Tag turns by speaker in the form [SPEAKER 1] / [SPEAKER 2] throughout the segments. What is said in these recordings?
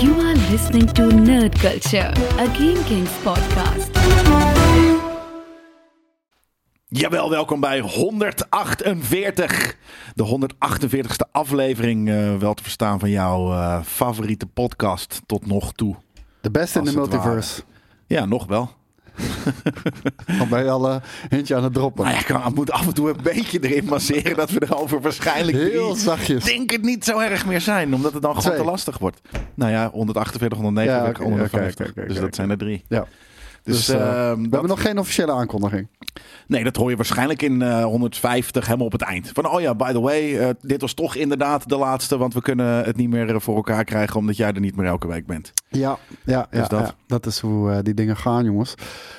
[SPEAKER 1] You are listening to Nerd Culture, a Game Kings podcast.
[SPEAKER 2] Jawel, welkom bij 148. De 148ste aflevering, eh, wel te verstaan van jouw eh, favoriete podcast tot nog toe.
[SPEAKER 3] De beste in
[SPEAKER 2] Als
[SPEAKER 3] de
[SPEAKER 2] het
[SPEAKER 3] multiverse.
[SPEAKER 2] Ja, nog wel.
[SPEAKER 3] Want bij alle hintje aan het droppen.
[SPEAKER 2] Nou ja, ik kan- ik moet af en toe een beetje erin masseren dat we erover waarschijnlijk
[SPEAKER 3] Heel
[SPEAKER 2] drie-
[SPEAKER 3] zachtjes.
[SPEAKER 2] denk het niet zo erg meer zijn, omdat het dan gewoon
[SPEAKER 3] Twee.
[SPEAKER 2] te lastig wordt. Nou ja, 148, 149,
[SPEAKER 3] Ja, oké,
[SPEAKER 2] 150.
[SPEAKER 3] oké, oké,
[SPEAKER 2] dus
[SPEAKER 3] oké,
[SPEAKER 2] dat
[SPEAKER 3] oké.
[SPEAKER 2] zijn er drie.
[SPEAKER 3] Ja.
[SPEAKER 2] Dus,
[SPEAKER 3] Dus, eh,
[SPEAKER 2] ehm,
[SPEAKER 3] we
[SPEAKER 2] dat-
[SPEAKER 3] hebben nog geen officiële aankondiging.
[SPEAKER 2] Nee, dat hoor je waarschijnlijk in eh, 150 helemaal op het eind. Van, oh ja, by the way, eh, dit was toch inderdaad de laatste. Want we kunnen het niet meer eh, voor elkaar krijgen omdat jij er niet meer elke week bent.
[SPEAKER 3] Ja, ja, ja,
[SPEAKER 2] Dus dat.
[SPEAKER 3] dat. ja. dat is hoe eh, die dingen gaan, jongens.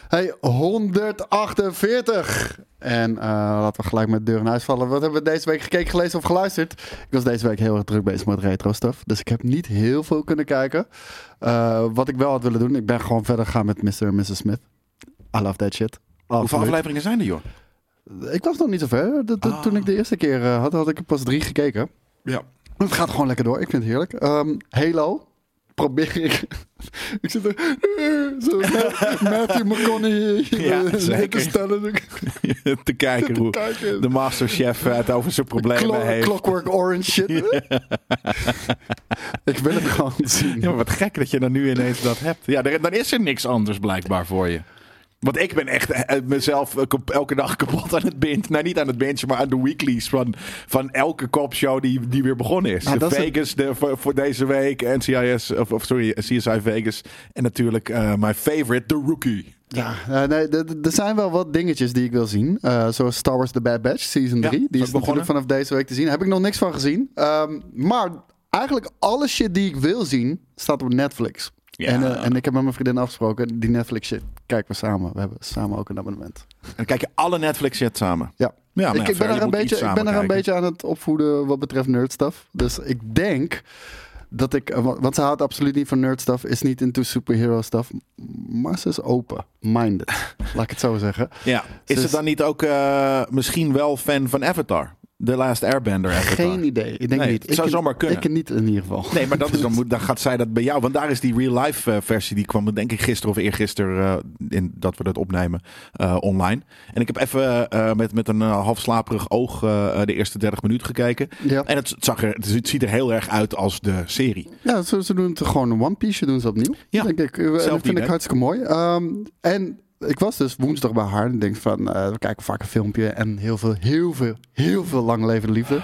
[SPEAKER 3] Hey, 148! En eh, laten we gelijk met de deur in huis vallen. Wat hebben we deze week gekeken, gelezen of geluisterd? Ik was deze week heel erg druk bezig met retro stuff. Dus ik heb niet heel veel kunnen kijken. Eh, wat ik wel had willen doen, ik ben gewoon verder gegaan met Mr. en Mrs. Smith. I love that shit.
[SPEAKER 2] Hoeveel
[SPEAKER 3] Absoluut.
[SPEAKER 2] afleveringen zijn er, joh?
[SPEAKER 3] Ik was nog niet zo ver. Dat- dat-
[SPEAKER 2] Ah.
[SPEAKER 3] Toen ik de eerste keer eh, had, had ik er pas drie gekeken.
[SPEAKER 2] Ja.
[SPEAKER 3] Het gaat gewoon lekker door. Ik vind het heerlijk. Ehm, Halo. Probeer ik. ik zit er. eh, Zo, Matthew McConaughey.
[SPEAKER 2] Ja,
[SPEAKER 3] eh,
[SPEAKER 2] zeker.
[SPEAKER 3] Te stellen.
[SPEAKER 2] Te kijken hoe
[SPEAKER 3] kijken.
[SPEAKER 2] de masterchef eh, het over zijn problemen
[SPEAKER 3] Clo-
[SPEAKER 2] heeft.
[SPEAKER 3] Clockwork Orange shit. ik wil het gewoon zien.
[SPEAKER 2] Ja, maar wat gek dat je dan nu ineens dat hebt. Ja, er- dan is er niks anders blijkbaar voor je. Want ik ben echt eh, mezelf eh, kap- elke dag kapot aan het binge. Nou, niet aan het binge, maar aan de weeklies van, van elke kopshow die, die weer begonnen is.
[SPEAKER 3] Nou,
[SPEAKER 2] de
[SPEAKER 3] dat is het-
[SPEAKER 2] Vegas de, voor, voor deze week, NCIS, of, of sorry, CSI Vegas. En natuurlijk eh my favorite, The Rookie.
[SPEAKER 3] Ja, eh, nee, d- d- er zijn wel wat dingetjes die ik wil zien. Eh, zoals Star Wars The Bad Batch Season
[SPEAKER 2] Ja,
[SPEAKER 3] 3.
[SPEAKER 2] is
[SPEAKER 3] die
[SPEAKER 2] ook
[SPEAKER 3] is
[SPEAKER 2] begonnen.
[SPEAKER 3] natuurlijk vanaf deze week te zien. Heb ik nog niks van gezien. Ehm, maar eigenlijk alle shit die ik wil zien, staat op Netflix.
[SPEAKER 2] Ja.
[SPEAKER 3] En, eh, en ik heb met mijn vriendin afgesproken, die Netflix shit kijken we samen. We hebben samen ook een abonnement.
[SPEAKER 2] En dan kijk je alle Netflix shit samen.
[SPEAKER 3] Ja.
[SPEAKER 2] Ja, maar
[SPEAKER 3] ik,
[SPEAKER 2] ja,
[SPEAKER 3] ik
[SPEAKER 2] verder
[SPEAKER 3] ben er een
[SPEAKER 2] moet je iets
[SPEAKER 3] beetje, ik
[SPEAKER 2] samen
[SPEAKER 3] ben er een
[SPEAKER 2] kijken.
[SPEAKER 3] beetje aan het opvoeden wat betreft nerdstuff. Dus ik denk dat ik... eh, wa- Want ze houdt absoluut niet van nerdstuff. Is niet into superhero stuff. Maar ze is open-minded. laat ik het zo zeggen.
[SPEAKER 2] Ja. Is
[SPEAKER 3] Dus-
[SPEAKER 2] het dan niet ook eh, misschien wel fan van Avatar? The Last Airbender Avatar.
[SPEAKER 3] Geen idee. Ik denk
[SPEAKER 2] Nee,
[SPEAKER 3] niet.
[SPEAKER 2] het
[SPEAKER 3] ik
[SPEAKER 2] zou
[SPEAKER 3] ken-
[SPEAKER 2] zomaar kunnen.
[SPEAKER 3] Ik ken niet in ieder geval. Dus-
[SPEAKER 2] Nee, maar dat is, Dus dan, moet- dan gaat zij dat bij jou. Want daar is die real life eh, versie. Die kwam denk ik gisteren of eergisteren. eh, in, dat we dat opnemen. eh, online. En ik heb even eh, met, met een eh, half slaperig oog. eh, de eerste 30 minuten gekeken.
[SPEAKER 3] Ja.
[SPEAKER 2] En het, zag er, het ziet er heel erg uit als de serie.
[SPEAKER 3] Ja, ze, ze doen het gewoon een One Piece. Doen ze opnieuw.
[SPEAKER 2] Ja,
[SPEAKER 3] Denk ik. En dat
[SPEAKER 2] niet,
[SPEAKER 3] vind ik
[SPEAKER 2] hè?
[SPEAKER 3] hartstikke mooi. Ehm, en ik was dus woensdag bij haar. En ik denk van, eh, we kijken vaak een filmpje. En heel veel, heel veel, heel veel lang levende liefde.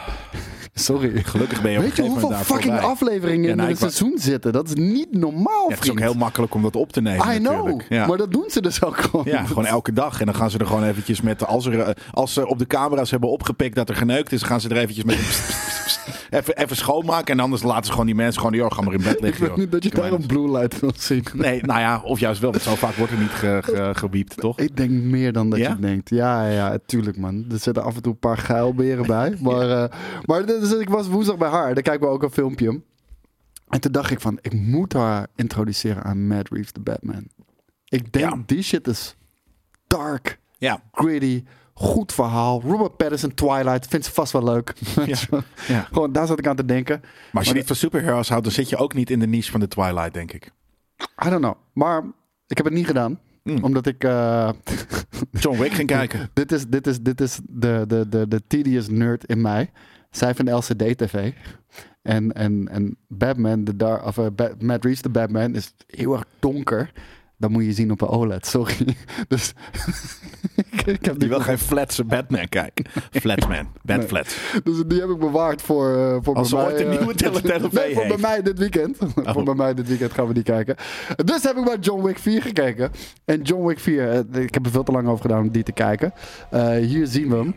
[SPEAKER 3] Sorry.
[SPEAKER 2] Gelukkig ben je op een
[SPEAKER 3] Weet je
[SPEAKER 2] gegeven moment
[SPEAKER 3] hoeveel
[SPEAKER 2] daar
[SPEAKER 3] fucking
[SPEAKER 2] voorbij.
[SPEAKER 3] afleveringen
[SPEAKER 2] Ja,
[SPEAKER 3] in
[SPEAKER 2] nou,
[SPEAKER 3] een
[SPEAKER 2] ik wa-
[SPEAKER 3] seizoen zitten? Dat is niet normaal,
[SPEAKER 2] Ja, het is ook
[SPEAKER 3] vriend.
[SPEAKER 2] heel makkelijk om dat op te nemen.
[SPEAKER 3] I know.
[SPEAKER 2] natuurlijk. Ja.
[SPEAKER 3] Maar dat doen ze dus ook gewoon.
[SPEAKER 2] Ja, gewoon elke dag. En dan gaan ze er gewoon eventjes met... Als, er, eh, als ze op de camera's hebben opgepikt dat er geneukt is... gaan ze er eventjes met... een pst, pst, pst, even, even schoonmaken. En anders laten ze gewoon die mensen gewoon... joh, ga maar in bed
[SPEAKER 3] Ik
[SPEAKER 2] liggen.
[SPEAKER 3] weet
[SPEAKER 2] joh.
[SPEAKER 3] niet dat je
[SPEAKER 2] Doe mij
[SPEAKER 3] daarom Blue Light wil zien.
[SPEAKER 2] niks. Nee, nou ja, of juist wel. Want zo vaak wordt er niet ge, ge- gebiept, toch?
[SPEAKER 3] Ik denk meer dan dat
[SPEAKER 2] Ja?
[SPEAKER 3] je denkt. Ja, ja, ja, tuurlijk man. Er zitten af en toe een paar geilberen bij. Maar, eh, maar dus, ik was woensdag bij haar. Daar kijken we ook een filmpje. En toen dacht ik van, ik moet haar introduceren aan Matt Reeves de Batman. Ik denk,
[SPEAKER 2] Ja.
[SPEAKER 3] die shit is dark,
[SPEAKER 2] Ja.
[SPEAKER 3] gritty, goed verhaal. Robert Pattinson, Twilight, vindt ze vast wel leuk.
[SPEAKER 2] ja.
[SPEAKER 3] Gewoon, daar zat ik aan te denken.
[SPEAKER 2] Maar als je
[SPEAKER 3] Maar-
[SPEAKER 2] niet van superheroes houdt... dan zit je ook niet in de niche van de Twilight, denk ik.
[SPEAKER 3] I don't know. Maar ik heb het niet gedaan.
[SPEAKER 2] Mm.
[SPEAKER 3] Omdat ik... eh,
[SPEAKER 2] John Wick ging kijken.
[SPEAKER 3] Dit is, dit is, dit is de, de, de, de tedious nerd in mij. Zij van LCD-TV. En, en, en Batman, de dar, of, eh, Ba- Matt Reeves, de Batman, is heel erg donker. Dan moet je zien op een OLED, sorry. Dus ik, ik heb
[SPEAKER 2] Die
[SPEAKER 3] die,
[SPEAKER 2] wil geen flatse Batman kijken. Flatman. Batflat.
[SPEAKER 3] dus die heb ik bewaard voor, eh, voor
[SPEAKER 2] Als ze
[SPEAKER 3] bij mij,
[SPEAKER 2] ooit een
[SPEAKER 3] eh,
[SPEAKER 2] nieuwe Oh. Teletele
[SPEAKER 3] Nee, voor bij
[SPEAKER 2] heeft.
[SPEAKER 3] mij dit weekend. voor bij mij dit weekend gaan we die kijken. Dus heb ik maar John Wick 4 gekeken. En John Wick 4, eh, ik heb er veel te lang over gedaan om die te kijken. Eh, hier zien we hem.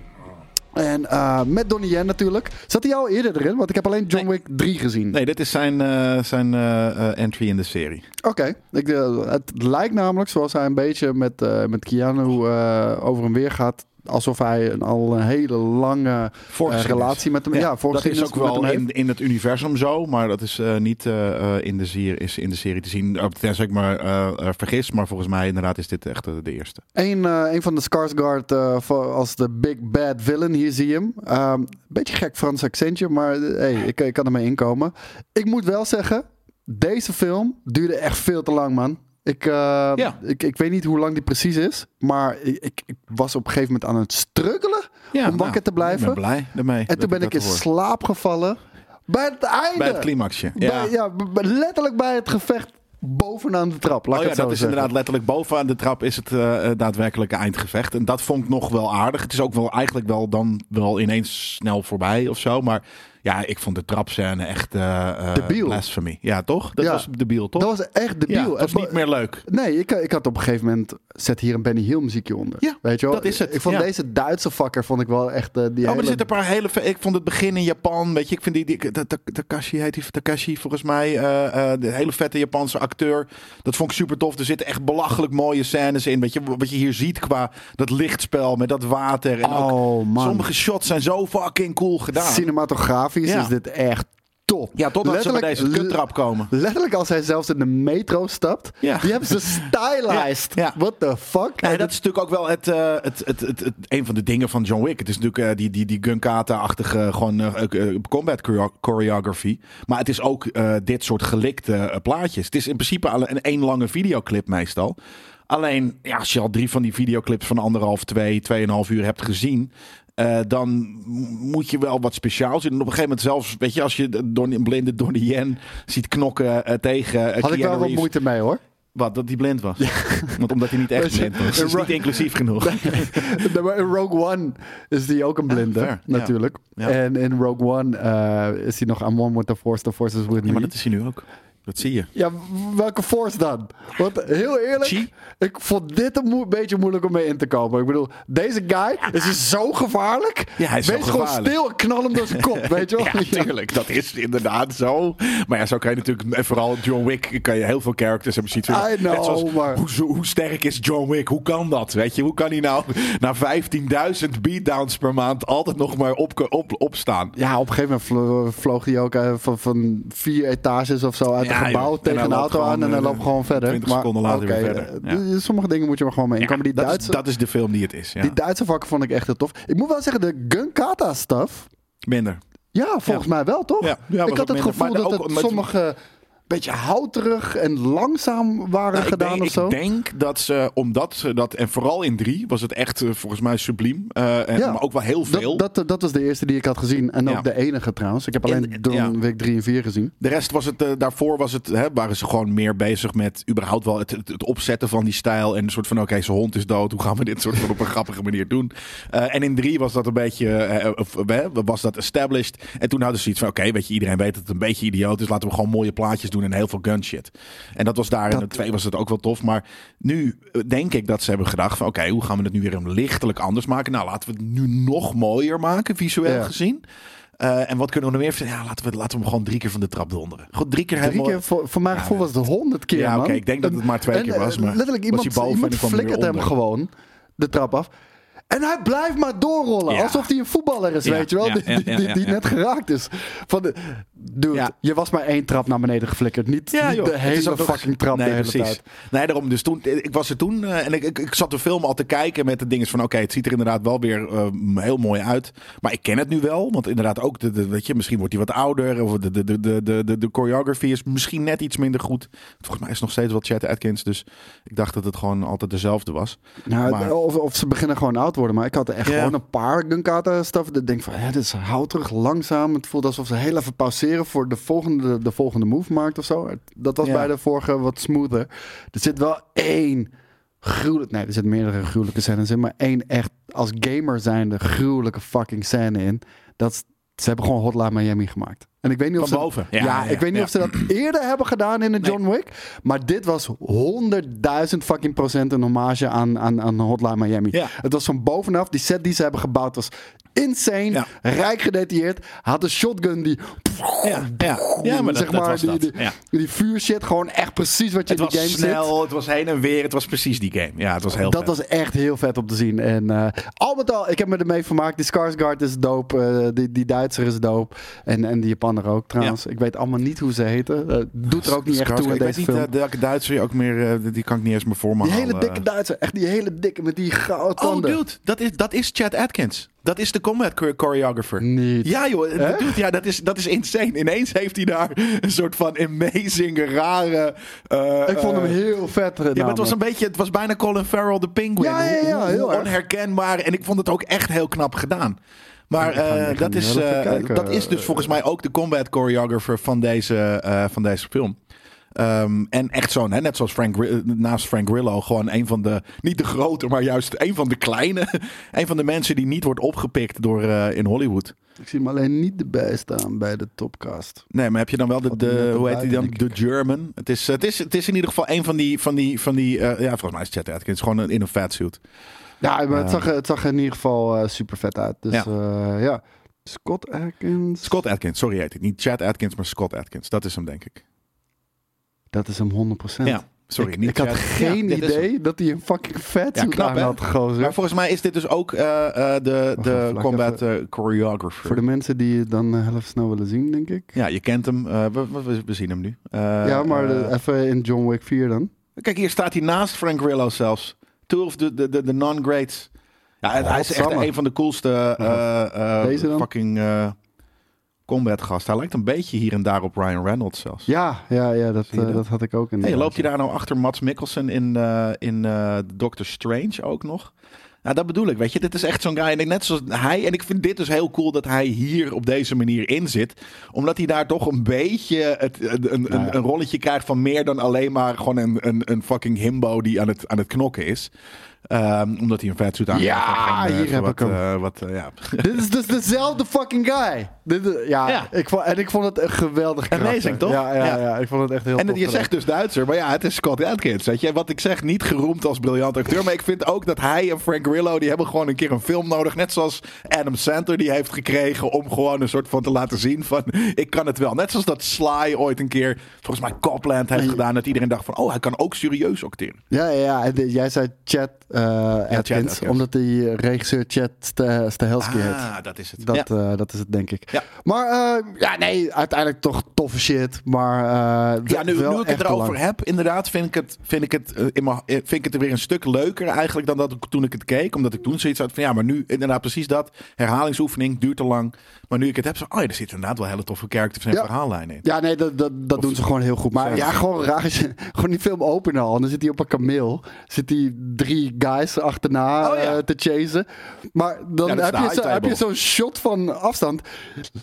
[SPEAKER 3] En eh, met Donnie Yen natuurlijk. Zat hij al eerder erin? Want ik heb alleen John Wick 3 gezien.
[SPEAKER 2] Nee, dit is zijn, eh, zijn eh, eh, entry in de serie.
[SPEAKER 3] Oké. Ik, eh, het lijkt namelijk, zoals hij een beetje met, eh, met Keanu eh, over en weer gaat... alsof hij een, al een hele lange eh,
[SPEAKER 2] Voorgeschiedenis.
[SPEAKER 3] relatie met hem... Ja,
[SPEAKER 2] dat is
[SPEAKER 3] voorgeschiedenis
[SPEAKER 2] ook
[SPEAKER 3] met hem
[SPEAKER 2] wel
[SPEAKER 3] heeft.
[SPEAKER 2] in, in het universum zo, maar dat is eh, niet eh, eh, in, de serie, is in de serie te zien. Eh, Tenzij ik me eh, eh, vergis, maar volgens mij inderdaad is dit echt eh, de eerste.
[SPEAKER 3] Een, eh, een van de Skarsgård eh, voor- als de big bad villain. Hier zie je hem. Ehm, beetje gek Frans accentje, maar eh, hey, ik, ik kan ermee inkomen. Ik moet wel zeggen, Deze film duurde echt veel te lang, man. Ik, eh,
[SPEAKER 2] Ja.
[SPEAKER 3] ik, ik weet niet hoe lang die precies is, maar ik, ik, ik was op een gegeven moment aan het struggelen om wakker te blijven.
[SPEAKER 2] nou, Ik ben blij daarmee.
[SPEAKER 3] en toen ben ik in slaap gevallen bij het einde.
[SPEAKER 2] Bij het climaxje.
[SPEAKER 3] Bij-
[SPEAKER 2] Ja.
[SPEAKER 3] ja. b- b- letterlijk bij het gevecht bovenaan de trap. Laat
[SPEAKER 2] Oh
[SPEAKER 3] ik
[SPEAKER 2] ja,
[SPEAKER 3] het zo
[SPEAKER 2] dat is
[SPEAKER 3] zeggen.
[SPEAKER 2] inderdaad letterlijk bovenaan de trap is het eh, eh, daadwerkelijke eindgevecht. En dat vond ik nog wel aardig. Het is ook wel eigenlijk wel dan wel ineens snel voorbij of zo. Maar ja, ik vond de trapscène echt eh eh,
[SPEAKER 3] Debiel.
[SPEAKER 2] blasphemy. Ja, toch? Dat
[SPEAKER 3] Ja.
[SPEAKER 2] was debiel, toch?
[SPEAKER 3] Dat was echt
[SPEAKER 2] ja,
[SPEAKER 3] debiel.
[SPEAKER 2] dat was niet meer leuk.
[SPEAKER 3] Nee, ik, ik had op een gegeven moment... Zet hier een Benny Hill muziekje onder.
[SPEAKER 2] Ja,
[SPEAKER 3] Weet je wel?
[SPEAKER 2] dat is het,
[SPEAKER 3] Ik vond
[SPEAKER 2] ja.
[SPEAKER 3] deze Duitse fucker vond ik wel echt... eh, die
[SPEAKER 2] Oh, maar er
[SPEAKER 3] hele-
[SPEAKER 2] zitten een paar hele... ve- Ik vond het begin in Japan, weet je. Ik vind die... die Ta- Ta- Takashi heet die... Takashi, volgens mij. eh, eh, de hele vette Japanse acteur. Dat vond ik super tof. Er zitten echt belachelijk mooie scènes in. Weet je, wat je hier ziet qua dat lichtspel met dat water. En ook
[SPEAKER 3] Oh, man.
[SPEAKER 2] sommige shots zijn zo fucking cool gedaan.
[SPEAKER 3] Cinematografisch
[SPEAKER 2] Ja.
[SPEAKER 3] is dit echt top.
[SPEAKER 2] ja, totdat ze bij deze
[SPEAKER 3] Letterlijk-
[SPEAKER 2] kuttrap komen.
[SPEAKER 3] Letterlijk als hij zelfs in de metro stapt.
[SPEAKER 2] Ja.
[SPEAKER 3] Die hebben ze stylized.
[SPEAKER 2] Ja, ja.
[SPEAKER 3] What the fuck?
[SPEAKER 2] Nee, dat is natuurlijk ook wel het, eh, het, het, het, het- een van de dingen van John Wick. Het is natuurlijk eh, die, die, die Gunkata-achtige gewoon, eh, eh, combat choreo- choreography. Maar het is ook eh, dit soort gelikte eh, plaatjes. Het is in principe al een één lange videoclip meestal. Alleen, ja, als je al drie van die videoclips van anderhalf, twee, tweeënhalf uur hebt gezien... eh, dan m- moet je wel wat speciaals doen. En op een gegeven moment zelfs, weet je, als je de Donnie, blinde Donnie Yen ziet knokken eh, tegen eh,
[SPEAKER 3] Had ik
[SPEAKER 2] Keanu
[SPEAKER 3] wel wat
[SPEAKER 2] Reeves.
[SPEAKER 3] moeite mee hoor.
[SPEAKER 2] Wat, dat hij blind was? Want omdat hij niet echt
[SPEAKER 3] Dus-
[SPEAKER 2] blind was. Dat is niet inclusief genoeg.
[SPEAKER 3] Nee, maar in Rogue One is die ook een blinde,
[SPEAKER 2] Ah, fair. Ja.
[SPEAKER 3] natuurlijk.
[SPEAKER 2] Ja.
[SPEAKER 3] En in Rogue One eh, is hij nog aan one with the force, the force is with
[SPEAKER 2] Ja,
[SPEAKER 3] me.
[SPEAKER 2] maar dat is hij nu ook. Dat zie je.
[SPEAKER 3] Ja, welke force dan? Want heel eerlijk,
[SPEAKER 2] Chi?
[SPEAKER 3] ik vond dit een moe- beetje moeilijk om mee in te komen. Ik bedoel, deze guy is dus zo gevaarlijk.
[SPEAKER 2] Ja, hij is zo
[SPEAKER 3] Wees gewoon
[SPEAKER 2] gevaarlijk.
[SPEAKER 3] stil en knal hem door zijn kop, weet je wel?
[SPEAKER 2] Ja, tuurlijk. Dat is inderdaad zo. Maar ja, zo kan je natuurlijk... en Vooral John Wick kan je heel veel characters hebben zien.
[SPEAKER 3] I know,
[SPEAKER 2] Net zoals,
[SPEAKER 3] maar-
[SPEAKER 2] hoe, zo- hoe sterk is John Wick? Hoe kan dat? Weet je? Hoe kan hij nou na 15.000 beatdowns per maand altijd nog maar op, op, opstaan?
[SPEAKER 3] Ja, op een gegeven moment vlo- vloog hij ook eh, van, van vier etages of zo uit
[SPEAKER 2] Ja,
[SPEAKER 3] een gebouw
[SPEAKER 2] joh. En
[SPEAKER 3] tegen
[SPEAKER 2] hij
[SPEAKER 3] een
[SPEAKER 2] loopt
[SPEAKER 3] auto aan
[SPEAKER 2] gewoon,
[SPEAKER 3] en hij
[SPEAKER 2] eh,
[SPEAKER 3] loopt gewoon verder.
[SPEAKER 2] 20 seconden later weer
[SPEAKER 3] oké,
[SPEAKER 2] verder.
[SPEAKER 3] eh, die- Sommige dingen moet je maar gewoon mee inkomen. die
[SPEAKER 2] dat,
[SPEAKER 3] Duitse,
[SPEAKER 2] is, dat is de film die het is. Ja.
[SPEAKER 3] die Duitse vakken vond ik echt heel tof. Ik moet wel zeggen, de Gunkata stuff.
[SPEAKER 2] Minder.
[SPEAKER 3] Ja, volgens mij wel, toch?
[SPEAKER 2] Ja. Ja, was
[SPEAKER 3] ik had
[SPEAKER 2] ook
[SPEAKER 3] het
[SPEAKER 2] minder.
[SPEAKER 3] gevoel
[SPEAKER 2] Maar
[SPEAKER 3] dat
[SPEAKER 2] ook
[SPEAKER 3] het
[SPEAKER 2] met-
[SPEAKER 3] sommige een beetje houterig en langzaam waren
[SPEAKER 2] Nou,
[SPEAKER 3] gedaan
[SPEAKER 2] ik denk,
[SPEAKER 3] of zo.
[SPEAKER 2] Ik denk dat ze, omdat ze dat, en vooral in drie, was het echt eh, volgens mij subliem. eh, en,
[SPEAKER 3] Ja.
[SPEAKER 2] Maar ook wel heel veel.
[SPEAKER 3] dat, dat, dat was de eerste die ik had gezien. En ook
[SPEAKER 2] Ja.
[SPEAKER 3] de enige trouwens. Ik heb alleen
[SPEAKER 2] En-
[SPEAKER 3] Don
[SPEAKER 2] ja.
[SPEAKER 3] Week 3 en 4 gezien.
[SPEAKER 2] De rest was het, eh, daarvoor was het, hè, waren ze gewoon meer bezig met überhaupt wel het, het, het opzetten van die stijl. En een soort van, oké, zijn hond is dood, hoe gaan we dit soort van op een grappige manier doen? Eh, en in drie was dat een beetje, eh, of, eh, was dat established. En toen hadden ze iets van, oké, weet je, iedereen weet dat het een beetje idioot is. Laten we gewoon mooie plaatjes doen en heel veel gunshit. En dat was daar, in de twee was het ook wel tof. Maar nu eh, denk ik dat ze hebben gedacht van, oké, hoe gaan we het nu weer lichtelijk anders maken? Nou, laten we het nu nog mooier maken, visueel
[SPEAKER 3] Ja.
[SPEAKER 2] gezien. Eh, en wat kunnen we nog meer verzinnen? Ja, laten we, laten we hem gewoon drie keer van de trap donderen. Gewoon drie keer
[SPEAKER 3] Drie
[SPEAKER 2] helemaal...
[SPEAKER 3] keer, voor, voor mijn gevoel was het honderd keer,
[SPEAKER 2] Ja,
[SPEAKER 3] man.
[SPEAKER 2] oké, ik denk dat het
[SPEAKER 3] En-
[SPEAKER 2] maar twee
[SPEAKER 3] en,
[SPEAKER 2] keer was,
[SPEAKER 3] eh,
[SPEAKER 2] maar
[SPEAKER 3] letterlijk,
[SPEAKER 2] was
[SPEAKER 3] iemand,
[SPEAKER 2] hij boven en
[SPEAKER 3] iemand
[SPEAKER 2] die kwam er weer
[SPEAKER 3] flikkert hem
[SPEAKER 2] onder.
[SPEAKER 3] gewoon de trap af. En hij blijft maar doorrollen.
[SPEAKER 2] Ja.
[SPEAKER 3] Alsof hij een voetballer is,
[SPEAKER 2] Ja,
[SPEAKER 3] weet je wel.
[SPEAKER 2] ja,
[SPEAKER 3] die
[SPEAKER 2] ja, ja,
[SPEAKER 3] die, die,
[SPEAKER 2] ja,
[SPEAKER 3] die
[SPEAKER 2] ja.
[SPEAKER 3] net geraakt is. Van de, dude,
[SPEAKER 2] Ja.
[SPEAKER 3] je was maar één trap naar beneden geflikkerd. Niet, niet
[SPEAKER 2] joh,
[SPEAKER 3] de
[SPEAKER 2] het is
[SPEAKER 3] hele
[SPEAKER 2] ook nog-
[SPEAKER 3] fucking trap
[SPEAKER 2] nee,
[SPEAKER 3] de hele
[SPEAKER 2] precies.
[SPEAKER 3] tijd.
[SPEAKER 2] Nee, daarom. Dus toen, ik was er toen eh, en ik, ik, ik zat de film al te kijken met de dingen van... oké, het ziet er inderdaad wel weer eh, heel mooi uit. Maar ik ken het nu wel, want inderdaad ook... De, de- weet je, misschien wordt hij wat ouder of de, de, de, de, de, de, de choreography is misschien net iets minder goed. Volgens mij is het nog steeds wel Chet Atkins, dus ik dacht dat het gewoon altijd dezelfde was.
[SPEAKER 3] Nou,
[SPEAKER 2] Maar-
[SPEAKER 3] of, of ze beginnen gewoon oud te worden. Maar ik had echt
[SPEAKER 2] Ja.
[SPEAKER 3] gewoon een paar Gunkata stuff. Dat ik denk van, hè, dit is houterig, langzaam. Het voelt alsof ze heel even pauzeren voor de volgende, de volgende move maakt of zo. Dat was
[SPEAKER 2] Ja.
[SPEAKER 3] bij de vorige wat smoother. Er zit wel één gruwelijk... Nee, er zitten meerdere gruwelijke scènes in. Maar één echt, als gamer zijnde, gruwelijke fucking scène in. Dat is- ze hebben gewoon Hotline Miami gemaakt. En ik weet niet of
[SPEAKER 2] Van
[SPEAKER 3] ze,
[SPEAKER 2] boven.
[SPEAKER 3] Ja,
[SPEAKER 2] Ja, ja,
[SPEAKER 3] ik weet niet
[SPEAKER 2] ja.
[SPEAKER 3] of ze dat eerder hebben gedaan in een
[SPEAKER 2] Nee.
[SPEAKER 3] John Wick. Maar dit was 100.000 fucking procent een hommage aan, aan, aan Hotline Miami.
[SPEAKER 2] Ja.
[SPEAKER 3] Het was van bovenaf. Die set die ze hebben gebouwd was insane.
[SPEAKER 2] Ja.
[SPEAKER 3] Rijk gedetailleerd. Had een shotgun die...
[SPEAKER 2] Ja, ja. ja maar dat,
[SPEAKER 3] zeg
[SPEAKER 2] dat
[SPEAKER 3] maar,
[SPEAKER 2] was
[SPEAKER 3] die,
[SPEAKER 2] dat.
[SPEAKER 3] Die,
[SPEAKER 2] ja.
[SPEAKER 3] die vuurshit. Gewoon echt precies wat je
[SPEAKER 2] Het
[SPEAKER 3] in die
[SPEAKER 2] was
[SPEAKER 3] game
[SPEAKER 2] snel,
[SPEAKER 3] zit.
[SPEAKER 2] het was heen en weer, het was precies die game. Ja, het was heel
[SPEAKER 3] Dat
[SPEAKER 2] vet.
[SPEAKER 3] was echt heel vet om te zien. En eh, al met al, ik heb me ermee vermaakt. Die Skarsgård is dope. eh, die, die Duitser is dope. En, en die van er ook trouwens. Ik weet allemaal niet hoe ze heten. Eh, doet er ook niet echt toe
[SPEAKER 2] Dus
[SPEAKER 3] in
[SPEAKER 2] Ik weet
[SPEAKER 3] deze
[SPEAKER 2] niet
[SPEAKER 3] film.
[SPEAKER 2] eh, welke Duitser je ook meer... eh, die kan ik niet eens eh. meer voor me
[SPEAKER 3] die
[SPEAKER 2] halen.
[SPEAKER 3] hele dikke Duitser. Echt die hele dikke met die gouden
[SPEAKER 2] Oh,
[SPEAKER 3] tanden.
[SPEAKER 2] dude, dat is, dat is Chad Atkins. Dat is de combat chore- choreographer.
[SPEAKER 3] Niet.
[SPEAKER 2] Ja, joh. eh,
[SPEAKER 3] Echt?
[SPEAKER 2] Dude, ja, dat, is, dat is insane. Ineens heeft hij daar een soort van amazing, rare... eh,
[SPEAKER 3] Ik vond hem
[SPEAKER 2] eh,
[SPEAKER 3] heel vet.
[SPEAKER 2] Ja, maar het was een beetje, het was bijna Colin Farrell de Penguin.
[SPEAKER 3] Ja, ja, ja,
[SPEAKER 2] Hoe- hoe-
[SPEAKER 3] heel
[SPEAKER 2] hoe
[SPEAKER 3] erg.
[SPEAKER 2] onherkenbaar. En ik vond het ook echt heel knap gedaan. Maar
[SPEAKER 3] Ik ga- ik
[SPEAKER 2] eh,
[SPEAKER 3] ga
[SPEAKER 2] dat,
[SPEAKER 3] nu
[SPEAKER 2] is,
[SPEAKER 3] heel even
[SPEAKER 2] eh,
[SPEAKER 3] kijken.
[SPEAKER 2] dat is dus volgens mij ook de combat choreographer van deze, eh, van deze film. Ehm, en echt zo'n, hè, net zoals Frank, Gri- eh, naast Frank Grillo, gewoon een van de, niet de grote, maar juist een van de kleine. een van de mensen die niet wordt opgepikt door eh, in Hollywood.
[SPEAKER 3] Ik zie hem alleen niet erbij staan bij de topcast.
[SPEAKER 2] Nee, maar heb je dan wel de,
[SPEAKER 3] Wat die
[SPEAKER 2] de
[SPEAKER 3] net
[SPEAKER 2] hoe heet die dan?
[SPEAKER 3] erbij,
[SPEAKER 2] De
[SPEAKER 3] denk
[SPEAKER 2] German. Het is, eh, het, is, het is in ieder geval een van die, van die, van die eh, ja, volgens mij is Chet Atkins gewoon een- in een fatsuit.
[SPEAKER 3] Ja, maar
[SPEAKER 2] Eh.
[SPEAKER 3] het, zag, er- het zag er in ieder geval super vet uit. Dus
[SPEAKER 2] Ja.
[SPEAKER 3] ja. ja. Scott Atkins.
[SPEAKER 2] Scott Atkins, sorry heet ik. Niet Chad Atkins, maar Scott Atkins. Dat is hem, denk ik.
[SPEAKER 3] Dat is hem 100%.
[SPEAKER 2] Ja, sorry.
[SPEAKER 3] ik
[SPEAKER 2] niet
[SPEAKER 3] ik had
[SPEAKER 2] Chad-
[SPEAKER 3] geen
[SPEAKER 2] Ja, dit is hem.
[SPEAKER 3] idee dat hij een fucking vet
[SPEAKER 2] Ja, knap, hè?
[SPEAKER 3] had gozer.
[SPEAKER 2] Maar volgens mij is dit dus ook eh, eh, de,
[SPEAKER 3] Wacht
[SPEAKER 2] de
[SPEAKER 3] even, laat
[SPEAKER 2] combat
[SPEAKER 3] ik
[SPEAKER 2] eh, choreographer.
[SPEAKER 3] Voor de mensen die het dan eh, heel even snel willen zien, denk ik.
[SPEAKER 2] Ja, je kent hem. eh, we, we, we zien hem nu. Eh,
[SPEAKER 3] ja, maar eh,
[SPEAKER 2] eh,
[SPEAKER 3] even in John Wick 4 dan.
[SPEAKER 2] kijk, hier staat hij naast Frank Grillo zelfs. Two of the, the, the, the non-greats. Ja, en hij is echt
[SPEAKER 3] Godsamme.
[SPEAKER 2] een van de coolste eh, eh,
[SPEAKER 3] Deze dan?
[SPEAKER 2] fucking eh, combat gast. Hij lijkt een beetje hier en daar op Ryan Reynolds zelfs.
[SPEAKER 3] Ja, ja, ja dat,
[SPEAKER 2] Zie je
[SPEAKER 3] eh,
[SPEAKER 2] dat?
[SPEAKER 3] dat had ik ook in.
[SPEAKER 2] Hey, loopt hij daar nou achter Mats Mikkelsen in, eh, in eh, Doctor Strange ook nog? Nou, dat bedoel ik, weet je. Dit is echt zo'n guy. En ik- net zoals hij. En ik vind dit dus heel cool dat hij hier op deze manier in zit. Omdat hij daar toch een beetje het, een, een,
[SPEAKER 3] Nou ja.
[SPEAKER 2] een rolletje krijgt van meer dan alleen maar gewoon een, een, een fucking himbo die aan het, aan het knokken is. Ehm, omdat hij een vetsuit aan
[SPEAKER 3] Ja, hier heb
[SPEAKER 2] wat,
[SPEAKER 3] ik hem.
[SPEAKER 2] eh, wat, eh, ja.
[SPEAKER 3] Dit is dus dezelfde fucking guy. Dit is- ja,
[SPEAKER 2] Ja.
[SPEAKER 3] Ik vond, en ik vond het een geweldig karakter.
[SPEAKER 2] Amazing, toch?
[SPEAKER 3] Ja, ja,
[SPEAKER 2] Ja.
[SPEAKER 3] ja. ik vond het echt heel
[SPEAKER 2] En
[SPEAKER 3] tof
[SPEAKER 2] je
[SPEAKER 3] gedaan.
[SPEAKER 2] zegt dus Duitser, maar ja, het is Scott Adkins. Weet je, wat ik zeg, niet geroemd als briljant acteur. Maar ik vind ook dat hij en Frank Grillo, die hebben gewoon een keer een film nodig. Net zoals Adam Sandler die heeft gekregen om gewoon een soort van te laten zien van, ik kan het wel. Net zoals dat Sly ooit een keer, volgens mij Copland heeft gedaan. Dat iedereen dacht van, oh, hij kan ook serieus acteren.
[SPEAKER 3] Ja, ja, ja. En de- jij zei Chad, eh, Atkins,
[SPEAKER 2] Atkins.
[SPEAKER 3] Omdat die eh, regisseur Chad Sta- Stahelski heet.
[SPEAKER 2] Ah, dat is het.
[SPEAKER 3] Dat,
[SPEAKER 2] Ja.
[SPEAKER 3] eh, dat is het, denk ik.
[SPEAKER 2] Ja.
[SPEAKER 3] Maar eh, ja, nee, uiteindelijk toch toffe shit. Maar eh,
[SPEAKER 2] Ja, nu,
[SPEAKER 3] wel
[SPEAKER 2] nu ik
[SPEAKER 3] echt
[SPEAKER 2] het
[SPEAKER 3] te
[SPEAKER 2] erover
[SPEAKER 3] lang.
[SPEAKER 2] heb, inderdaad, vind ik het, vind ik het, eh, in mijn- eh, vind ik het weer een stuk leuker eigenlijk dan dat ik, toen ik het keek. Omdat ik toen zoiets had van, ja, maar nu inderdaad precies dat. Herhalingsoefening, duurt te lang. Maar nu ik het heb, zo, oh ja, er zitten inderdaad wel hele toffe characters en
[SPEAKER 3] Ja.
[SPEAKER 2] verhaallijnen in.
[SPEAKER 3] Ja, nee, dat, dat, dat doen ze gewoon heel goed. Maar
[SPEAKER 2] Zo.
[SPEAKER 3] ja, gewoon raar is gewoon die film open al. En dan zit hij op een kameel. Zit hij drie guys achterna
[SPEAKER 2] Oh, ja.
[SPEAKER 3] eh, te chasen. Maar dan
[SPEAKER 2] Ja, dat is
[SPEAKER 3] heb,
[SPEAKER 2] de
[SPEAKER 3] je
[SPEAKER 2] high
[SPEAKER 3] zo- heb
[SPEAKER 2] table.
[SPEAKER 3] je zo'n shot van afstand.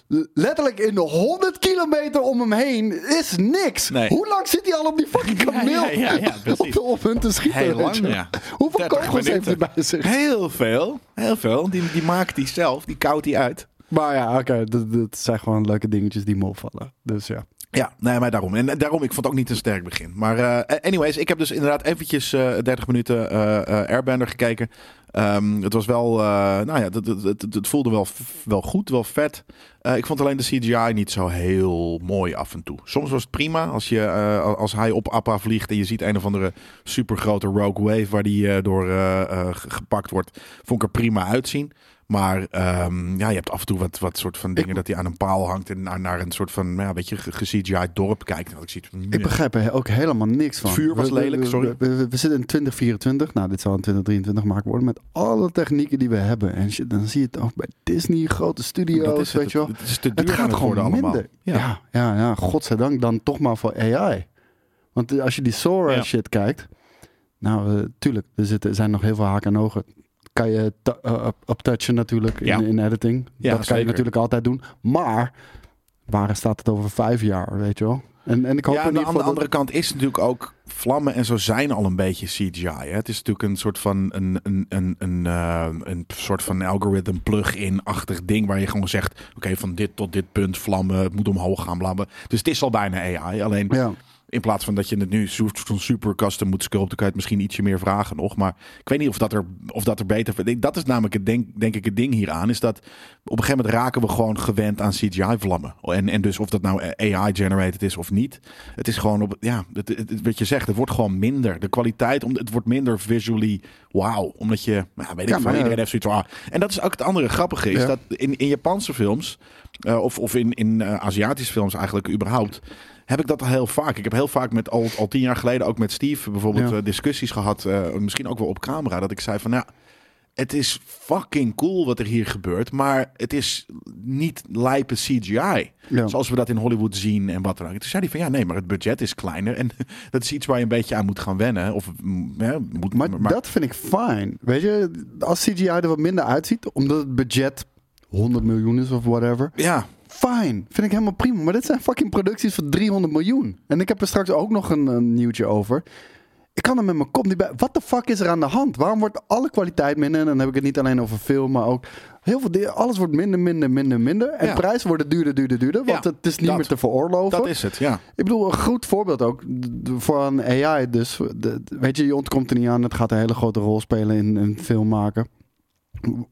[SPEAKER 3] L- Letterlijk in de 100 kilometer om hem heen is niks.
[SPEAKER 2] Nee.
[SPEAKER 3] Hoe lang zit hij al op die fucking kameel?
[SPEAKER 2] ja, ja, ja, precies.
[SPEAKER 3] op, op hun te schieten.
[SPEAKER 2] Heel
[SPEAKER 3] weet
[SPEAKER 2] lang,
[SPEAKER 3] je wel.
[SPEAKER 2] ja.
[SPEAKER 3] Hoeveel
[SPEAKER 2] 30
[SPEAKER 3] kogels heeft hij bij
[SPEAKER 2] minuten.
[SPEAKER 3] zich?
[SPEAKER 2] Heel veel, heel veel. Die, die maakt die zelf, die koudt die uit.
[SPEAKER 3] Maar ja, oké, dat, dat zijn gewoon leuke dingetjes die me opvallen. Dus ja.
[SPEAKER 2] Ja, nee, maar daarom. En eh, daarom, ik vond het ook niet een sterk begin. Maar eh, anyways, ik heb dus inderdaad eventjes eh 30 minuten eh, eh, Airbender gekeken. Ehm, het was wel, eh, nou ja, het, het, het, het voelde wel, f- wel goed, wel vet. Eh, ik vond alleen de CGI niet zo heel mooi af en toe. Soms was het prima als, je, eh, als hij op Appa vliegt en je ziet een of andere supergrote Rogue Wave waar die eh, door eh, eh, ge- gepakt wordt. Vond ik er prima uitzien. Maar ehm, ja, je hebt af en toe wat, wat soort van dingen dat hij aan een paal hangt en naar, naar een soort van, nou ja, weet je, ge- ge-CGI dorp kijkt. En dat ik zie,
[SPEAKER 3] Ik begrijp er ook helemaal niks van.
[SPEAKER 2] Het vuur was
[SPEAKER 3] We- we-
[SPEAKER 2] lelijk,
[SPEAKER 3] we-
[SPEAKER 2] sorry.
[SPEAKER 3] We, we- we zitten in 2024. Nou, dit zal in 2023 maken worden. Met alle technieken die we hebben. En shit, dan zie je het ook bij Disney, grote
[SPEAKER 2] dat
[SPEAKER 3] studio's,
[SPEAKER 2] is het.
[SPEAKER 3] weet je wel.
[SPEAKER 2] Het is te duur
[SPEAKER 3] Het
[SPEAKER 2] aan
[SPEAKER 3] gaat
[SPEAKER 2] het worden
[SPEAKER 3] gewoon
[SPEAKER 2] allemaal.
[SPEAKER 3] minder.
[SPEAKER 2] Ja.
[SPEAKER 3] Ja. Ja, ja, godzijdank dan toch maar voor AI. Want eh, als je die Sora
[SPEAKER 2] Ja.
[SPEAKER 3] shit kijkt. Nou, eh, tuurlijk, er zitten, er zijn nog heel veel haken en ogen. Kan je ta- eh, op- optouchen natuurlijk in,
[SPEAKER 2] Ja.
[SPEAKER 3] in editing.
[SPEAKER 2] Ja,
[SPEAKER 3] dat kan
[SPEAKER 2] zeker.
[SPEAKER 3] je natuurlijk altijd doen. Maar, waar staat het over vijf jaar, weet je wel? En, en ik hoop
[SPEAKER 2] Ja,
[SPEAKER 3] in
[SPEAKER 2] aan de, aan
[SPEAKER 3] ieder geval
[SPEAKER 2] de
[SPEAKER 3] dat-
[SPEAKER 2] andere kant is natuurlijk ook vlammen en zo zijn al een beetje CGI. Hè? Het is natuurlijk een soort van een, een, een, een, eh, een soort van algorithm plug-in-achtig ding waar je gewoon zegt: oké, van dit tot dit punt vlammen, het moet omhoog gaan, blabben. Dus het is al bijna AI. Alleen
[SPEAKER 3] Ja.
[SPEAKER 2] In plaats van dat je het nu zo- zo'n super custom moet sculpten, kan je het misschien ietsje meer vragen nog. Maar ik weet niet of dat er, of dat er beter... Dat is namelijk het denk, denk ik het ding hieraan. Is dat op een gegeven moment raken we gewoon gewend aan CGI-vlammen. En, en dus of dat nou AI-generated is of niet. Het is gewoon, op, ja, het, het- het- wat je zegt, het wordt gewoon minder. De kwaliteit, om- het wordt minder visually wauw. Omdat je, nou, weet ik
[SPEAKER 3] Ja,
[SPEAKER 2] veel,
[SPEAKER 3] maar, eh,
[SPEAKER 2] iedereen heeft zoiets van... ah. En dat is ook het andere grappige, is
[SPEAKER 3] Ja.
[SPEAKER 2] dat in, in Japanse films... eh, of, of in, in eh, Aziatische films eigenlijk überhaupt... Heb ik dat al heel vaak. Ik heb heel vaak met al, al tien jaar geleden, ook met Steve bijvoorbeeld,
[SPEAKER 3] Ja.
[SPEAKER 2] eh, discussies gehad. eh, misschien ook wel op camera. Dat ik zei van, ja, het is fucking cool wat er hier gebeurt, maar het is niet lijpe CGI.
[SPEAKER 3] Ja.
[SPEAKER 2] Zoals we dat in Hollywood zien en wat dan ook. Toen zei hij van ja, nee, maar het budget is kleiner. En dat is iets waar je een beetje aan moet gaan wennen. Of, mm, hè, moet,
[SPEAKER 3] Maar, dat vind ik fijn. Weet je, als CGI er wat minder uitziet, omdat het budget 100 miljoen is of whatever.
[SPEAKER 2] Ja,
[SPEAKER 3] Fijn, vind ik helemaal prima. Maar dit zijn fucking producties van 300 miljoen. En ik heb er straks ook nog een, een nieuwtje over. Ik kan er met mijn kop niet bij. Wat de fuck is er aan de hand? Waarom wordt alle kwaliteit minder? En dan heb ik het niet alleen over film, maar ook heel veel dingen. Alles wordt minder, minder, minder, minder. En
[SPEAKER 2] Ja.
[SPEAKER 3] prijzen worden duurder, duurder, duurder. Want
[SPEAKER 2] Ja,
[SPEAKER 3] het is niet
[SPEAKER 2] dat-
[SPEAKER 3] meer te veroorloven.
[SPEAKER 2] dat is het. Ja.
[SPEAKER 3] Ik bedoel, een goed voorbeeld ook d- voor een AI. Dus de- weet je, je ontkomt er niet aan. Het gaat een hele grote rol spelen in een film maken.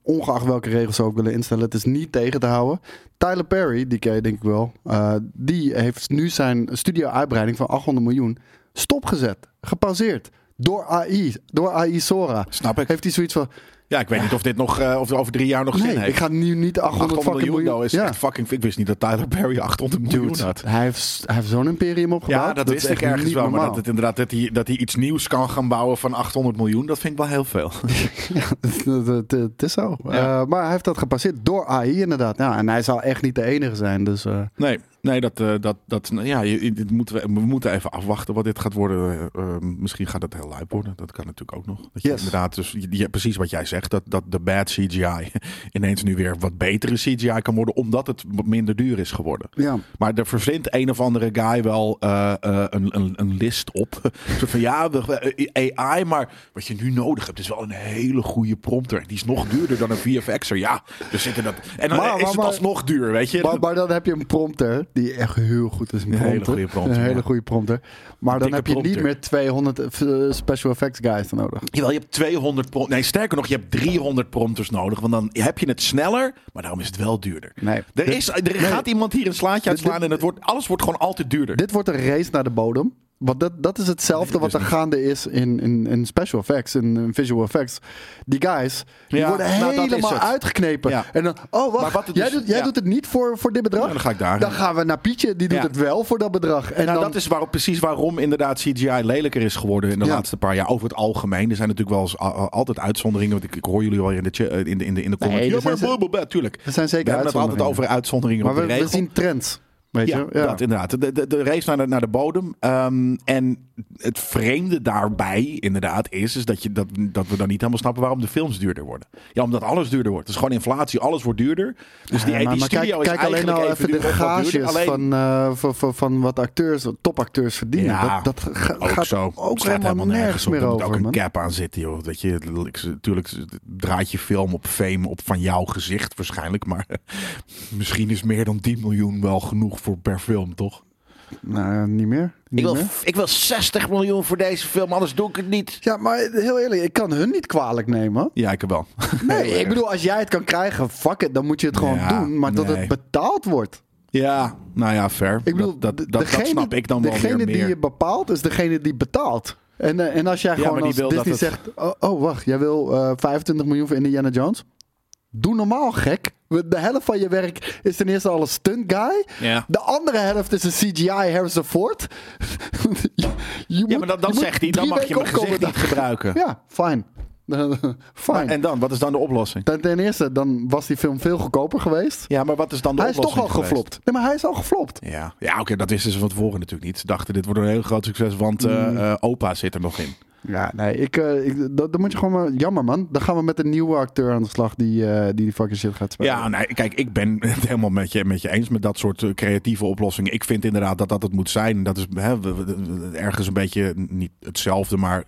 [SPEAKER 3] Ongeacht welke regels ze ook willen instellen, het is niet tegen te houden. Tyler Perry, die ken je denk ik wel, eh, die heeft nu zijn studio-uitbreiding van 800 miljoen stopgezet, gepauzeerd. Door AI, door AI Sora.
[SPEAKER 2] Snap ik.
[SPEAKER 3] Heeft hij zoiets van,
[SPEAKER 2] Ja, ik weet niet of dit nog, eh, of er over drie jaar nog zin
[SPEAKER 3] nee,
[SPEAKER 2] heeft.
[SPEAKER 3] ik ga nu niet 800,
[SPEAKER 2] 800
[SPEAKER 3] fucking
[SPEAKER 2] miljoen,
[SPEAKER 3] miljoen.
[SPEAKER 2] nou is echt fucking... Ik wist niet dat Tyler Perry 800 miljoen
[SPEAKER 3] Dude,
[SPEAKER 2] had.
[SPEAKER 3] hij heeft, hij heeft zo'n imperium opgebouwd.
[SPEAKER 2] Ja, dat,
[SPEAKER 3] is
[SPEAKER 2] wist ik
[SPEAKER 3] echt
[SPEAKER 2] ergens
[SPEAKER 3] niet
[SPEAKER 2] wel. Maar
[SPEAKER 3] normaal.
[SPEAKER 2] dat, het inderdaad, dat, hij, dat hij iets nieuws kan gaan bouwen van 800 miljoen, dat vind ik wel heel veel.
[SPEAKER 3] Het- Het het is zo.
[SPEAKER 2] Ja.
[SPEAKER 3] Eh, maar hij heeft dat gepasseerd door AI inderdaad. Ja, en hij zal echt niet de enige zijn. Dus, eh,
[SPEAKER 2] Nee, nee dat, eh, dat, dat, nou ja, je, dit moeten we, we moeten even afwachten wat dit gaat worden. Eh, eh, misschien gaat het heel lijp worden. Dat kan natuurlijk ook nog. Dat je
[SPEAKER 3] Yes.
[SPEAKER 2] Inderdaad, dus je- je- precies wat jij zegt. Dat, dat de bad CGI ineens nu weer wat betere CGI kan worden. Omdat het wat minder duur is geworden.
[SPEAKER 3] ja.
[SPEAKER 2] Maar er verzint een of andere guy wel eh, eh, een, een, een list op. Zo van ja, we- eh, AI, maar wat je nu nodig hebt is wel een hele goede prompter. Die is nog duurder dan een VFX'er. Ja, er zitten dat. En dan
[SPEAKER 3] Maar-
[SPEAKER 2] is
[SPEAKER 3] maar-
[SPEAKER 2] het
[SPEAKER 3] maar-
[SPEAKER 2] alsnog duur, weet je?
[SPEAKER 3] Maar, maar dan heb je een prompter die echt heel goed is. Een, prompter.
[SPEAKER 2] hele goede prompter,
[SPEAKER 3] Een hele
[SPEAKER 2] ja.
[SPEAKER 3] goede prompter. Maar dan
[SPEAKER 2] Dikke
[SPEAKER 3] heb je
[SPEAKER 2] prompter.
[SPEAKER 3] niet meer 200 eh, special effects guys nodig.
[SPEAKER 2] Jawel, je hebt 200 prom- Nee, sterker nog, je hebt 300 prompters nodig. Want dan heb je het sneller, maar daarom is het wel duurder.
[SPEAKER 3] Nee.
[SPEAKER 2] er
[SPEAKER 3] Dit-
[SPEAKER 2] is, er gaat iemand hier een slaatje uitslaan en het wordt, alles wordt gewoon altijd duurder.
[SPEAKER 3] Dit wordt een race naar de bodem. Want dat, dat is hetzelfde wat er
[SPEAKER 2] dus
[SPEAKER 3] gaande is in, in, in special effects, in, in visual effects. Die guys, die
[SPEAKER 2] Ja,
[SPEAKER 3] worden
[SPEAKER 2] nou, dat is
[SPEAKER 3] helemaal
[SPEAKER 2] het.
[SPEAKER 3] uitgeknepen.
[SPEAKER 2] Ja.
[SPEAKER 3] En dan, oh
[SPEAKER 2] Maar
[SPEAKER 3] wacht,
[SPEAKER 2] wat het
[SPEAKER 3] jij,
[SPEAKER 2] dus-
[SPEAKER 3] doet, jij
[SPEAKER 2] ja.
[SPEAKER 3] doet het niet voor, voor dit bedrag?
[SPEAKER 2] Ja, dan ga ik daarheen.
[SPEAKER 3] Dan gaan we naar Pietje, die doet
[SPEAKER 2] Ja.
[SPEAKER 3] het wel voor dat bedrag. En
[SPEAKER 2] nou,
[SPEAKER 3] dan,
[SPEAKER 2] dat is waarom, precies waarom inderdaad CGI lelijker is geworden in de
[SPEAKER 3] Ja.
[SPEAKER 2] laatste paar jaar. Over het algemeen. Er zijn natuurlijk wel eens, a- a- altijd uitzonderingen. Want ik, ik hoor jullie wel in de, cha- eh, in de, in de, in de comments.
[SPEAKER 3] er
[SPEAKER 2] ja, maar
[SPEAKER 3] zijn ze-
[SPEAKER 2] blablabla, tuurlijk.
[SPEAKER 3] er zijn zeker
[SPEAKER 2] We hebben het altijd
[SPEAKER 3] uitzonderingen.
[SPEAKER 2] over uitzonderingen
[SPEAKER 3] Maar
[SPEAKER 2] op de
[SPEAKER 3] we, we
[SPEAKER 2] regel.
[SPEAKER 3] zien trends. Weet
[SPEAKER 2] Ja,
[SPEAKER 3] je? Ja.
[SPEAKER 2] dat inderdaad. De, de, de race naar de, naar de bodem. Ehm, en het vreemde daarbij inderdaad is, is dat, je, dat, dat we dan niet helemaal snappen waarom de films duurder worden. Ja, omdat alles duurder wordt. Het is gewoon inflatie, alles wordt duurder. Dus die,
[SPEAKER 3] Ja,
[SPEAKER 2] die
[SPEAKER 3] Eh, maar
[SPEAKER 2] studio
[SPEAKER 3] kijk,
[SPEAKER 2] is
[SPEAKER 3] kijk alleen
[SPEAKER 2] eigenlijk even
[SPEAKER 3] al even de
[SPEAKER 2] duurder of wat duurder.
[SPEAKER 3] gages
[SPEAKER 2] Alleen-
[SPEAKER 3] van, eh, van, van, van wat acteurs, topacteurs verdienen.
[SPEAKER 2] Ja,
[SPEAKER 3] dat dat ga-
[SPEAKER 2] ook
[SPEAKER 3] gaat
[SPEAKER 2] zo. Het
[SPEAKER 3] ook
[SPEAKER 2] slaat
[SPEAKER 3] helemaal nergens
[SPEAKER 2] op.
[SPEAKER 3] meer
[SPEAKER 2] Er moet ook
[SPEAKER 3] over.
[SPEAKER 2] een
[SPEAKER 3] man.
[SPEAKER 2] cap aan zitten, joh. Dat je, natuurlijk draait je film op fame op van jouw gezicht waarschijnlijk. Maar misschien is meer dan 10 miljoen wel genoeg voor per film, toch?
[SPEAKER 3] Nou, niet meer. Niet meer.
[SPEAKER 2] ik wil 60 miljoen voor deze film, anders doe ik het niet.
[SPEAKER 3] Ja, maar heel eerlijk, ik kan hun niet kwalijk nemen.
[SPEAKER 2] Ja, ik heb wel.
[SPEAKER 3] Nee, ik bedoel, als jij het kan krijgen, fuck it, dan moet je het gewoon
[SPEAKER 2] Ja,
[SPEAKER 3] doen. Maar dat
[SPEAKER 2] nee.
[SPEAKER 3] het betaald wordt.
[SPEAKER 2] Ja, nou ja, fair.
[SPEAKER 3] Ik bedoel,
[SPEAKER 2] dat, dat,
[SPEAKER 3] de-
[SPEAKER 2] dat, dat
[SPEAKER 3] degene,
[SPEAKER 2] snap ik dan wel
[SPEAKER 3] degene
[SPEAKER 2] weer meer.
[SPEAKER 3] die je bepaalt, is degene die betaalt. En, eh, en als jij gewoon
[SPEAKER 2] maar die
[SPEAKER 3] als
[SPEAKER 2] wil
[SPEAKER 3] Disney
[SPEAKER 2] dat het-
[SPEAKER 3] zegt, oh, oh, wacht, jij wil eh, 25 miljoen voor Indiana Jones? Doe normaal, gek. We- De helft van je werk is ten eerste al een stunt guy.
[SPEAKER 2] Ja.
[SPEAKER 3] De andere helft is een CGI Harrison Ford. Je- je
[SPEAKER 2] Ja,
[SPEAKER 3] moet-
[SPEAKER 2] maar dan, dan
[SPEAKER 3] je moet
[SPEAKER 2] zegt hij, dan
[SPEAKER 3] drie
[SPEAKER 2] mag je
[SPEAKER 3] weken
[SPEAKER 2] mijn gezicht
[SPEAKER 3] opkomen.
[SPEAKER 2] niet gebruiken.
[SPEAKER 3] Ja, fijn. fijn.
[SPEAKER 2] En dan, wat is dan de oplossing?
[SPEAKER 3] Ten, ten eerste, dan was die film veel goedkoper geweest.
[SPEAKER 2] Ja, maar wat is dan de
[SPEAKER 3] hij is
[SPEAKER 2] oplossing
[SPEAKER 3] toch al
[SPEAKER 2] geweest?
[SPEAKER 3] geflopt. Nee, maar hij is al geflopt.
[SPEAKER 2] Ja, ja oké, dat wisten ze van tevoren natuurlijk niet. Ze dachten, dit wordt een heel groot succes, want eh,
[SPEAKER 3] Mm.
[SPEAKER 2] eh, opa zit er nog in.
[SPEAKER 3] Ja, nee, ik, eh, ik, dat, dan moet je gewoon maar... Jammer, man. Dan gaan we met een nieuwe acteur aan de slag die eh, die, die fucking shit gaat spelen.
[SPEAKER 2] Ja, nee, kijk, ik ben het helemaal met je, met je eens met dat soort eh, creatieve oplossingen. Ik vind inderdaad dat dat het moet zijn. Dat is hè, we- we- we- ergens een beetje niet hetzelfde, maar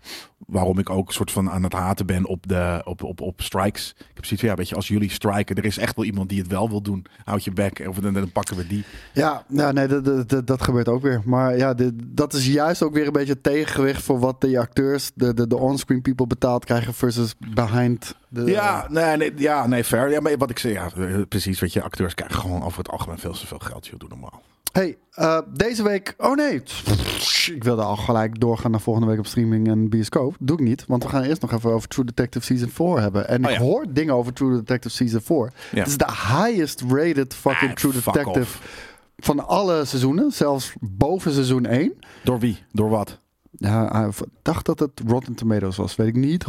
[SPEAKER 2] waarom ik ook soort van aan het haten ben op, de, op, op, op strikes. Ik heb zoiets van, ja, weet je, als jullie striken, er is echt wel iemand die het wel wil doen. Houd je bek, of dan, dan pakken we die.
[SPEAKER 3] Ja, ja nee, dat, dat, dat, dat gebeurt ook weer. Maar ja, dit, dat is juist ook weer een beetje het tegengewicht voor wat de acteurs, de, de, de on-screen people betaald krijgen versus behind. De,
[SPEAKER 2] Ja, nee, nee, ja, nee, fair. Ja, maar wat ik zei, ja, eh, precies, weet je, acteurs krijgen gewoon over het algemeen veel te veel geld. Joh, doe normaal.
[SPEAKER 3] Hey, eh, deze week. Oh nee. Ik wilde al gelijk doorgaan naar volgende week op streaming en bioscoop. Doe ik niet, want we gaan eerst nog even over True Detective Season 4 hebben. En
[SPEAKER 2] Oh
[SPEAKER 3] ik
[SPEAKER 2] ja.
[SPEAKER 3] hoor dingen over True Detective Season 4.
[SPEAKER 2] Ja.
[SPEAKER 3] Het is de highest rated fucking
[SPEAKER 2] Ah,
[SPEAKER 3] True
[SPEAKER 2] fuck
[SPEAKER 3] Detective van alle seizoenen. Zelfs boven seizoen 1.
[SPEAKER 2] Door wie? Door wat?
[SPEAKER 3] Ja, ik dacht dat het Rotten Tomatoes was. Weet ik niet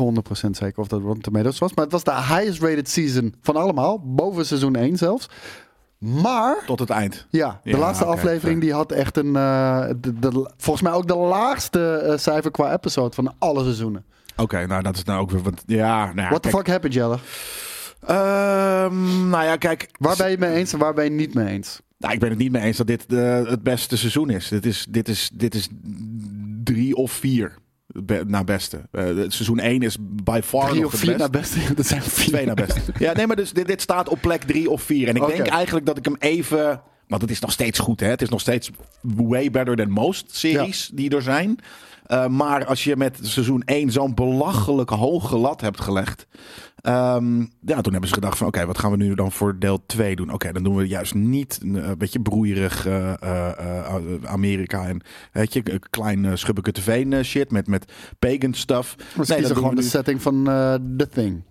[SPEAKER 3] 100% zeker of dat Rotten Tomatoes was. Maar het was de highest rated season van allemaal. Boven seizoen 1 zelfs. Maar...
[SPEAKER 2] Tot het eind.
[SPEAKER 3] Ja, de
[SPEAKER 2] Ja,
[SPEAKER 3] laatste
[SPEAKER 2] oké,
[SPEAKER 3] aflevering
[SPEAKER 2] fair.
[SPEAKER 3] die had echt een. eh, de, de- volgens mij ook de laagste eh, cijfer qua episode van alle seizoenen.
[SPEAKER 2] Oké, nou dat is nou ook weer. Want, ja, nou ja,
[SPEAKER 3] What the
[SPEAKER 2] kijk,
[SPEAKER 3] fuck happened, Jelle?
[SPEAKER 2] ehm, nou ja, kijk.
[SPEAKER 3] Waar ben je het mee eens en waar ben je het niet mee eens?
[SPEAKER 2] Nou, ik ben het niet mee eens dat dit eh, het beste seizoen is. Dit is, dit is, dit is drie of vier be, naar beste. Eh, het seizoen 1 is by far
[SPEAKER 3] Drie
[SPEAKER 2] Oh, nog
[SPEAKER 3] of
[SPEAKER 2] het
[SPEAKER 3] vier nou,
[SPEAKER 2] beste.
[SPEAKER 3] naar beste. Dat zijn vier.
[SPEAKER 2] Twee nou. naar beste. ja, nee, maar dus dit, dit staat op plek drie of vier. En ik
[SPEAKER 3] Oké.
[SPEAKER 2] denk eigenlijk dat ik hem even... Want het is nog steeds goed, hè? Het is nog steeds way better than most series die er zijn. Eh, maar als je met seizoen 1 zo'n belachelijk hoge lat hebt gelegd... ehm, ja, toen hebben ze gedacht van... Oké, wat gaan we nu dan voor deel 2 doen? Oké, dan doen we juist niet een eh, beetje broeierig eh, eh, eh, Amerika... en weet je, een klein eh, schubbeke tv eh, shit met, met pagan stuff.
[SPEAKER 3] We
[SPEAKER 2] dat
[SPEAKER 3] kiezen
[SPEAKER 2] doen we
[SPEAKER 3] gewoon de
[SPEAKER 2] nu-
[SPEAKER 3] setting van eh, The Thing.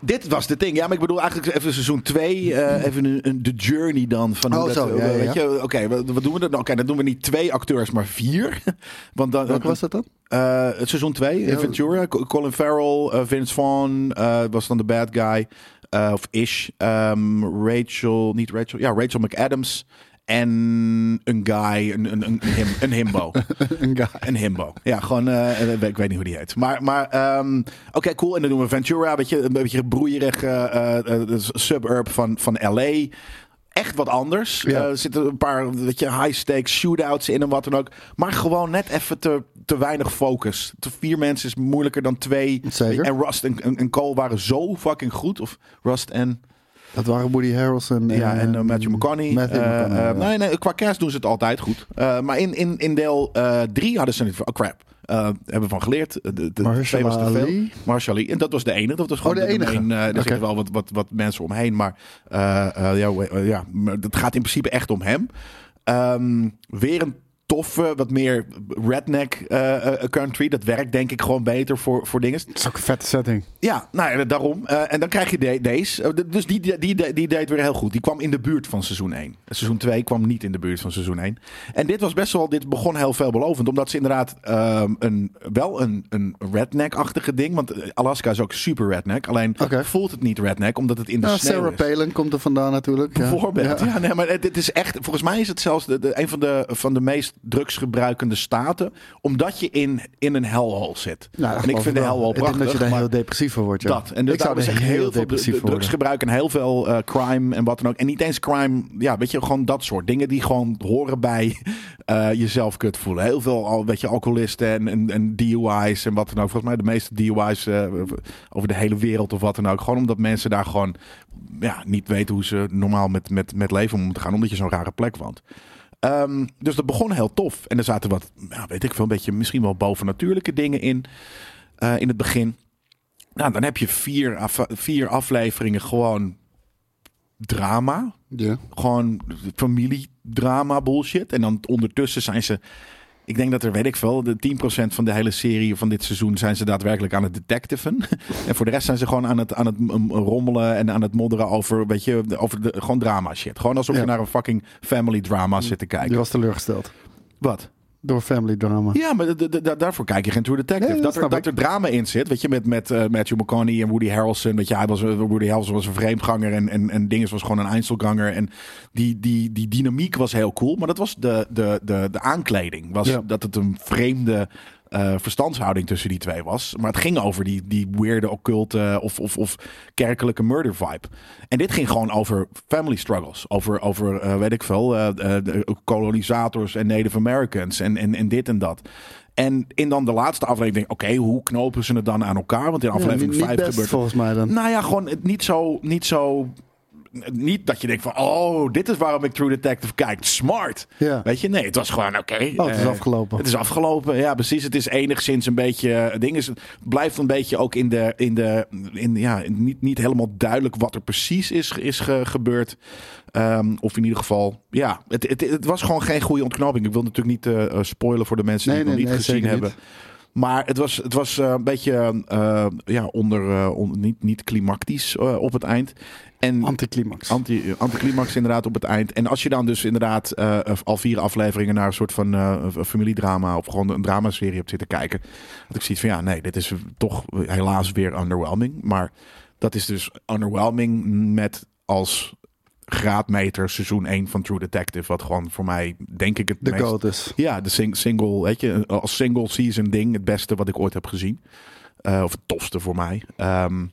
[SPEAKER 2] dit was de ding. Ja, maar ik bedoel eigenlijk even seizoen 2. even een, een- de journey dan. Van hoe
[SPEAKER 3] Oh,
[SPEAKER 2] dat, eh,
[SPEAKER 3] zo, ja, ja,
[SPEAKER 2] weet
[SPEAKER 3] ja.
[SPEAKER 2] je, Oké, wat, wat doen we dan? Nou, Oké, dan doen we niet twee acteurs, maar vier. Want dan,
[SPEAKER 3] Welke was dat dan?
[SPEAKER 2] eh, het seizoen 2,
[SPEAKER 3] Ja.
[SPEAKER 2] Ventura. Co- Colin Farrell, eh, Vince Vaughn eh, was dan de bad guy. eh, of ish. Ehm, Rachel, niet Rachel. Ja, Rachel McAdams. En een guy, een, een, een, him, een himbo.
[SPEAKER 3] Een guy.
[SPEAKER 2] Een himbo. Ja, gewoon, eh, ik weet- ik weet niet hoe die heet. Maar, maar ehm, oké, cool. En dan doen we Ventura, weet je, een beetje broeierig eh, eh, eh, suburb van, van L.A. Echt wat anders.
[SPEAKER 3] Ja.
[SPEAKER 2] Eh, er zitten een paar weet je, high-stakes shootouts in en wat dan ook. Maar gewoon net even te, te weinig focus. Te vier mensen is moeilijker dan twee.
[SPEAKER 3] Zeker.
[SPEAKER 2] En Rust en, en, en Cole waren zo fucking goed. Of Rust en...
[SPEAKER 3] Dat waren Woody Harrelson en,
[SPEAKER 2] Ja, en eh,
[SPEAKER 3] eh,
[SPEAKER 2] Matthew McConaughey.
[SPEAKER 3] Matthew
[SPEAKER 2] Eh,
[SPEAKER 3] McConaughey,
[SPEAKER 2] eh,
[SPEAKER 3] ja.
[SPEAKER 2] nee, nee, qua cast doen ze het altijd goed. Eh, maar in, in, in deel 3 hadden ze niet van, oh crap. Eh, hebben we van geleerd. De, de- de twee
[SPEAKER 3] Mahershala
[SPEAKER 2] was te veel.
[SPEAKER 3] Ali.
[SPEAKER 2] Marshall En dat was de enige. Dat was gewoon
[SPEAKER 3] Oh, de enige.
[SPEAKER 2] nummer één. Eh, er
[SPEAKER 3] Oké.
[SPEAKER 2] zitten wel wat, wat, wat mensen omheen. Maar eh eh, ja, we- eh, ja, maar dat gaat in principe echt om hem. Ehm, weer een toffe, wat meer redneck eh, eh, country. Dat werkt denk ik gewoon beter voor, voor dingen.
[SPEAKER 3] Het is ook een vette setting.
[SPEAKER 2] Ja, nou ja, daarom. Eh, en dan krijg je de- deze. Eh, de- dus die, die, die, die deed weer heel goed. Die kwam in de buurt van seizoen 1. Seizoen 2 kwam niet in de buurt van seizoen 1. En dit was best wel, dit begon heel veelbelovend. Omdat ze inderdaad ehm, een, wel een, een redneck-achtige ding. Want eh, Alaska is ook super redneck. Alleen
[SPEAKER 3] Oké.
[SPEAKER 2] voelt het niet redneck, omdat het in de
[SPEAKER 3] Nou,
[SPEAKER 2] sneeuw
[SPEAKER 3] Sarah
[SPEAKER 2] is.
[SPEAKER 3] Palin komt er vandaan natuurlijk. ja.
[SPEAKER 2] Bijvoorbeeld.
[SPEAKER 3] Ja.
[SPEAKER 2] Ja. nee, maar het- dit is echt. Volgens mij is het zelfs de, de- een van de, van de meest drugsgebruikende staten. Omdat je in, in een hellhole zit.
[SPEAKER 3] Nou,
[SPEAKER 2] en
[SPEAKER 3] dat
[SPEAKER 2] ik
[SPEAKER 3] geloof
[SPEAKER 2] vind de
[SPEAKER 3] wel.
[SPEAKER 2] hellhole
[SPEAKER 3] Ik
[SPEAKER 2] prachtig.
[SPEAKER 3] denk dat je daar
[SPEAKER 2] maar-
[SPEAKER 3] heel depressief van wordt. ja.
[SPEAKER 2] dat. En dus
[SPEAKER 3] ik zou
[SPEAKER 2] daarom
[SPEAKER 3] er
[SPEAKER 2] is echt heel veel dru-
[SPEAKER 3] depressief
[SPEAKER 2] dru-
[SPEAKER 3] voor worden.
[SPEAKER 2] drugsgebruik en heel veel eh, crime en wat dan ook. En niet eens crime, ja, weet je, gewoon dat soort dingen die gewoon horen bij eh, jezelf kut voelen. Heel veel, al, weet je, alcoholisten en, en, en DUI's en wat dan ook. Volgens mij de meeste DUI's eh, over de hele wereld of wat dan ook. Gewoon omdat mensen daar gewoon ja, niet weten hoe ze normaal met, met, met leven om moeten gaan. Omdat je zo'n rare plek woont. Ehm, dus dat begon heel tof. En er zaten wat, ja, weet ik veel, een beetje misschien wel bovennatuurlijke dingen in. eh, in het begin. Nou, dan heb je vier, af- vier afleveringen gewoon drama.
[SPEAKER 3] Ja.
[SPEAKER 2] Gewoon familiedrama bullshit. En dan ondertussen zijn ze. Ik denk dat er, weet ik veel, de 10% van de hele serie van dit seizoen zijn ze daadwerkelijk aan het detectiven. En voor de rest zijn ze gewoon aan het, aan het mm, rommelen en aan het modderen over, weet je, over de, gewoon drama shit. Gewoon alsof
[SPEAKER 3] Ja.
[SPEAKER 2] je naar een fucking family drama zit te
[SPEAKER 3] Die
[SPEAKER 2] kijken.
[SPEAKER 3] was teleurgesteld.
[SPEAKER 2] Wat?
[SPEAKER 3] Door family drama.
[SPEAKER 2] Ja, maar d- d- d- daarvoor kijk je geen True Detective.
[SPEAKER 3] Nee, dat
[SPEAKER 2] dat,
[SPEAKER 3] snap
[SPEAKER 2] er, dat
[SPEAKER 3] ik.
[SPEAKER 2] er drama in zit, weet je, met, met eh, Matthew McConaughey en Woody Harrelson. Weet je, hij was, eh, Woody Harrelson was een vreemdganger en, en, en Dinges was gewoon een Einzelganger. En die, die, die dynamiek was heel cool, maar dat was de, de, de, de aankleding. Was
[SPEAKER 3] Ja.
[SPEAKER 2] Dat het een vreemde eh, verstandshouding tussen die twee was. Maar het ging over die, die weirde occulte eh, of, of, of kerkelijke murder vibe. En dit ging gewoon over family struggles. Over, over eh, weet ik veel, eh, eh, de kolonisators en Native Americans en, en, en dit en dat. En in dan de laatste aflevering denk ik, oké, hoe knopen ze het dan aan elkaar? Want in aflevering
[SPEAKER 3] niet
[SPEAKER 2] 5
[SPEAKER 3] best,
[SPEAKER 2] gebeurt
[SPEAKER 3] volgens mij dan.
[SPEAKER 2] nou ja, gewoon het niet zo, niet zo. Niet dat je denkt van, oh, dit is waarom ik True Detective kijk. Smart.
[SPEAKER 3] Ja.
[SPEAKER 2] Weet je, nee, het was gewoon oké.
[SPEAKER 3] Oh, het is
[SPEAKER 2] eh,
[SPEAKER 3] afgelopen.
[SPEAKER 2] Het is afgelopen, ja, precies. Het is enigszins een beetje. Het ding is, het blijft een beetje ook in de. In de in, ja, niet, niet helemaal duidelijk wat er precies is, is ge- gebeurd. Ehm, of in ieder geval, ja, het, het, het was gewoon geen goede ontknoping. Ik wil natuurlijk niet eh, eh, spoilen voor de mensen die
[SPEAKER 3] Nee,
[SPEAKER 2] het nog
[SPEAKER 3] nee,
[SPEAKER 2] niet
[SPEAKER 3] nee,
[SPEAKER 2] gezien
[SPEAKER 3] zeker
[SPEAKER 2] hebben.
[SPEAKER 3] niet.
[SPEAKER 2] Maar het was, het was eh, een beetje eh, ja, onder, eh, on- niet, niet klimactisch eh, op het eind. En
[SPEAKER 3] Anticlimax.
[SPEAKER 2] anti, anticlimax inderdaad op het eind. En als je dan dus inderdaad eh, al vier afleveringen naar een soort van eh, een familiedrama of gewoon een dramaserie hebt zitten kijken. Dat ik zoiets van ja, nee, dit is toch helaas weer underwhelming. Maar dat is dus underwhelming met als graadmeter seizoen 1 van True Detective. Wat gewoon voor mij denk ik het
[SPEAKER 3] de
[SPEAKER 2] meest...
[SPEAKER 3] goat is.
[SPEAKER 2] Ja, de sing- single, weet je, als single season ding het beste wat ik ooit heb gezien. Eh, of het tofste voor mij. Ehm,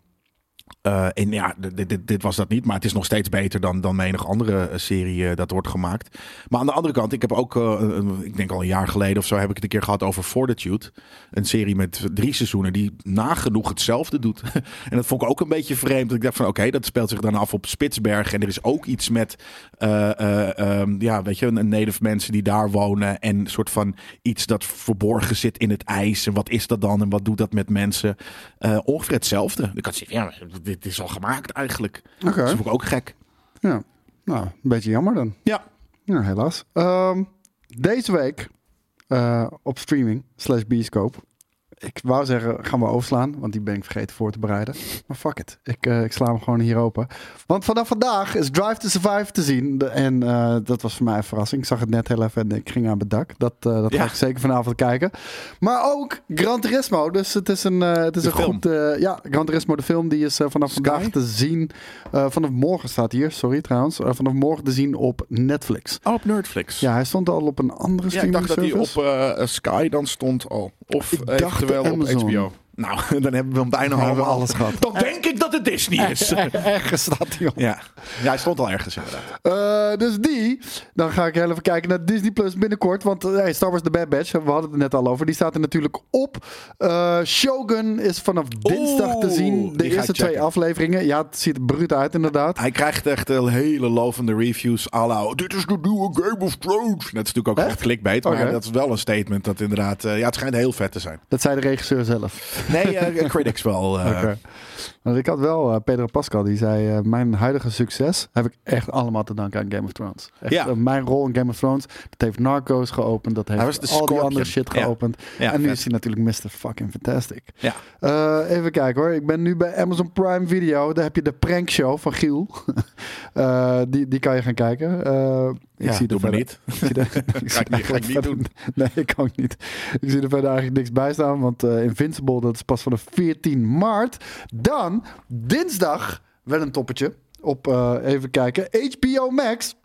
[SPEAKER 2] eh, en ja, dit, dit, dit was dat niet, maar het is nog steeds beter dan, dan menig andere eh, serie eh, dat wordt gemaakt. Maar aan de andere kant, ik heb ook, eh, een- ik denk al een jaar geleden of zo, heb ik het een keer gehad over Fortitude. Een serie met drie seizoenen die nagenoeg hetzelfde doet. en dat vond ik ook een beetje vreemd. Ik dacht van oké, dat speelt zich dan af op Spitsbergen. En er is ook iets met, eh, eh, ehm, ja, weet je, een native mensen die daar wonen. En een soort van iets dat verborgen zit in het ijs. En wat is dat dan en wat doet dat met mensen? Eh, ongeveer hetzelfde. Ik had zoiets van, ja, maar dit is al gemaakt eigenlijk.
[SPEAKER 3] Oké.
[SPEAKER 2] Dat vond ik ook gek.
[SPEAKER 3] Ja. Nou, een beetje jammer dan.
[SPEAKER 2] Ja,
[SPEAKER 3] Ja, helaas. Ehm, deze week eh, op streaming slash bioscoop. Ik wou zeggen, gaan we overslaan, want die ben ik vergeten voor te bereiden. Maar fuck it, ik, eh, ik sla hem gewoon hier open. Want vanaf vandaag is Drive to Survive te zien. De- en eh, dat was voor mij een verrassing. Ik zag het net heel even en ik ging aan het dak. Dat, eh, dat
[SPEAKER 2] Ja.
[SPEAKER 3] ga ik zeker vanavond kijken. Maar ook Gran Turismo. Dus het is een, eh, het is
[SPEAKER 2] De
[SPEAKER 3] een
[SPEAKER 2] film.
[SPEAKER 3] goed... eh, ja, Gran Turismo, de film, die is eh, vanaf
[SPEAKER 2] Sky?
[SPEAKER 3] vandaag te zien. eh, vanaf morgen staat hier, sorry trouwens. Eh, vanaf morgen te zien op Netflix.
[SPEAKER 2] Oh, op Netflix.
[SPEAKER 3] Ja, hij stond al op een andere
[SPEAKER 2] Ja, ik dacht
[SPEAKER 3] streaming
[SPEAKER 2] dat die op
[SPEAKER 3] service.
[SPEAKER 2] eh, Sky dan stond al. Of
[SPEAKER 3] Ik dacht
[SPEAKER 2] eventueel op
[SPEAKER 3] Amazon.
[SPEAKER 2] HBO. Nou, dan hebben we hem bijna
[SPEAKER 3] Dan hebben we
[SPEAKER 2] allemaal.
[SPEAKER 3] alles gehad.
[SPEAKER 2] Dan denk ik dat het Disney is.
[SPEAKER 3] Ergens staat hij op.
[SPEAKER 2] ja. ja, hij stond al ergens inderdaad.
[SPEAKER 3] Eh, dus die. Dan ga ik heel even kijken naar Disney Plus binnenkort. Want eh, hey, Star Wars The Bad Batch, we hadden het net al over. Die staat er natuurlijk op. Eh, Shogun is vanaf dinsdag te zien.
[SPEAKER 2] die
[SPEAKER 3] De
[SPEAKER 2] ga ik
[SPEAKER 3] eerste twee
[SPEAKER 2] checken.
[SPEAKER 3] afleveringen. Ja, het ziet er bruut uit inderdaad.
[SPEAKER 2] Hij krijgt echt eh, hele lovende reviews. à la, dit is de nieuwe Game of Thrones. Dat is natuurlijk ook echt, clickbait. Maar
[SPEAKER 3] Oké.
[SPEAKER 2] dat is wel een statement dat inderdaad... eh, ja, het schijnt heel vet te zijn.
[SPEAKER 3] Dat zei de regisseur zelf.
[SPEAKER 2] Nee, eh, critics wel. eh.
[SPEAKER 3] Oké. Want ik had wel eh, Pedro Pascal, die zei... eh, mijn huidige succes heb ik echt allemaal te danken aan Game of Thrones. Echt,
[SPEAKER 2] Ja.
[SPEAKER 3] eh, mijn rol in Game of Thrones, dat heeft Narcos geopend. Dat heeft
[SPEAKER 2] was de
[SPEAKER 3] al die
[SPEAKER 2] Scorpion.
[SPEAKER 3] andere shit
[SPEAKER 2] Ja.
[SPEAKER 3] geopend.
[SPEAKER 2] Ja,
[SPEAKER 3] en nu
[SPEAKER 2] vet.
[SPEAKER 3] is hij natuurlijk Mr. Fucking Fantastic.
[SPEAKER 2] Ja.
[SPEAKER 3] Eh, even kijken hoor. Ik ben nu bij Amazon Prime Video. Daar heb je de prankshow van Giel. Eh, die, die kan je gaan kijken. Eh, ik
[SPEAKER 2] Ja,
[SPEAKER 3] zie er
[SPEAKER 2] doe maar
[SPEAKER 3] verder-
[SPEAKER 2] niet.
[SPEAKER 3] Ik zie er- ik
[SPEAKER 2] Ga
[SPEAKER 3] zie
[SPEAKER 2] ik niet- ga ik niet
[SPEAKER 3] verder-
[SPEAKER 2] doen.
[SPEAKER 3] Nee, ik ook niet. Ik zie er verder eigenlijk niks bij staan. Want eh, Invincible, dat is pas vanaf 14 maart. Dan, dinsdag, wel een toppetje. Op, eh, even kijken, HBO Max.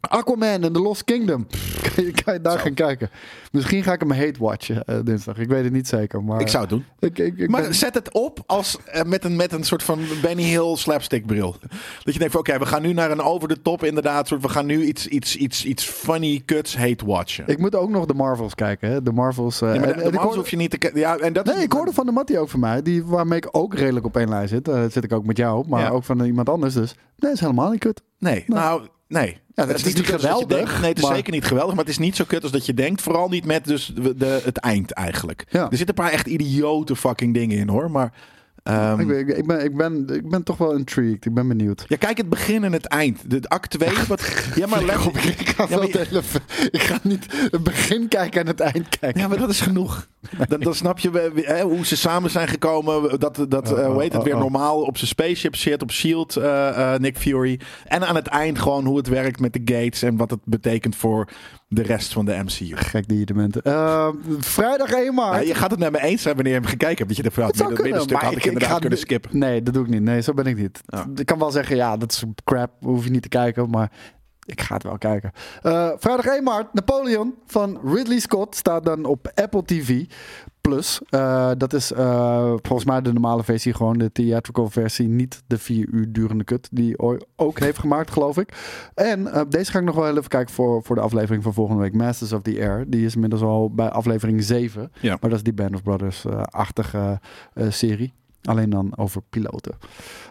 [SPEAKER 3] Aquaman en The Lost Kingdom. Kan je, kan je daar gaan kijken. Misschien ga ik hem hate watchen eh, dinsdag. Ik weet het niet zeker. Maar
[SPEAKER 2] Ik zou het doen.
[SPEAKER 3] ik, ik, ik
[SPEAKER 2] Maar
[SPEAKER 3] ben-
[SPEAKER 2] zet het op als, eh, met, een, met een soort van Benny Hill slapstick bril. Dat je denkt van oké, we gaan nu naar een over de top inderdaad. Soort, we gaan nu iets, iets, iets, iets funny cuts hate watchen.
[SPEAKER 3] ik moet ook nog de Marvels kijken. Hè? De Marvels. eh,
[SPEAKER 2] ja, maar
[SPEAKER 3] en-
[SPEAKER 2] de,
[SPEAKER 3] en
[SPEAKER 2] de
[SPEAKER 3] ik
[SPEAKER 2] Mars
[SPEAKER 3] hoor-
[SPEAKER 2] hoef je niet te ke- ja, en dat
[SPEAKER 3] Nee, ik hoorde van de Mattie ook van mij, die, waarmee ik ook redelijk op één lijn zit. Eh, dat zit ik ook met jou, maar
[SPEAKER 2] Ja.
[SPEAKER 3] ook van iemand anders. Dus nee, is helemaal niet kut.
[SPEAKER 2] Nee, nou, nee.
[SPEAKER 3] Ja, het is niet
[SPEAKER 2] zo kut als dat je
[SPEAKER 3] geweldig,
[SPEAKER 2] denkt. Nee, het is
[SPEAKER 3] maar-
[SPEAKER 2] zeker niet geweldig, maar het is niet zo kut als dat je denkt. Vooral niet met dus de, de- het eind eigenlijk.
[SPEAKER 3] Ja.
[SPEAKER 2] Er zitten een paar echt idiote fucking dingen in hoor, maar... ehm,
[SPEAKER 3] Ik, ben, ik, ben, ik, ben, ik ben toch wel intrigued. Ik ben benieuwd.
[SPEAKER 2] ja, kijk het begin en het eind. De de act 2. Wat, ja, maar let,
[SPEAKER 3] Ik ga,
[SPEAKER 2] Ja, maar
[SPEAKER 3] wel
[SPEAKER 2] je-
[SPEAKER 3] de hele f- ik ga niet het begin kijken en het eind kijken.
[SPEAKER 2] Ja, maar dat is genoeg. Dan, dan snap je wel, hè, hoe ze samen zijn gekomen. Dat, dat eh, hoe heet het,
[SPEAKER 3] oh,
[SPEAKER 2] weer
[SPEAKER 3] oh.
[SPEAKER 2] normaal op zijn spaceship zit, op S.H.I.E.L.D., eh, eh, Nick Fury. En aan het eind gewoon hoe het werkt met de gates en wat het betekent voor de rest van de MCU.
[SPEAKER 3] Gek die dementen. Eh, vrijdag 1 maart.
[SPEAKER 2] Nou, je gaat het met me eens zijn wanneer je hem gekeken hebt. Dat je de verhaal
[SPEAKER 3] Het zou
[SPEAKER 2] midden,
[SPEAKER 3] kunnen,
[SPEAKER 2] middenstuk had
[SPEAKER 3] maar
[SPEAKER 2] ik,
[SPEAKER 3] ik- ik
[SPEAKER 2] inderdaad
[SPEAKER 3] ga-
[SPEAKER 2] kunnen skippen.
[SPEAKER 3] Nee, dat doe ik niet. Nee, zo ben ik niet.
[SPEAKER 2] Ja.
[SPEAKER 3] Ik kan wel zeggen, ja, dat is crap. Hoef je niet te kijken. Maar Ik ga het wel kijken. Eh, vrijdag 1 maart, Napoleon van Ridley Scott staat dan op Apple TV. Plus, Eh, dat is eh, volgens mij de normale versie, gewoon de theatrical versie. Niet de vier uur durende kut die Oi ook heeft gemaakt, geloof ik. En eh, deze ga ik nog wel even kijken voor, voor de aflevering van volgende week. Masters of the Air. Die is inmiddels al bij aflevering 7.
[SPEAKER 2] Ja.
[SPEAKER 3] Maar dat is die Band of Brothers-achtige eh, serie. Alleen dan over piloten.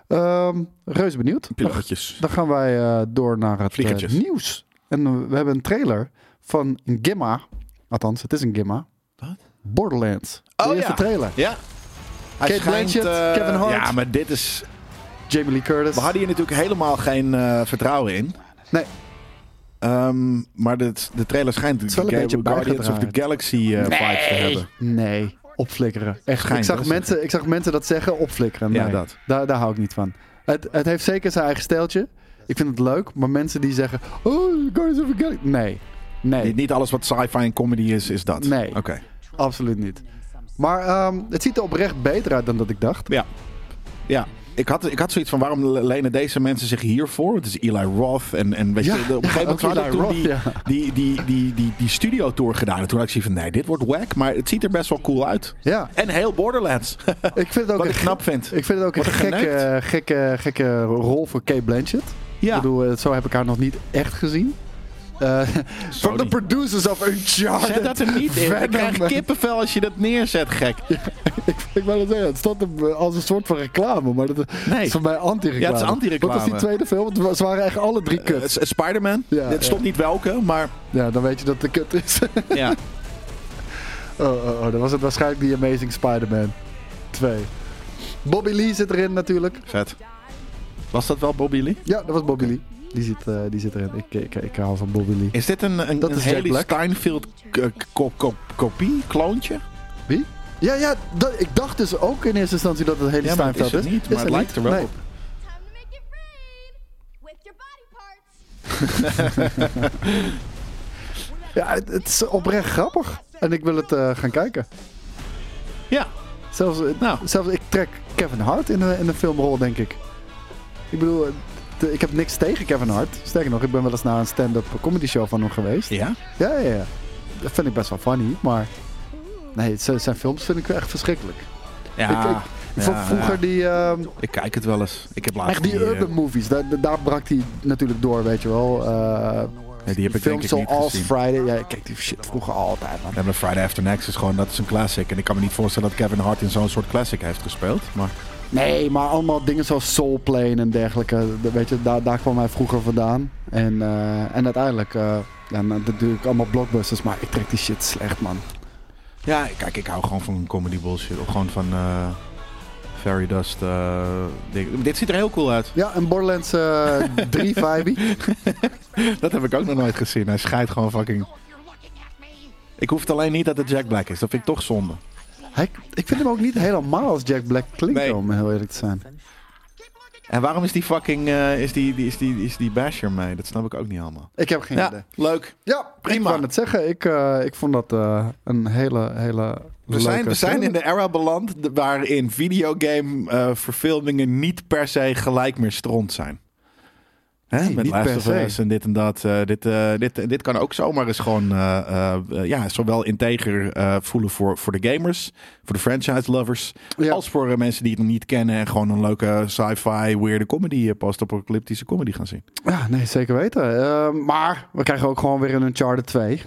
[SPEAKER 3] Ehm reuze benieuwd. Dan,
[SPEAKER 2] Pilootjes.
[SPEAKER 3] dan gaan wij eh, door naar het eh,
[SPEAKER 2] Vliegertjes.
[SPEAKER 3] nieuws. En eh, we hebben een trailer van een Gimma. Althans, het is een Gimma.
[SPEAKER 2] Wat?
[SPEAKER 3] Borderlands. De
[SPEAKER 2] Oh,
[SPEAKER 3] eerste
[SPEAKER 2] ja.
[SPEAKER 3] trailer.
[SPEAKER 2] Ja. Hij eh,
[SPEAKER 3] Kate Blanchett, Kevin Hart.
[SPEAKER 2] Ja, maar dit is...
[SPEAKER 3] Jamie Lee Curtis.
[SPEAKER 2] We hadden hier natuurlijk helemaal geen eh, vertrouwen in.
[SPEAKER 3] Nee.
[SPEAKER 2] Ehm, maar de, de trailer schijnt
[SPEAKER 3] is wel een
[SPEAKER 2] Ga-
[SPEAKER 3] beetje
[SPEAKER 2] Guardians of the
[SPEAKER 3] bijgedraaid.
[SPEAKER 2] Galaxy eh, vibes te hebben.
[SPEAKER 3] Nee, opflikkeren. Echt,
[SPEAKER 2] Schijn,
[SPEAKER 3] ik,
[SPEAKER 2] dat
[SPEAKER 3] zag
[SPEAKER 2] is
[SPEAKER 3] mensen, ik zag mensen dat zeggen, opflikkeren.
[SPEAKER 2] Ja,
[SPEAKER 3] Nee,
[SPEAKER 2] dat.
[SPEAKER 3] Daar, daar hou ik niet van. Het, het heeft zeker zijn eigen steeltje. Ik vind het leuk, maar mensen die zeggen... Oh, Guardians of the Galaxy... Nee, nee,
[SPEAKER 2] Niet, niet alles wat sci-fi en comedy is, is dat.
[SPEAKER 3] Nee.
[SPEAKER 2] Oké.
[SPEAKER 3] absoluut niet. Maar ehm, het ziet er oprecht beter uit dan dat ik dacht.
[SPEAKER 2] Ja. Ja. Ik had, ik had zoiets van, waarom lenen deze mensen zich hiervoor? Het is Eli Roth en, en weet
[SPEAKER 3] Ja,
[SPEAKER 2] je, op een
[SPEAKER 3] ja,
[SPEAKER 2] gegeven moment
[SPEAKER 3] ook
[SPEAKER 2] hadden we
[SPEAKER 3] Eli
[SPEAKER 2] toen
[SPEAKER 3] Roth,
[SPEAKER 2] die,
[SPEAKER 3] ja.
[SPEAKER 2] die, die, die, die, die studio-tour gedaan. En toen had ik zoiets van, nee, dit wordt wack, maar het ziet er best wel cool uit.
[SPEAKER 3] Ja,
[SPEAKER 2] En heel Borderlands.
[SPEAKER 3] ik vind het ook
[SPEAKER 2] Wat
[SPEAKER 3] een
[SPEAKER 2] ik
[SPEAKER 3] ge-
[SPEAKER 2] knap vind.
[SPEAKER 3] Ik vind het ook een
[SPEAKER 2] Wat een
[SPEAKER 3] gekke,
[SPEAKER 2] geneukt.
[SPEAKER 3] gekke, gekke rol voor Kate Blanchett. Ik
[SPEAKER 2] Ja.
[SPEAKER 3] bedoel, eh, zo heb ik haar nog niet echt gezien. Eh,
[SPEAKER 2] Zo
[SPEAKER 3] From the
[SPEAKER 2] niet.
[SPEAKER 3] producers of Uncharted.
[SPEAKER 2] Zet dat er niet in. Ik
[SPEAKER 3] Venom.
[SPEAKER 2] krijg kippenvel als je dat neerzet, gek.
[SPEAKER 3] Ik wou dat zeggen, het stond er als een soort van reclame, maar dat eh,
[SPEAKER 2] Nee.
[SPEAKER 3] is voor mij anti-reclame.
[SPEAKER 2] Ja, het is anti-reclame.
[SPEAKER 3] Wat was die tweede film? Het wa- Ze waren echt alle drie
[SPEAKER 2] Eh,
[SPEAKER 3] kut.
[SPEAKER 2] S- Spider-Man.
[SPEAKER 3] Ja,
[SPEAKER 2] Dit
[SPEAKER 3] ja.
[SPEAKER 2] stond niet welke, maar
[SPEAKER 3] Ja, dan weet je dat het kut is. oh,
[SPEAKER 2] ja.
[SPEAKER 3] oh, oh, dan was het waarschijnlijk die Amazing Spider-Man 2. Bobby Lee zit erin natuurlijk.
[SPEAKER 2] Vet. Was dat wel Bobby Lee?
[SPEAKER 3] Ja, dat was Bobby Lee. Die zit, eh, die zit erin. Ik, ik, ik hou van Bobby Lee.
[SPEAKER 2] Is dit een, een,
[SPEAKER 3] Dat
[SPEAKER 2] een
[SPEAKER 3] is Jack
[SPEAKER 2] Haley
[SPEAKER 3] Black.
[SPEAKER 2] Steinfeld k- k- ko- ko- kopie, kloontje?
[SPEAKER 3] Wie? Ja, ja, dat- ik dacht dus ook in eerste instantie dat het hele
[SPEAKER 2] Ja, maar
[SPEAKER 3] Steinfeld
[SPEAKER 2] is het niet, maar
[SPEAKER 3] Is
[SPEAKER 2] het lijkt er wel
[SPEAKER 3] Nee.
[SPEAKER 2] op.
[SPEAKER 4] Time to make it rain with your body parts.
[SPEAKER 3] Ja, het, het is oprecht grappig. En ik wil het eh, gaan kijken.
[SPEAKER 2] Ja.
[SPEAKER 3] Zelfs, eh,
[SPEAKER 2] Nou.
[SPEAKER 3] zelfs ik trek Kevin Hart in een, in een filmrol, denk ik. Ik bedoel, eh, de- ik heb niks tegen Kevin Hart. Sterker nog, ik ben wel eens naar een stand-up comedy show van hem geweest.
[SPEAKER 2] Ja?
[SPEAKER 3] Ja, ja, ja. Dat vind ik best wel funny, maar... Nee, z- zijn films vind ik echt verschrikkelijk.
[SPEAKER 2] Ja.
[SPEAKER 3] Ik- ik- Ik vond
[SPEAKER 2] Ah, Ja,
[SPEAKER 3] vroeger
[SPEAKER 2] ja.
[SPEAKER 3] die... ehm,
[SPEAKER 2] Ik kijk het wel eens. Ik heb laatst
[SPEAKER 3] echt die
[SPEAKER 2] eh,
[SPEAKER 3] urban movies. Daar, daar- daar brak hij natuurlijk door, weet je wel. Eh
[SPEAKER 2] ja, die heb ik denk
[SPEAKER 3] films
[SPEAKER 2] ik niet
[SPEAKER 3] zoals
[SPEAKER 2] gezien.
[SPEAKER 3] Friday. Ja, ik keek die shit vroeger altijd, man.
[SPEAKER 2] Ja, maar Friday After Next is gewoon, dat is een classic. En ik kan me niet voorstellen dat Kevin Hart in zo'n soort classic heeft gespeeld. Maar
[SPEAKER 3] Nee, maar allemaal dingen zoals Soul Plane en dergelijke. De- Weet je, daar, daar kwam hij vroeger vandaan. En, eh, en uiteindelijk, eh ja, nou, natuurlijk allemaal blockbusters, maar ik trek die shit slecht, man.
[SPEAKER 2] ja, kijk, ik hou gewoon van comedy bullshit. Of gewoon van eh, Fairy Dust. eh, dingen. Dit ziet er heel cool uit.
[SPEAKER 3] Ja, en Borderlands eh 3 vibe.
[SPEAKER 2] Dat heb ik ook nog nooit gezien. Hij scheidt gewoon fucking. Ik hoef het alleen niet dat het Jack Black is. Dat vind ik toch zonde.
[SPEAKER 3] Hij, ik vind hem ook niet helemaal als Jack Black klinken,
[SPEAKER 2] Nee.
[SPEAKER 3] om heel eerlijk te zijn.
[SPEAKER 2] En waarom is die fucking. eh, is, die, die, is, die, is die basher mee? Dat snap ik ook niet allemaal.
[SPEAKER 3] Ik heb geen idee.
[SPEAKER 2] Ja, leuk.
[SPEAKER 3] Ja,
[SPEAKER 2] prima.
[SPEAKER 3] Ik kan het zeggen. Ik, eh, ik vond dat eh, een hele, hele
[SPEAKER 2] We zijn,
[SPEAKER 3] leuke
[SPEAKER 2] we zijn
[SPEAKER 3] film.
[SPEAKER 2] in de era beland de- waarin videogame eh, verfilmingen niet per se gelijk meer stront zijn. Hè?
[SPEAKER 3] Nee,
[SPEAKER 2] Met
[SPEAKER 3] niet
[SPEAKER 2] Last
[SPEAKER 3] per
[SPEAKER 2] of
[SPEAKER 3] se.
[SPEAKER 2] Us en dit en dat. eh, dit, eh, dit, dit kan ook zomaar eens gewoon eh, eh, eh, ja, zowel integer eh, voelen voor, voor de gamers, voor de franchise lovers,
[SPEAKER 3] Ja.
[SPEAKER 2] als voor eh, mensen die het nog niet kennen en gewoon een leuke sci-fi, weirde comedy, eh, post-apocalyptische comedy gaan zien.
[SPEAKER 3] Ja, nee, zeker weten. Eh, maar we krijgen ook gewoon weer een Uncharted 2.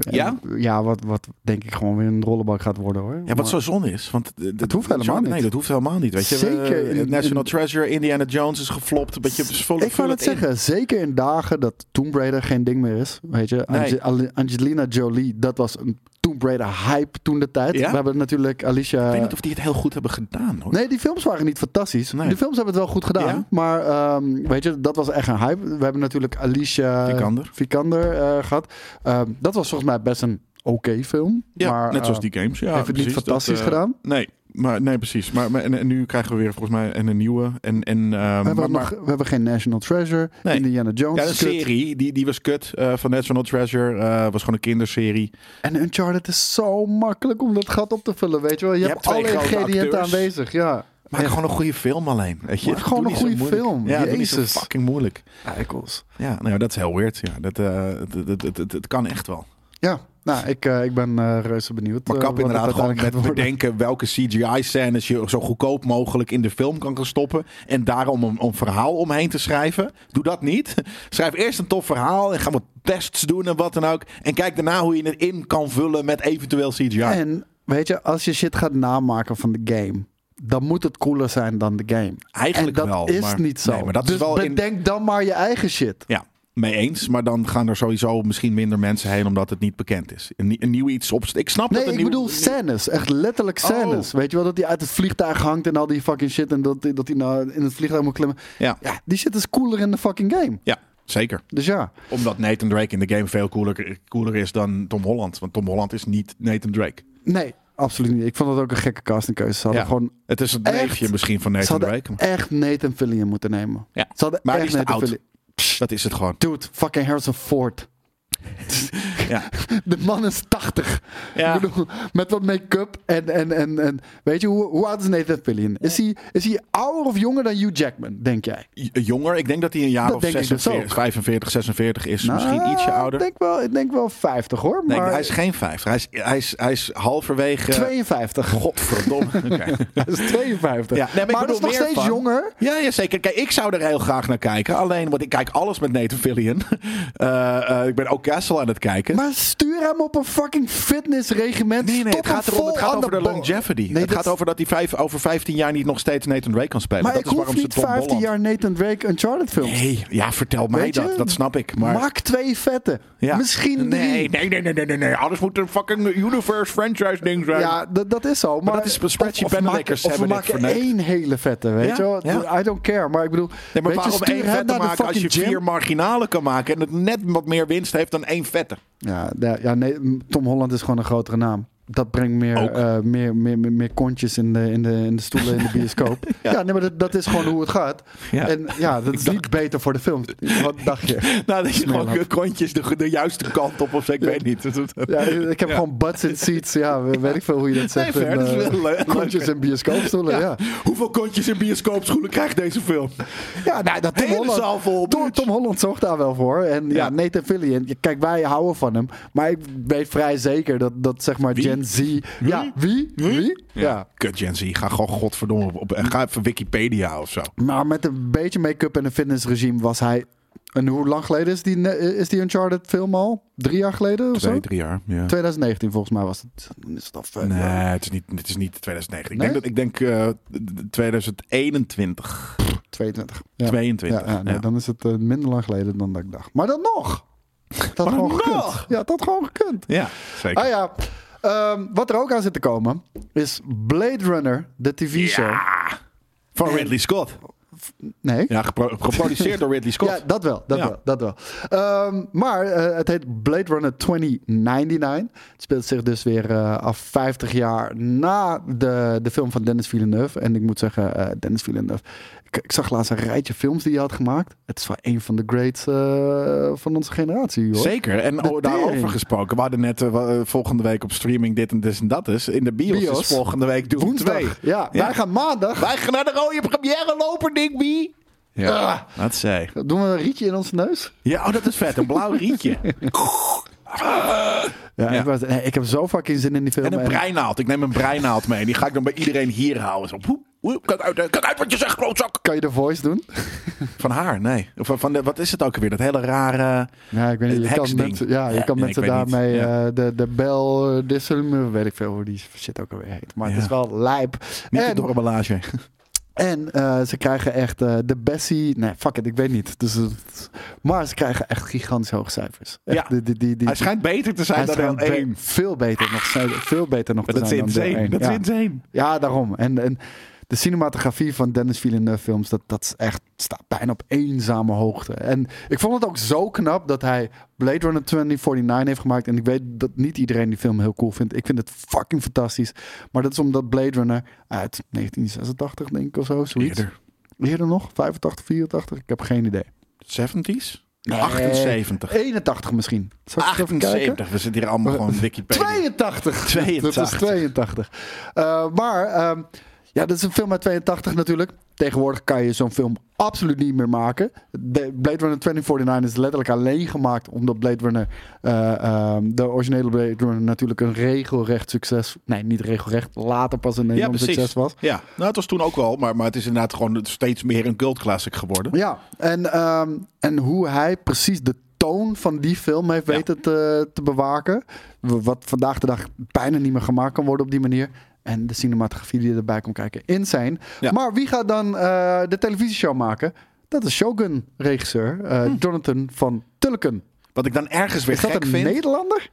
[SPEAKER 2] Ja?
[SPEAKER 3] Eh, ja, wat, wat denk ik gewoon weer een rollenbak gaat worden hoor.
[SPEAKER 2] Ja, wat zo zonde is. Want
[SPEAKER 3] Dat hoeft helemaal niet.
[SPEAKER 2] Nee, dat hoeft helemaal niet. Weet je,
[SPEAKER 3] Zeker
[SPEAKER 2] Eh,
[SPEAKER 3] in-
[SPEAKER 2] National
[SPEAKER 3] in-
[SPEAKER 2] Treasure, Indiana Jones is geflopt. Een beetje vol,
[SPEAKER 3] ik wou het zeggen, zeker in dagen dat Tomb Raider geen ding meer is. Weet je,
[SPEAKER 2] Nee.
[SPEAKER 3] Ange- Ale- Angelina Jolie, dat was een Tomb Raider hype toen de tijd.
[SPEAKER 2] Ja?
[SPEAKER 3] We hebben natuurlijk Alicia...
[SPEAKER 2] Ik weet niet of die het heel goed hebben gedaan hoor.
[SPEAKER 3] Eh, Nee, die films waren niet fantastisch.
[SPEAKER 2] Nee.
[SPEAKER 3] De films hebben het wel goed gedaan.
[SPEAKER 2] Ja?
[SPEAKER 3] Maar ehm, weet je, dat was echt een hype. We hebben natuurlijk Alicia
[SPEAKER 2] Vikander.
[SPEAKER 3] Vikander, eh, gehad. Ehm, dat was volgens mij best een oké film.
[SPEAKER 2] Ja,
[SPEAKER 3] maar,
[SPEAKER 2] net zoals
[SPEAKER 3] eh,
[SPEAKER 2] die games. Ja,
[SPEAKER 3] heeft het niet
[SPEAKER 2] precies,
[SPEAKER 3] fantastisch
[SPEAKER 2] eh,
[SPEAKER 3] gedaan?
[SPEAKER 2] Nee, maar, nee precies. Maar, maar- en, en nu krijgen we weer volgens mij een, een nieuwe. En, en, eh,
[SPEAKER 3] We
[SPEAKER 2] maar,
[SPEAKER 3] hebben,
[SPEAKER 2] maar-
[SPEAKER 3] nog, we hebben geen National Treasure.
[SPEAKER 2] Nee.
[SPEAKER 3] Indiana Jones.
[SPEAKER 2] ja,
[SPEAKER 3] is
[SPEAKER 2] een
[SPEAKER 3] kut.
[SPEAKER 2] serie, die, die was kut eh, van National Treasure. eh, was gewoon een kinderserie.
[SPEAKER 3] En Uncharted is zo makkelijk om dat gat op te vullen, weet je wel. Je,
[SPEAKER 2] Je
[SPEAKER 3] hebt,
[SPEAKER 2] hebt twee
[SPEAKER 3] alle
[SPEAKER 2] grote
[SPEAKER 3] ingrediënten
[SPEAKER 2] acteurs.
[SPEAKER 3] aanwezig, ja.
[SPEAKER 2] Maak gewoon een goede film alleen. Weet je?
[SPEAKER 3] Maak gewoon
[SPEAKER 2] Doe
[SPEAKER 3] een
[SPEAKER 2] niet
[SPEAKER 3] goede
[SPEAKER 2] zo moeilijk.
[SPEAKER 3] film.
[SPEAKER 2] Ja, doe niet zo
[SPEAKER 3] Jezus.
[SPEAKER 2] fucking moeilijk.
[SPEAKER 3] Eikels.
[SPEAKER 2] Ja, nou ja, dat is heel weird. Ja, dat, eh, het- het- het- het- het- het kan echt wel.
[SPEAKER 3] Ja, nou, ik, eh, ik ben eh, reuze benieuwd.
[SPEAKER 2] Maar
[SPEAKER 3] eh,
[SPEAKER 2] kap
[SPEAKER 3] wat het
[SPEAKER 2] inderdaad gewoon
[SPEAKER 3] uiteindelijk
[SPEAKER 2] met
[SPEAKER 3] gaat worden.
[SPEAKER 2] bedenken welke CGI-scènes je zo goedkoop mogelijk in de film kan gaan stoppen. En daarom een, een verhaal omheen te schrijven. Doe dat niet. Schrijf eerst een tof verhaal en ga wat tests doen en wat dan ook. En kijk daarna hoe je het in kan vullen met eventueel CGI.
[SPEAKER 3] En weet je, als je shit gaat namaken van de game, dan moet het cooler zijn dan de game.
[SPEAKER 2] Eigenlijk
[SPEAKER 3] en dat
[SPEAKER 2] wel,
[SPEAKER 3] is
[SPEAKER 2] maar-
[SPEAKER 3] niet zo.
[SPEAKER 2] nee, maar dat is
[SPEAKER 3] dus
[SPEAKER 2] wel in-
[SPEAKER 3] bedenk dan maar je eigen shit.
[SPEAKER 2] Ja, mee eens. Maar dan gaan er sowieso misschien minder mensen heen omdat het niet bekend is. Een, nie- een nieuw iets op. Ik snap
[SPEAKER 3] Nee,
[SPEAKER 2] dat een
[SPEAKER 3] ik
[SPEAKER 2] nieuw- Oh.
[SPEAKER 3] bedoel scènes. Echt letterlijk scènes. Weet je wel, dat hij uit het vliegtuig hangt en al die fucking shit. En dat, dat hij nou in het vliegtuig moet klimmen.
[SPEAKER 2] Ja.
[SPEAKER 3] ja, die shit is cooler in de fucking game.
[SPEAKER 2] Ja, zeker.
[SPEAKER 3] Dus ja.
[SPEAKER 2] Omdat Nathan Drake in de game veel cooler, cooler is dan Tom Holland. Want Tom Holland is niet Nathan Drake.
[SPEAKER 3] Nee, absoluut niet. Ik vond dat ook een gekke castingkeuze. Ze hadden
[SPEAKER 2] Ja.
[SPEAKER 3] gewoon...
[SPEAKER 2] Het is het
[SPEAKER 3] Echt?
[SPEAKER 2] neefje misschien van
[SPEAKER 3] Ze
[SPEAKER 2] Nathan
[SPEAKER 3] hadden
[SPEAKER 2] Drake. maar-
[SPEAKER 3] echt Nathan Fillion moeten nemen.
[SPEAKER 2] Ja.
[SPEAKER 3] Ze hadden
[SPEAKER 2] Maar die
[SPEAKER 3] echt
[SPEAKER 2] is te
[SPEAKER 3] Nathan
[SPEAKER 2] oud.
[SPEAKER 3] Fillion.
[SPEAKER 2] Dat is het gewoon.
[SPEAKER 3] Dude, fucking Harrison Ford.
[SPEAKER 2] Ja.
[SPEAKER 3] De man is 80.
[SPEAKER 2] Ja.
[SPEAKER 3] Ik bedoel, met wat make-up en, en, en, en weet je, hoe, hoe oud is Nathan Fillion? Is hij, is hij ouder of jonger dan Hugh Jackman, denk jij?
[SPEAKER 2] J- Jonger, ik denk dat hij een jaar
[SPEAKER 3] Dat
[SPEAKER 2] of
[SPEAKER 3] denk ik dus
[SPEAKER 2] 46,
[SPEAKER 3] ook.
[SPEAKER 2] 45, 46 is. misschien
[SPEAKER 3] Nou,
[SPEAKER 2] ietsje ouder.
[SPEAKER 3] Ik denk wel, ik denk wel 50 hoor,
[SPEAKER 2] nee,
[SPEAKER 3] maar
[SPEAKER 2] hij is geen eh, 50. Hij is, hij is, hij is halverwege...
[SPEAKER 3] 52.
[SPEAKER 2] Godverdomme. Oké.
[SPEAKER 3] Hij is 52.
[SPEAKER 2] Ja, nee, maar ik
[SPEAKER 3] maar dat
[SPEAKER 2] bedoel
[SPEAKER 3] is nog
[SPEAKER 2] meer
[SPEAKER 3] steeds
[SPEAKER 2] van-
[SPEAKER 3] jonger.
[SPEAKER 2] Ja, ja, zeker. Kijk, ik zou er heel graag naar kijken. Alleen, want ik kijk alles met Nathan Fillion. Eh, eh, ik ben ook Castle aan het kijken.
[SPEAKER 3] Maar stuur hem op een fucking fitnessregiment.
[SPEAKER 2] nee, nee,
[SPEAKER 3] Stop
[SPEAKER 2] het gaat,
[SPEAKER 3] hem
[SPEAKER 2] erom, het
[SPEAKER 3] vol
[SPEAKER 2] gaat
[SPEAKER 3] aan
[SPEAKER 2] over de
[SPEAKER 3] bal.
[SPEAKER 2] longevity.
[SPEAKER 3] Nee,
[SPEAKER 2] het
[SPEAKER 3] dat-
[SPEAKER 2] gaat over dat hij vijf, over 15 jaar niet nog steeds Nathan Drake kan spelen.
[SPEAKER 3] Maar
[SPEAKER 2] dat
[SPEAKER 3] ik
[SPEAKER 2] is
[SPEAKER 3] hoef
[SPEAKER 2] waarom ze
[SPEAKER 3] niet
[SPEAKER 2] Tom
[SPEAKER 3] 15
[SPEAKER 2] Holland-
[SPEAKER 3] jaar Nathan Drake Uncharted films.
[SPEAKER 2] Nee, ja, vertel mij
[SPEAKER 3] Weet je?
[SPEAKER 2] dat. Dat snap ik. Maar...
[SPEAKER 3] Maak twee vette.
[SPEAKER 2] Ja.
[SPEAKER 3] Misschien drie.
[SPEAKER 2] nee, nee, nee, nee, nee, nee, nee. Alles moet een fucking universe franchise ding zijn.
[SPEAKER 3] Ja, dat, dat is zo. Maar,
[SPEAKER 2] dat is- Spreadsheet
[SPEAKER 3] of, of, maken,
[SPEAKER 2] Benedictors
[SPEAKER 3] of we
[SPEAKER 2] hebben dit
[SPEAKER 3] maken
[SPEAKER 2] verneukt.
[SPEAKER 3] één hele vette, weet
[SPEAKER 2] Ja,
[SPEAKER 3] je wel.
[SPEAKER 2] ja.
[SPEAKER 3] I don't care. Maar ik bedoel,
[SPEAKER 2] Nee, maar
[SPEAKER 3] weet je,
[SPEAKER 2] waarom
[SPEAKER 3] stuur
[SPEAKER 2] één
[SPEAKER 3] hem
[SPEAKER 2] vette
[SPEAKER 3] naar de
[SPEAKER 2] maken als je
[SPEAKER 3] fucking gym.
[SPEAKER 2] vier marginalen kan maken en het net wat meer winst heeft dan één vette?
[SPEAKER 3] Ja, ja, ja, nee, m, Tom Holland is gewoon een grotere naam. Dat brengt meer,
[SPEAKER 2] Ook.
[SPEAKER 3] eh, meer, meer, meer, meer kontjes in de, in, de, in de stoelen in de bioscoop. ja. nee, maar dat, dat is gewoon hoe het gaat.
[SPEAKER 2] Ja.
[SPEAKER 3] En ja, dat is niet beter voor de film. Wat dacht je?
[SPEAKER 2] Nou, dat je gewoon
[SPEAKER 3] Smeerlap.
[SPEAKER 2] je kontjes de, de juiste kant op of zo, ik weet niet. Dat- dat-
[SPEAKER 3] Ja, ik heb gewoon butts in seats. Ja, we- weet ik veel hoe je dat zegt.
[SPEAKER 2] fair,
[SPEAKER 3] En,
[SPEAKER 2] dat is
[SPEAKER 3] eh,
[SPEAKER 2] wel leuk.
[SPEAKER 3] Kontjes in bioscoopstoelen, ja.
[SPEAKER 2] Hoeveel kontjes in bioscoopschoenen krijgt deze film?
[SPEAKER 3] Ja, nou, dat Tom
[SPEAKER 2] Hele
[SPEAKER 3] Holland,
[SPEAKER 2] zaal vol,
[SPEAKER 3] Tom,
[SPEAKER 2] bitch.
[SPEAKER 3] Tom Holland zorgt daar wel voor. En ja,
[SPEAKER 2] Ja.
[SPEAKER 3] Nathan Fillion, ja, kijk, wij houden van hem. Maar ik weet vrij zeker dat, dat zeg maar Gen Z... Ja, wie? Wie? Ja.
[SPEAKER 2] Kut Gen Z, ga gewoon godverdomme op, op- ga even Wikipedia of zo.
[SPEAKER 3] Maar met een beetje make-up en een fitnessregime was hij... En hoe lang geleden is die, ne- is die Uncharted film al? Drie jaar geleden of
[SPEAKER 2] Twee,
[SPEAKER 3] zo?
[SPEAKER 2] drie jaar. Ja.
[SPEAKER 3] 2019 volgens mij was het. Dan is het al vijf
[SPEAKER 2] Nee,
[SPEAKER 3] jaar.
[SPEAKER 2] het is niet, het is niet 2009. Ik
[SPEAKER 3] Nee?
[SPEAKER 2] denk, dat, ik denk eh, d- 2021,
[SPEAKER 3] 22. Ja.
[SPEAKER 2] 22.
[SPEAKER 3] Ja, ja, nee,
[SPEAKER 2] ja.
[SPEAKER 3] Dan is het eh, minder lang geleden dan dat ik dacht. Maar dan nog! Dat had gewoon
[SPEAKER 2] nog!
[SPEAKER 3] gekund. Ja, dat had gewoon gekund.
[SPEAKER 2] Ja, zeker.
[SPEAKER 3] Ah ja. Ehm, wat er ook aan zit te komen is Blade Runner, de TV-show.
[SPEAKER 2] Van Ridley Scott.
[SPEAKER 3] Nee.
[SPEAKER 2] Ja, gepro- geproduceerd door Ridley Scott.
[SPEAKER 3] Ja, dat wel, dat
[SPEAKER 2] Ja.
[SPEAKER 3] wel, dat wel. Ehm, maar eh, het heet Blade Runner 2099. Het speelt zich dus weer eh, af 50 jaar na de, de film van Dennis Villeneuve. En ik moet zeggen, eh, Dennis Villeneuve... Ik, ik zag laatst een rijtje films die hij had gemaakt. Het is wel een van de greats eh, van onze generatie, hoor.
[SPEAKER 2] Zeker. En
[SPEAKER 3] De
[SPEAKER 2] o- daarover
[SPEAKER 3] tering.
[SPEAKER 2] gesproken. We hadden net eh, wa- eh, volgende week op streaming dit en dus en dat is. In de bios,
[SPEAKER 3] Bios.
[SPEAKER 2] is volgende week Doom
[SPEAKER 3] Woensdag.
[SPEAKER 2] 2.
[SPEAKER 3] Ja, wij gaan maandag...
[SPEAKER 2] Wij gaan naar de rode première lopen, Digby. Ja,
[SPEAKER 3] Ah.
[SPEAKER 2] dat zei.
[SPEAKER 3] Doen we een rietje in onze neus?
[SPEAKER 2] Ja, oh, dat is vet. Een blauw rietje.
[SPEAKER 3] Ja,
[SPEAKER 2] Ja.
[SPEAKER 3] Ik, was, nee, ik heb zo fucking zin in die film.
[SPEAKER 2] En een
[SPEAKER 3] En-
[SPEAKER 2] breinaald. Ik neem een breinaald mee. Die ga ik dan bij iedereen hier houden. Zo, poep, poep. Kijk uit, hè. kijk uit wat je zegt, klootzak.
[SPEAKER 3] Kan je de voice doen?
[SPEAKER 2] Van haar, nee. Of Van, van de, wat is het ook weer? Dat hele rare... eh,
[SPEAKER 3] Ja, ik weet niet. Je kan
[SPEAKER 2] Heksding.
[SPEAKER 3] mensen, ja, je
[SPEAKER 2] Ja,
[SPEAKER 3] kan
[SPEAKER 2] nee,
[SPEAKER 3] mensen
[SPEAKER 2] ik weet niet.
[SPEAKER 3] daarmee
[SPEAKER 2] Ja.
[SPEAKER 3] eh, de, de bel, eh, disarm, weet ik veel hoe die shit ook alweer heet. Maar
[SPEAKER 2] Ja.
[SPEAKER 3] het is wel lijp.
[SPEAKER 2] Niet de
[SPEAKER 3] En,
[SPEAKER 2] doorballage.
[SPEAKER 3] en eh, ze krijgen echt eh, de Bessie. Nee, fuck it, ik weet niet. Dus, het- maar ze krijgen echt gigantisch hoge cijfers. Echt,
[SPEAKER 2] Ja.
[SPEAKER 3] die, die, die, die,
[SPEAKER 2] Hij schijnt beter te zijn
[SPEAKER 3] hij
[SPEAKER 2] dan
[SPEAKER 3] schijnt
[SPEAKER 2] deel
[SPEAKER 3] be-
[SPEAKER 2] 1.
[SPEAKER 3] Veel beter nog, zijn- veel beter nog te
[SPEAKER 2] Dat is
[SPEAKER 3] zijn dan deel
[SPEAKER 2] insane.
[SPEAKER 3] één.
[SPEAKER 2] Dat is
[SPEAKER 3] Ja.
[SPEAKER 2] insane.
[SPEAKER 3] Ja, daarom. En, en de cinematografie van Dennis Villeneuve films, dat, dat is echt, staat bijna op eenzame hoogte. En ik vond het ook zo knap dat hij Blade Runner 2049 heeft gemaakt. En ik weet dat niet iedereen die film heel cool vindt. Ik vind het fucking fantastisch. Maar dat is omdat Blade Runner uit 1986, denk ik of zo, zoiets.
[SPEAKER 2] Eerder.
[SPEAKER 3] Eerder nog? 85, 84? Ik heb geen idee.
[SPEAKER 2] 70s?
[SPEAKER 3] Nee.
[SPEAKER 2] 78.
[SPEAKER 3] 81 misschien. Zal ik eens even kijken?
[SPEAKER 2] 78. We zitten hier allemaal gewoon Wikipedia.
[SPEAKER 3] 82.
[SPEAKER 2] 82.
[SPEAKER 3] Dat is 82. Eh, maar ehm, Ja, dat is een film uit 82 natuurlijk. Tegenwoordig kan je zo'n film absoluut niet meer maken. De Blade Runner 2049 is letterlijk alleen gemaakt omdat Blade Runner, eh, ehm, de originele Blade Runner natuurlijk een regelrecht succes, nee niet regelrecht, later pas een
[SPEAKER 2] Ja,
[SPEAKER 3] enorm
[SPEAKER 2] precies.
[SPEAKER 3] succes was.
[SPEAKER 2] Ja, nou, het was toen ook wel, maar, maar het is inderdaad gewoon steeds meer een cult classic geworden.
[SPEAKER 3] Ja, en, ehm, en hoe hij precies de toon van die film heeft
[SPEAKER 2] Ja.
[SPEAKER 3] weten te, te bewaken. W- Wat vandaag de dag bijna niet meer gemaakt kan worden op die manier. En de cinematografie die erbij komt kijken. Insane.
[SPEAKER 2] Ja.
[SPEAKER 3] Maar wie gaat dan eh, de televisieshow maken? Dat is Shogun-regisseur eh,
[SPEAKER 2] Hm.
[SPEAKER 3] Jonathan van Tulken.
[SPEAKER 2] Wat ik dan ergens weer
[SPEAKER 3] Is dat
[SPEAKER 2] gek
[SPEAKER 3] een
[SPEAKER 2] vind.
[SPEAKER 3] Nederlander?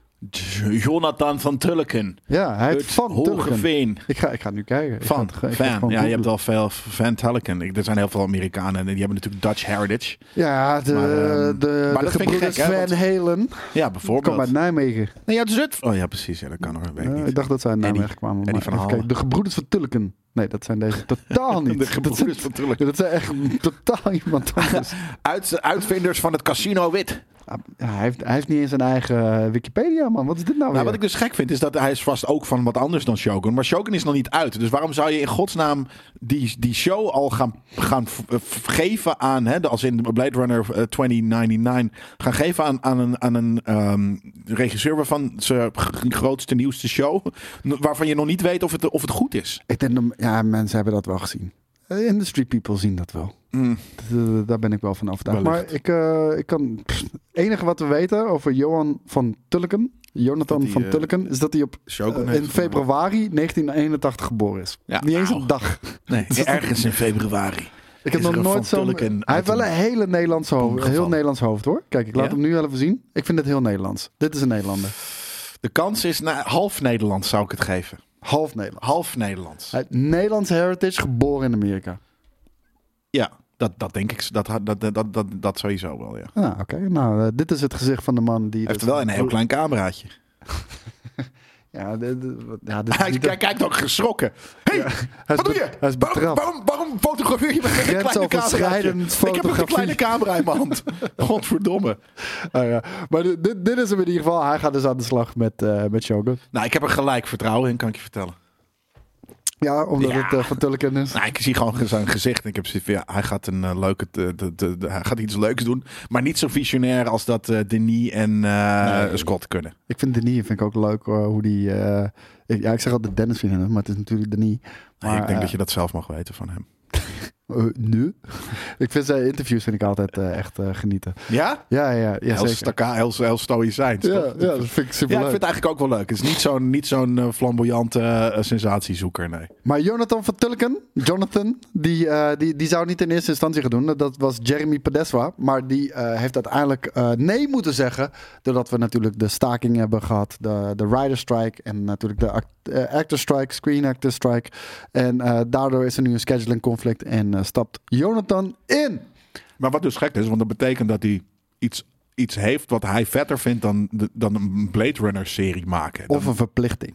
[SPEAKER 2] Jonathan van Tulken.
[SPEAKER 3] Ja, hij heet
[SPEAKER 2] Uit
[SPEAKER 3] Van Tulken.
[SPEAKER 2] Hogeveen.
[SPEAKER 3] Ik ga, ik ga nu kijken. Ik ga
[SPEAKER 2] Van,
[SPEAKER 3] het ge- ik ga het
[SPEAKER 2] van.
[SPEAKER 3] gewoon
[SPEAKER 2] Ja, je hebt
[SPEAKER 3] googlen.
[SPEAKER 2] wel veel Van Tulken. Ik- Er zijn heel veel Amerikanen en die hebben natuurlijk Dutch heritage.
[SPEAKER 3] Ja, de,
[SPEAKER 2] Maar, ehm,
[SPEAKER 3] de,
[SPEAKER 2] maar
[SPEAKER 3] de
[SPEAKER 2] dat vind ik
[SPEAKER 3] gebroeders
[SPEAKER 2] gek, hè, want-
[SPEAKER 3] Van Helen.
[SPEAKER 2] Ja,
[SPEAKER 3] Kom uit
[SPEAKER 2] bijvoorbeeld.
[SPEAKER 3] Nijmegen.
[SPEAKER 2] Nee, uit Zutphen. Oh ja, precies. Ja, dat kan hoor. Weet ik
[SPEAKER 3] Ja,
[SPEAKER 2] niet.
[SPEAKER 3] Eh, ik dacht dat zij naar
[SPEAKER 2] Eddie.
[SPEAKER 3] Nijmegen kwamen.
[SPEAKER 2] Eddie
[SPEAKER 3] Maar
[SPEAKER 2] van
[SPEAKER 3] even
[SPEAKER 2] Halen.
[SPEAKER 3] kijken, de gebroeders van Tulken. Nee, dat zijn deze totaal niet.
[SPEAKER 2] De
[SPEAKER 3] dat, zijn,
[SPEAKER 2] gebroeders van Tulken.
[SPEAKER 3] dat zijn echt totaal iemand anders.
[SPEAKER 2] Uit, uitvinders van het Casino Wit.
[SPEAKER 3] Ah, hij, heeft, hij heeft niet eens een eigen eh, Wikipedia, man. Wat is dit nou,
[SPEAKER 2] Nou,
[SPEAKER 3] weer?
[SPEAKER 2] wat ik dus gek vind is dat hij is vast ook van wat anders dan Shogun. Maar Shogun is nog niet uit. Dus waarom zou je in godsnaam die, die show al gaan, gaan v- eh, v- geven aan, hè, de- als in Blade Runner eh, 2099, gaan geven aan, aan een, aan een ehm, regisseur waarvan zijn g- grootste, nieuwste show, n- waarvan je nog niet weet of het, of het goed is.
[SPEAKER 3] Ik denk, dat- ja, mensen hebben dat wel gezien. Eh, Industry people zien dat wel.
[SPEAKER 2] Mm.
[SPEAKER 3] D- d- Daar ben ik wel van overtuigd.
[SPEAKER 2] Wellicht.
[SPEAKER 3] Maar ik, eh, ik kan. Het enige wat we weten over Johan van Tulken, Jonathan
[SPEAKER 2] Dat hij,
[SPEAKER 3] van
[SPEAKER 2] eh,
[SPEAKER 3] Tulken, is dat hij op,
[SPEAKER 2] Shogun
[SPEAKER 3] eh,
[SPEAKER 2] heeft
[SPEAKER 3] in
[SPEAKER 2] gemaakt.
[SPEAKER 3] februari 1981 geboren is.
[SPEAKER 2] Ja,
[SPEAKER 3] niet eens
[SPEAKER 2] auw.
[SPEAKER 3] een dag.
[SPEAKER 2] Nee, ergens in februari.
[SPEAKER 3] Ik heb
[SPEAKER 2] Is er
[SPEAKER 3] nog
[SPEAKER 2] een
[SPEAKER 3] nooit
[SPEAKER 2] Van
[SPEAKER 3] zo'n...
[SPEAKER 2] Tulken
[SPEAKER 3] Hij
[SPEAKER 2] uit
[SPEAKER 3] heeft wel
[SPEAKER 2] een-
[SPEAKER 3] een hele Nederlands hoofd,
[SPEAKER 2] gevallen.
[SPEAKER 3] heel Nederlands hoofd hoor. Kijk, ik laat
[SPEAKER 2] Ja?
[SPEAKER 3] hem nu wel even zien. Ik vind het heel Nederlands. Dit is een Nederlander.
[SPEAKER 2] De kans is na, half Nederlands zou ik het geven.
[SPEAKER 3] Half Nederlands.
[SPEAKER 2] Half Nederlands.
[SPEAKER 3] Hij heeft Nederlands heritage, geboren in Amerika.
[SPEAKER 2] Ja, dat, dat denk ik. Dat, dat, dat, dat, dat, dat sowieso wel, ja.
[SPEAKER 3] Nou, oké. Nou, eh, dit is het gezicht van de man die...
[SPEAKER 2] Hij heeft
[SPEAKER 3] dus-
[SPEAKER 2] wel een heel klein cameraatje.
[SPEAKER 3] Ja, dit, dit- wat- ja, dit is
[SPEAKER 2] Hij
[SPEAKER 3] niet
[SPEAKER 2] kijkt, kijkt ook geschrokken. Hé,
[SPEAKER 3] hij is
[SPEAKER 2] wat doe
[SPEAKER 3] be-
[SPEAKER 2] je?
[SPEAKER 3] hij is
[SPEAKER 2] waarom,
[SPEAKER 3] betrapt.
[SPEAKER 2] waarom, waarom fotografeer je met een kleine cameraatje?
[SPEAKER 3] Grensoverschrijdend
[SPEAKER 2] Ik heb ook een
[SPEAKER 3] fotografie.
[SPEAKER 2] kleine camera in mijn hand. Godverdomme.
[SPEAKER 3] Ah, ja. Maar dit, dit, dit is hem in ieder geval. Hij gaat dus aan de slag met, eh met Shogun.
[SPEAKER 2] Nou, ik heb er gelijk vertrouwen in, kan ik je vertellen.
[SPEAKER 3] Ja, omdat
[SPEAKER 2] Ja.
[SPEAKER 3] het eh, van Tulken is.
[SPEAKER 2] Nou, ik zie gewoon zijn gezicht en ik heb zoiets van, ja, hij gaat, een, eh, leuke, te- te- te- te- hij gaat iets leuks doen. Maar niet zo visionair als dat eh, Denis en eh, Scott kunnen.
[SPEAKER 3] Ik vind Denis vind ik ook leuk eh, hoe die... eh, ik- ja, ik zeg altijd Dennis vind ik hem, maar het is natuurlijk Denis.
[SPEAKER 2] Nee,
[SPEAKER 3] Maar,
[SPEAKER 2] ik denk
[SPEAKER 3] eh,
[SPEAKER 2] dat je dat zelf mag weten van hem.
[SPEAKER 3] Eh, nu? ik vind zijn interviews vind ik altijd eh, echt eh, genieten.
[SPEAKER 2] Ja?
[SPEAKER 3] Ja, ja, ja
[SPEAKER 2] Heel,
[SPEAKER 3] zeker.
[SPEAKER 2] staka, heel, heel stoïcijns,
[SPEAKER 3] Ja,
[SPEAKER 2] toch?
[SPEAKER 3] ja, dat vind ik
[SPEAKER 2] Ja,
[SPEAKER 3] super
[SPEAKER 2] ik vind het eigenlijk ook wel leuk. Het is niet zo'n niet zo'n eh, flamboyante eh, sensatiezoeker, nee.
[SPEAKER 3] Maar Jonathan van Tulken, Jonathan, die, eh, die, die zou niet in eerste instantie gaan doen. Eh, Dat was Jeremy Padeswa. Maar die eh, heeft uiteindelijk eh, nee moeten zeggen. Doordat we natuurlijk de staking hebben gehad. De, de rider strike en natuurlijk de act, eh, actor strike, screen actor strike. En eh, daardoor is er nu een scheduling conflict en eh, stapt Jonathan in.
[SPEAKER 2] Maar wat dus gek is, want dat betekent dat hij iets, iets heeft wat hij vetter vindt dan, de- dan een Blade Runner serie maken. Dan-
[SPEAKER 3] Of een verplichting.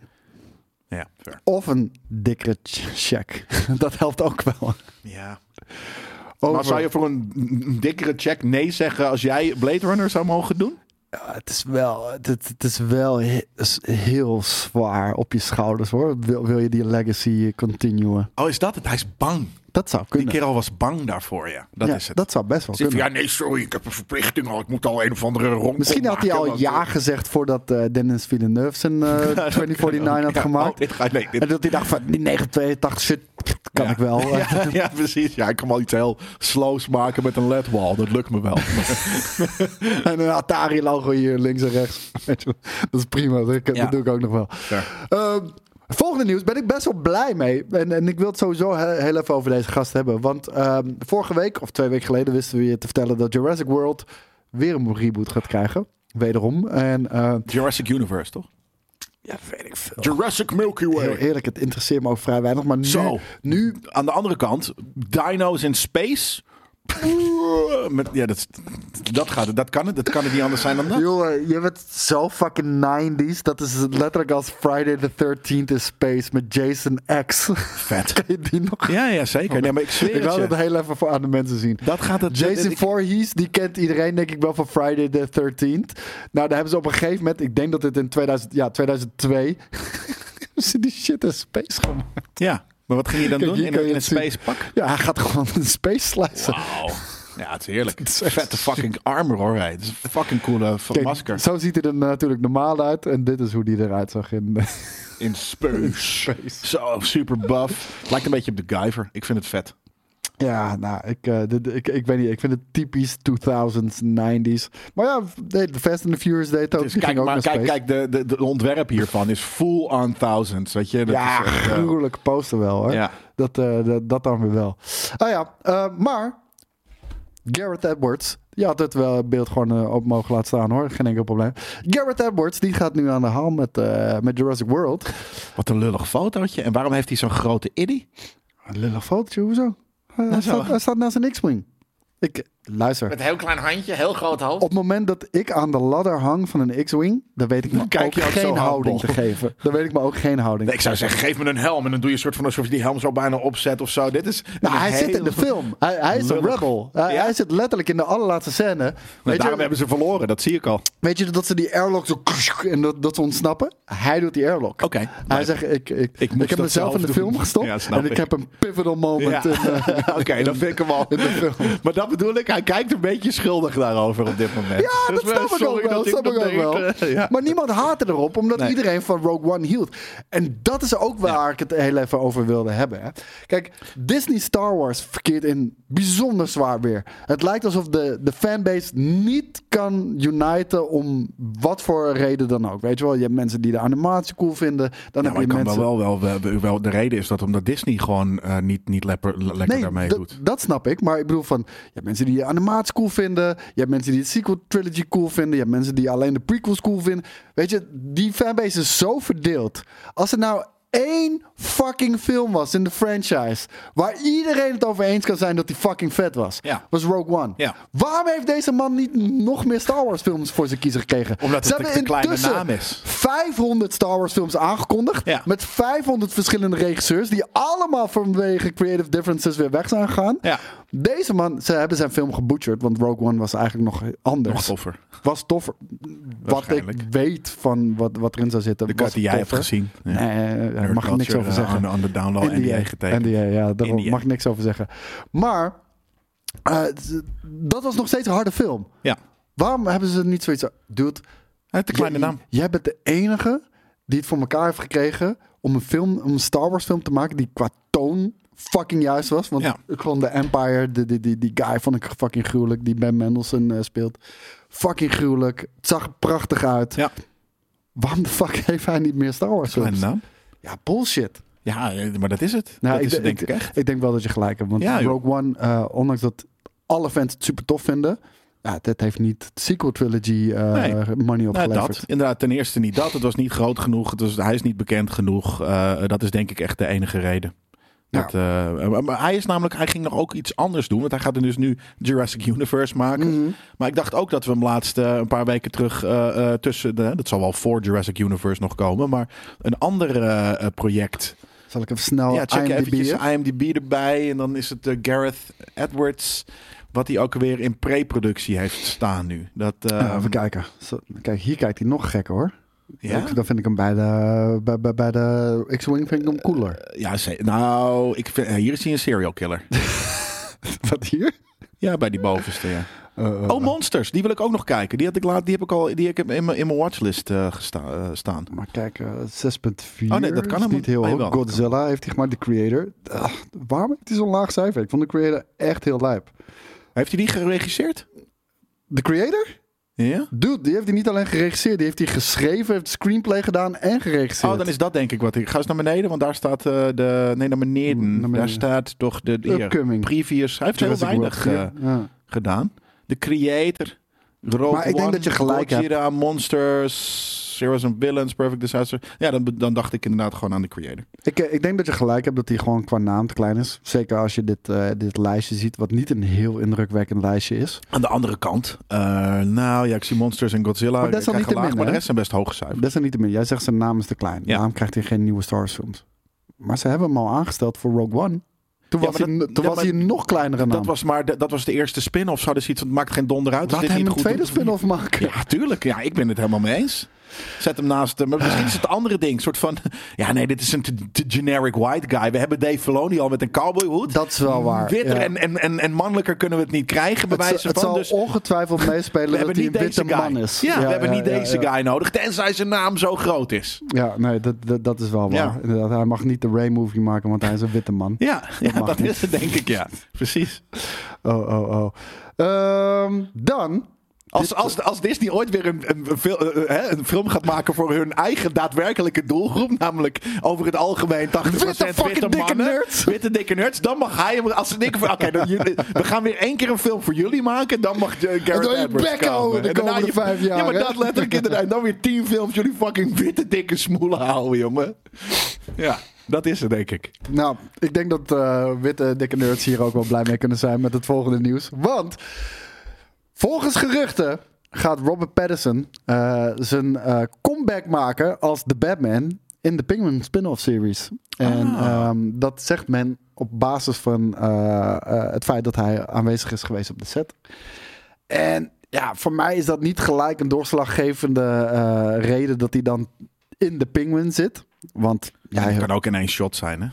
[SPEAKER 2] ja, fair.
[SPEAKER 3] Of een dikkere ch- check. Dat helpt ook wel.
[SPEAKER 2] ja. Maar
[SPEAKER 3] Over-
[SPEAKER 2] zou je voor een, een dikkere check nee zeggen als jij Blade Runner zou mogen doen?
[SPEAKER 3] Ja, Ah, het is wel, het, het- het is wel he- is heel zwaar op je schouders hoor. Wil, wil je die legacy continuen?
[SPEAKER 2] Oh, is dat het? Hij is bang.
[SPEAKER 3] Dat zou
[SPEAKER 2] Die
[SPEAKER 3] kunnen.
[SPEAKER 2] kerel was bang daarvoor, ja. Dat
[SPEAKER 3] Ja,
[SPEAKER 2] is het.
[SPEAKER 3] Dat zou best wel
[SPEAKER 2] Zit van,
[SPEAKER 3] kunnen.
[SPEAKER 2] ja, nee, sorry, ik heb een verplichting al. Ik moet al een of andere rond.
[SPEAKER 3] Misschien had hij
[SPEAKER 2] eh,
[SPEAKER 3] al ja gezegd voordat eh, Dennis Villeneuve zijn eh, 2049 had
[SPEAKER 2] Oh,
[SPEAKER 3] gemaakt.
[SPEAKER 2] dit ga, nee, dit,
[SPEAKER 3] En dat hij dacht van, die 982 shit, kan
[SPEAKER 2] Ja.
[SPEAKER 3] ik wel.
[SPEAKER 2] Ja, ja, precies. Ja, ik kan wel iets heel slows maken met een ledwall. Dat lukt me wel.
[SPEAKER 3] En een Atari-logo hier links en rechts. Weet je wel. dat is prima, dat, dat
[SPEAKER 2] Ja.
[SPEAKER 3] doe ik ook nog wel. Ehm, volgende nieuws ben ik best wel blij mee. En, en ik wil het sowieso he- heel even over deze gast hebben. Want ehm, vorige week, of twee weken geleden, wisten we je te vertellen dat Jurassic World weer een reboot gaat krijgen. Wederom. En eh,
[SPEAKER 2] Jurassic Universe, toch?
[SPEAKER 3] ja, weet ik veel.
[SPEAKER 2] Jurassic Milky
[SPEAKER 3] Heel eerlijk, het interesseert me ook vrij weinig. Maar nu,
[SPEAKER 2] Zo.
[SPEAKER 3] nu
[SPEAKER 2] Aan de andere kant, dino's in space. Met, ja, dat, dat, gaat, het. dat kan het. Dat kan het niet anders zijn dan dat.
[SPEAKER 3] Jongen, je bent zo fucking 90s. Dat is letterlijk als Friday the 13th in Space met Jason X.
[SPEAKER 2] Vet.
[SPEAKER 3] Kan je die nog?
[SPEAKER 2] Ja, ja, zeker. Nee, maar ik zweer
[SPEAKER 3] Oh, Ik
[SPEAKER 2] het
[SPEAKER 3] wil
[SPEAKER 2] je.
[SPEAKER 3] dat heel even voor aan de mensen zien.
[SPEAKER 2] Dat gaat het-
[SPEAKER 3] Jason
[SPEAKER 2] ik-
[SPEAKER 3] Voorhees, die kent iedereen denk ik wel van Friday the 13th. Nou, daar hebben ze op een gegeven moment, ik denk dat dit in 2000, ja, 2002, hebben ze die shit in space gemaakt.
[SPEAKER 2] Ja. Maar wat ging je dan
[SPEAKER 3] Kijk,
[SPEAKER 2] doen?
[SPEAKER 3] hier
[SPEAKER 2] In,
[SPEAKER 3] kan
[SPEAKER 2] een-
[SPEAKER 3] je
[SPEAKER 2] in een
[SPEAKER 3] het zien.
[SPEAKER 2] space pak?
[SPEAKER 3] Ja, hij gaat gewoon een space slicer.
[SPEAKER 2] Wauw. Ja, het is heerlijk. Het is vette fucking armor hoor. hij. Het is een fucking coole van
[SPEAKER 3] Kijk,
[SPEAKER 2] masker.
[SPEAKER 3] Zo ziet hij er natuurlijk normaal uit. En dit is hoe die eruit zag in
[SPEAKER 2] In space. Zo, super buff. Lijkt een beetje op de Guyver. Ik vind het vet.
[SPEAKER 3] Ja, nou, ik, eh, dit, ik, ik weet niet. Ik vind het typisch 2000s, 90s. Maar ja, de de Fast and the Furious deed het ook.
[SPEAKER 2] Dus
[SPEAKER 3] Die
[SPEAKER 2] kijk,
[SPEAKER 3] ging ook
[SPEAKER 2] maar,
[SPEAKER 3] naar
[SPEAKER 2] kijk,
[SPEAKER 3] space.
[SPEAKER 2] kijk de, de, de ontwerp hiervan is full on thousands. Weet je? Dat
[SPEAKER 3] ja,
[SPEAKER 2] is echt, eh,
[SPEAKER 3] gruwelijke poster wel hoor.
[SPEAKER 2] Ja.
[SPEAKER 3] Dat, eh, dat, dat dan weer wel. Ah ja, eh, maar Garrett Edwards. Je had het wel beeld gewoon eh, op mogen laten staan hoor. Geen enkel probleem. Garrett Edwards, die gaat nu aan de haal met, eh, met Jurassic World.
[SPEAKER 2] eh, wat een lullig fotootje. En waarom heeft hij zo'n grote iddy?
[SPEAKER 3] Een lullig fotootje, hoezo? Hij, hij
[SPEAKER 2] zo. eh,
[SPEAKER 3] staat, hij staat naast een X-Wing. Ik, luister.
[SPEAKER 2] heel klein handje, heel groot hoofd.
[SPEAKER 3] Op het moment dat ik aan de ladder hang van een X-Wing, dan weet ik me
[SPEAKER 2] Dan kijk
[SPEAKER 3] ook
[SPEAKER 2] je ook zo
[SPEAKER 3] geen houding te
[SPEAKER 2] handbol.
[SPEAKER 3] geven. Dan weet ik me ook geen houding.
[SPEAKER 2] ik zou zeggen, geef me een helm. En dan doe je een soort van alsof je die helm zo bijna opzet of zo. Dit is
[SPEAKER 3] Nou,
[SPEAKER 2] een
[SPEAKER 3] hij zit in
[SPEAKER 2] heel-
[SPEAKER 3] de film. Hij, hij is een
[SPEAKER 2] lullig.
[SPEAKER 3] rebel. Hij,
[SPEAKER 2] Ja?
[SPEAKER 3] hij zit letterlijk in de allerlaatste scène.
[SPEAKER 2] Maar
[SPEAKER 3] Weet
[SPEAKER 2] daarom
[SPEAKER 3] je,
[SPEAKER 2] hebben ze verloren, dat zie ik al.
[SPEAKER 3] weet je dat ze die airlock zo... En dat, dat ze ontsnappen? Hij doet die airlock.
[SPEAKER 2] Oké.
[SPEAKER 3] Hij zegt, ik, ik, ik,
[SPEAKER 2] moest
[SPEAKER 3] heb
[SPEAKER 2] dat
[SPEAKER 3] mezelf in
[SPEAKER 2] zelf
[SPEAKER 3] de
[SPEAKER 2] doen.
[SPEAKER 3] film gestopt.
[SPEAKER 2] Ja, snap
[SPEAKER 3] en ik,
[SPEAKER 2] ik.
[SPEAKER 3] heb een pivotal moment.
[SPEAKER 2] Ja.
[SPEAKER 3] in, eh,
[SPEAKER 2] Oké, dat vind ik hem al. Maar dat bedoel ik, hij kijkt een beetje schuldig daarover op dit moment.
[SPEAKER 3] Ja,
[SPEAKER 2] Dus,
[SPEAKER 3] dat
[SPEAKER 2] eh,
[SPEAKER 3] snap ik
[SPEAKER 2] sorry
[SPEAKER 3] ook wel.
[SPEAKER 2] dat ik
[SPEAKER 3] Snap
[SPEAKER 2] dat
[SPEAKER 3] ik ook
[SPEAKER 2] denk,
[SPEAKER 3] wel.
[SPEAKER 2] eh, ja.
[SPEAKER 3] Maar niemand haatte erop, omdat
[SPEAKER 2] Nee.
[SPEAKER 3] iedereen van Rogue One hield. En dat is ook waar ik het heel even over wilde hebben. Hè. Kijk, Disney Star Wars verkeert in bijzonder zwaar weer. Het lijkt alsof de, de fanbase niet kan uniten om wat voor reden dan ook. Weet je wel, je hebt mensen die de animatie cool vinden.
[SPEAKER 2] Ja,
[SPEAKER 3] Dan heb
[SPEAKER 2] maar
[SPEAKER 3] je
[SPEAKER 2] ik kan
[SPEAKER 3] mensen...
[SPEAKER 2] wel wel, wel, wel, wel- De reden is dat omdat Disney gewoon eh, niet, niet lepper- le- lekker daarmee
[SPEAKER 3] dat-
[SPEAKER 2] doet.
[SPEAKER 3] Dat snap ik. Maar ik bedoel van, je hebt mensen die de animatie cool vinden. Je hebt mensen die de sequel trilogy cool vinden. Je hebt mensen die alleen de prequels cool vinden. Weet je, die fanbase is zo verdeeld. Als er nou één fucking film was in de franchise... waar iedereen het over eens kan zijn dat die fucking vet was...
[SPEAKER 2] Ja.
[SPEAKER 3] was Rogue One.
[SPEAKER 2] Ja.
[SPEAKER 3] Waarom heeft deze man niet nog meer Star Wars films voor zijn kiezer gekregen?
[SPEAKER 2] Omdat
[SPEAKER 3] Ze
[SPEAKER 2] het
[SPEAKER 3] hebben
[SPEAKER 2] een te kleine
[SPEAKER 3] intussen
[SPEAKER 2] naam is.
[SPEAKER 3] 500 Star Wars films aangekondigd.
[SPEAKER 2] Ja.
[SPEAKER 3] Met 500 verschillende regisseurs. Die allemaal vanwege creative differences weer weg zijn gegaan.
[SPEAKER 2] Ja.
[SPEAKER 3] Deze man, ze hebben zijn film gebutcherd. Want Rogue One was eigenlijk nog anders.
[SPEAKER 2] Nog toffer.
[SPEAKER 3] Was toffer. Wat ik
[SPEAKER 2] Waarschijnlijk.
[SPEAKER 3] weet van wat, wat erin zou zitten.
[SPEAKER 2] De
[SPEAKER 3] was
[SPEAKER 2] cut die jij hebt
[SPEAKER 3] toffer.
[SPEAKER 2] gezien. Ja.
[SPEAKER 3] Nee, eh, daar mag ik niks
[SPEAKER 2] Culture,
[SPEAKER 3] over
[SPEAKER 2] eh,
[SPEAKER 3] zeggen.
[SPEAKER 2] on- on the download, NDA getekend.
[SPEAKER 3] NDA, ja, daar
[SPEAKER 2] NDA.
[SPEAKER 3] mag ik niks over zeggen. Maar eh, d- dat was nog steeds een harde film.
[SPEAKER 2] Ja.
[SPEAKER 3] Waarom hebben ze niet zoiets... Dude,
[SPEAKER 2] Hij heeft een kleine
[SPEAKER 3] Jij-
[SPEAKER 2] naam.
[SPEAKER 3] Jij bent de enige die het voor elkaar heeft gekregen om een film, om een Star Wars film te maken die qua toon fucking juist was. Want
[SPEAKER 2] Ja.
[SPEAKER 3] ik vond de Empire, de, die, die, die guy vond ik fucking gruwelijk, die Ben Mendelsohn eh, speelt. Fucking gruwelijk. Het zag er prachtig uit.
[SPEAKER 2] Ja,
[SPEAKER 3] Waarom de fuck heeft hij niet meer Star Wars
[SPEAKER 2] kleine
[SPEAKER 3] films?
[SPEAKER 2] naam.
[SPEAKER 3] Ja, bullshit.
[SPEAKER 2] Ja, eh, maar dat is het.
[SPEAKER 3] Nou,
[SPEAKER 2] dat
[SPEAKER 3] ik,
[SPEAKER 2] is het,
[SPEAKER 3] denk,
[SPEAKER 2] denk ik
[SPEAKER 3] ik,
[SPEAKER 2] echt.
[SPEAKER 3] ik denk wel dat je gelijk hebt. Want
[SPEAKER 2] Ja, joh.
[SPEAKER 3] Rogue One, eh, ondanks dat alle fans het super tof vinden, ja, dit heeft niet de sequel trilogy eh,
[SPEAKER 2] Nee.
[SPEAKER 3] money
[SPEAKER 2] Nou,
[SPEAKER 3] opgeleverd.
[SPEAKER 2] dat. Inderdaad, ten eerste niet dat. Het was niet groot genoeg. Het was, hij is niet bekend genoeg. Eh, dat is denk ik echt de enige reden.
[SPEAKER 3] Ja.
[SPEAKER 2] Dat, eh, maar- maar hij is namelijk, hij ging nog ook iets anders doen. Want hij gaat er dus nu Jurassic Universe maken.
[SPEAKER 3] Mhm.
[SPEAKER 2] Maar ik dacht ook dat we hem laatst eh, een paar weken terug eh, eh, tussen. De, dat zal wel voor Jurassic Universe nog komen. Maar een ander eh, project.
[SPEAKER 3] Zal ik even snel
[SPEAKER 2] ja, check
[SPEAKER 3] IMDb
[SPEAKER 2] eventjes
[SPEAKER 3] in?
[SPEAKER 2] IMDb erbij. En dan is het eh, Gareth Edwards. Wat hij ook weer in pre-productie heeft staan nu. Dat, eh,
[SPEAKER 3] Ja, even kijken. Zo, kijk, hier kijkt hij nog gekker hoor.
[SPEAKER 2] ja?
[SPEAKER 3] Ik- dan vind ik hem bij de, bij, bij, bij de X-Wing vind ik hem cooler.
[SPEAKER 2] Ja, ze- nou, ik vind, eh, hier is hij een serial killer.
[SPEAKER 3] Wat hier?
[SPEAKER 2] ja, bij die bovenste, ja.
[SPEAKER 3] Eh,
[SPEAKER 2] oh, Monsters, die wil ik ook nog kijken. Die, had ik laat, die heb ik al die heb ik in mijn in mijn watchlist eh, gesta- eh, staan.
[SPEAKER 3] Maar kijk, eh, 6.4
[SPEAKER 2] Oh, nee, dat kan
[SPEAKER 3] is
[SPEAKER 2] hem-
[SPEAKER 3] niet heel
[SPEAKER 2] oh,
[SPEAKER 3] hoog.
[SPEAKER 2] jawel.
[SPEAKER 3] Godzilla heeft hij gemaakt, de creator. Ah, waarom heeft hij zo'n laag cijfer? Ik vond de creator echt heel lijp.
[SPEAKER 2] Heeft hij die geregisseerd?
[SPEAKER 3] De creator?
[SPEAKER 2] Ja?
[SPEAKER 3] Dude, die heeft hij niet alleen geregisseerd. Die heeft hij geschreven, heeft screenplay gedaan en geregisseerd.
[SPEAKER 2] Oh, dan is dat denk ik wat ik. Ga eens naar beneden, want daar staat eh, de. Nee, naar beneden.
[SPEAKER 3] Naar beneden.
[SPEAKER 2] Daar staat toch de. Hier,
[SPEAKER 3] Upcoming.
[SPEAKER 2] Previous. Hij heeft
[SPEAKER 3] Jurassic
[SPEAKER 2] heel
[SPEAKER 3] World.
[SPEAKER 2] weinig eh,
[SPEAKER 3] Ja.
[SPEAKER 2] gedaan. De creator. Rogue
[SPEAKER 3] Maar ik denk
[SPEAKER 2] One,
[SPEAKER 3] dat je gelijk hebt.
[SPEAKER 2] Godzilla, Monsters, Heroes and Villains, Perfect Disaster. Ja, dan, dan dacht ik inderdaad gewoon aan de creator.
[SPEAKER 3] Ik, eh, ik denk dat je gelijk hebt dat hij gewoon qua naam te klein is. Zeker als je dit, eh, dit lijstje ziet, wat niet een heel indrukwekkend lijstje is.
[SPEAKER 2] Aan de andere kant, eh, nou ja, ik zie Monsters en Godzilla.
[SPEAKER 3] Maar dat
[SPEAKER 2] ik
[SPEAKER 3] is dan
[SPEAKER 2] krijg
[SPEAKER 3] niet
[SPEAKER 2] een
[SPEAKER 3] te
[SPEAKER 2] laag,
[SPEAKER 3] min,
[SPEAKER 2] Maar de
[SPEAKER 3] hè?
[SPEAKER 2] rest zijn best hoge cijfers.
[SPEAKER 3] Desalniettemin, jij zegt zijn naam is te klein.
[SPEAKER 2] Ja.
[SPEAKER 3] Daarom krijgt hij geen nieuwe Star Wars films. Maar ze hebben hem al aangesteld voor Rogue One. Toen
[SPEAKER 2] Ja,
[SPEAKER 3] was,
[SPEAKER 2] maar
[SPEAKER 3] hij,
[SPEAKER 2] dat-
[SPEAKER 3] toen
[SPEAKER 2] ja,
[SPEAKER 3] was
[SPEAKER 2] maar
[SPEAKER 3] hij een nog kleinere naam.
[SPEAKER 2] Dat was, maar de, dat was de eerste spin-off. Ze hadden zoiets van, het maakt geen donder uit. als
[SPEAKER 3] Laat
[SPEAKER 2] dit
[SPEAKER 3] hem
[SPEAKER 2] niet
[SPEAKER 3] een
[SPEAKER 2] goed
[SPEAKER 3] tweede
[SPEAKER 2] doet.
[SPEAKER 3] spin-off maken.
[SPEAKER 2] Ja, tuurlijk. Ja, ik ben het helemaal mee eens. Zet hem naast hem. Maar misschien is het andere ding. Een soort van. Ja, nee, dit is een te, te generic white guy. We hebben Dave Filoni al met een cowboyhoed.
[SPEAKER 3] Dat is wel waar,
[SPEAKER 2] Witter
[SPEAKER 3] ja.
[SPEAKER 2] en, en, en, en mannelijker kunnen we het niet krijgen. Bij
[SPEAKER 3] Het,
[SPEAKER 2] wijze
[SPEAKER 3] z- het
[SPEAKER 2] van.
[SPEAKER 3] zal
[SPEAKER 2] dus
[SPEAKER 3] ongetwijfeld
[SPEAKER 2] we
[SPEAKER 3] meespelen dat
[SPEAKER 2] hebben
[SPEAKER 3] hij
[SPEAKER 2] niet
[SPEAKER 3] een witte
[SPEAKER 2] deze guy.
[SPEAKER 3] man is.
[SPEAKER 2] Ja, we hebben
[SPEAKER 3] ja,
[SPEAKER 2] niet
[SPEAKER 3] ja,
[SPEAKER 2] deze
[SPEAKER 3] ja.
[SPEAKER 2] guy nodig. Tenzij zijn naam zo groot is.
[SPEAKER 3] Ja, nee, dat, dat, dat is wel waar.
[SPEAKER 2] Ja.
[SPEAKER 3] Inderdaad, hij mag niet de Ray-movie maken, want hij is een witte man.
[SPEAKER 2] Ja, ja
[SPEAKER 3] mag
[SPEAKER 2] dat
[SPEAKER 3] niet.
[SPEAKER 2] is het denk ik, ja. Precies.
[SPEAKER 3] Oh, oh, oh. Ehm, dan.
[SPEAKER 2] Als,
[SPEAKER 3] eh,
[SPEAKER 2] als, als Disney ooit weer een, een, een fil- eh, eh, hè, een film gaat maken voor hun eigen daadwerkelijke doelgroep, namelijk over het algemeen 80%
[SPEAKER 3] Witte
[SPEAKER 2] witte,
[SPEAKER 3] fucking dikke
[SPEAKER 2] mannen,
[SPEAKER 3] nerds.
[SPEAKER 2] witte dikke nerds, dan mag hij hem, als ze denken van, oké, dan jullie- we gaan weer één keer een film voor jullie maken, dan mag eh, Gareth
[SPEAKER 3] doe je
[SPEAKER 2] Edwards
[SPEAKER 3] bek
[SPEAKER 2] komen.
[SPEAKER 3] houden de
[SPEAKER 2] En daarna
[SPEAKER 3] komende
[SPEAKER 2] je-
[SPEAKER 3] vijf jaar,
[SPEAKER 2] Ja, maar
[SPEAKER 3] hè?
[SPEAKER 2] dat letterlijk inderdaad. En dan weer tien films jullie fucking witte dikke smoelen houden, jongen. Ja, dat is het denk ik.
[SPEAKER 3] Nou, ik denk dat eh, witte dikke nerds hier ook wel blij mee kunnen zijn met het volgende nieuws. Want volgens geruchten gaat Robert Pattinson eh, zijn eh, comeback maken als de Batman in de Penguin spin-off series. En ehm, dat zegt men op basis van eh, eh, het feit dat hij aanwezig is geweest op de set. En ja, voor mij is dat niet gelijk een doorslaggevende eh, reden dat hij dan in de Penguin zit. Want ja,
[SPEAKER 2] het
[SPEAKER 3] hij
[SPEAKER 2] kan ook in één shot zijn, hè?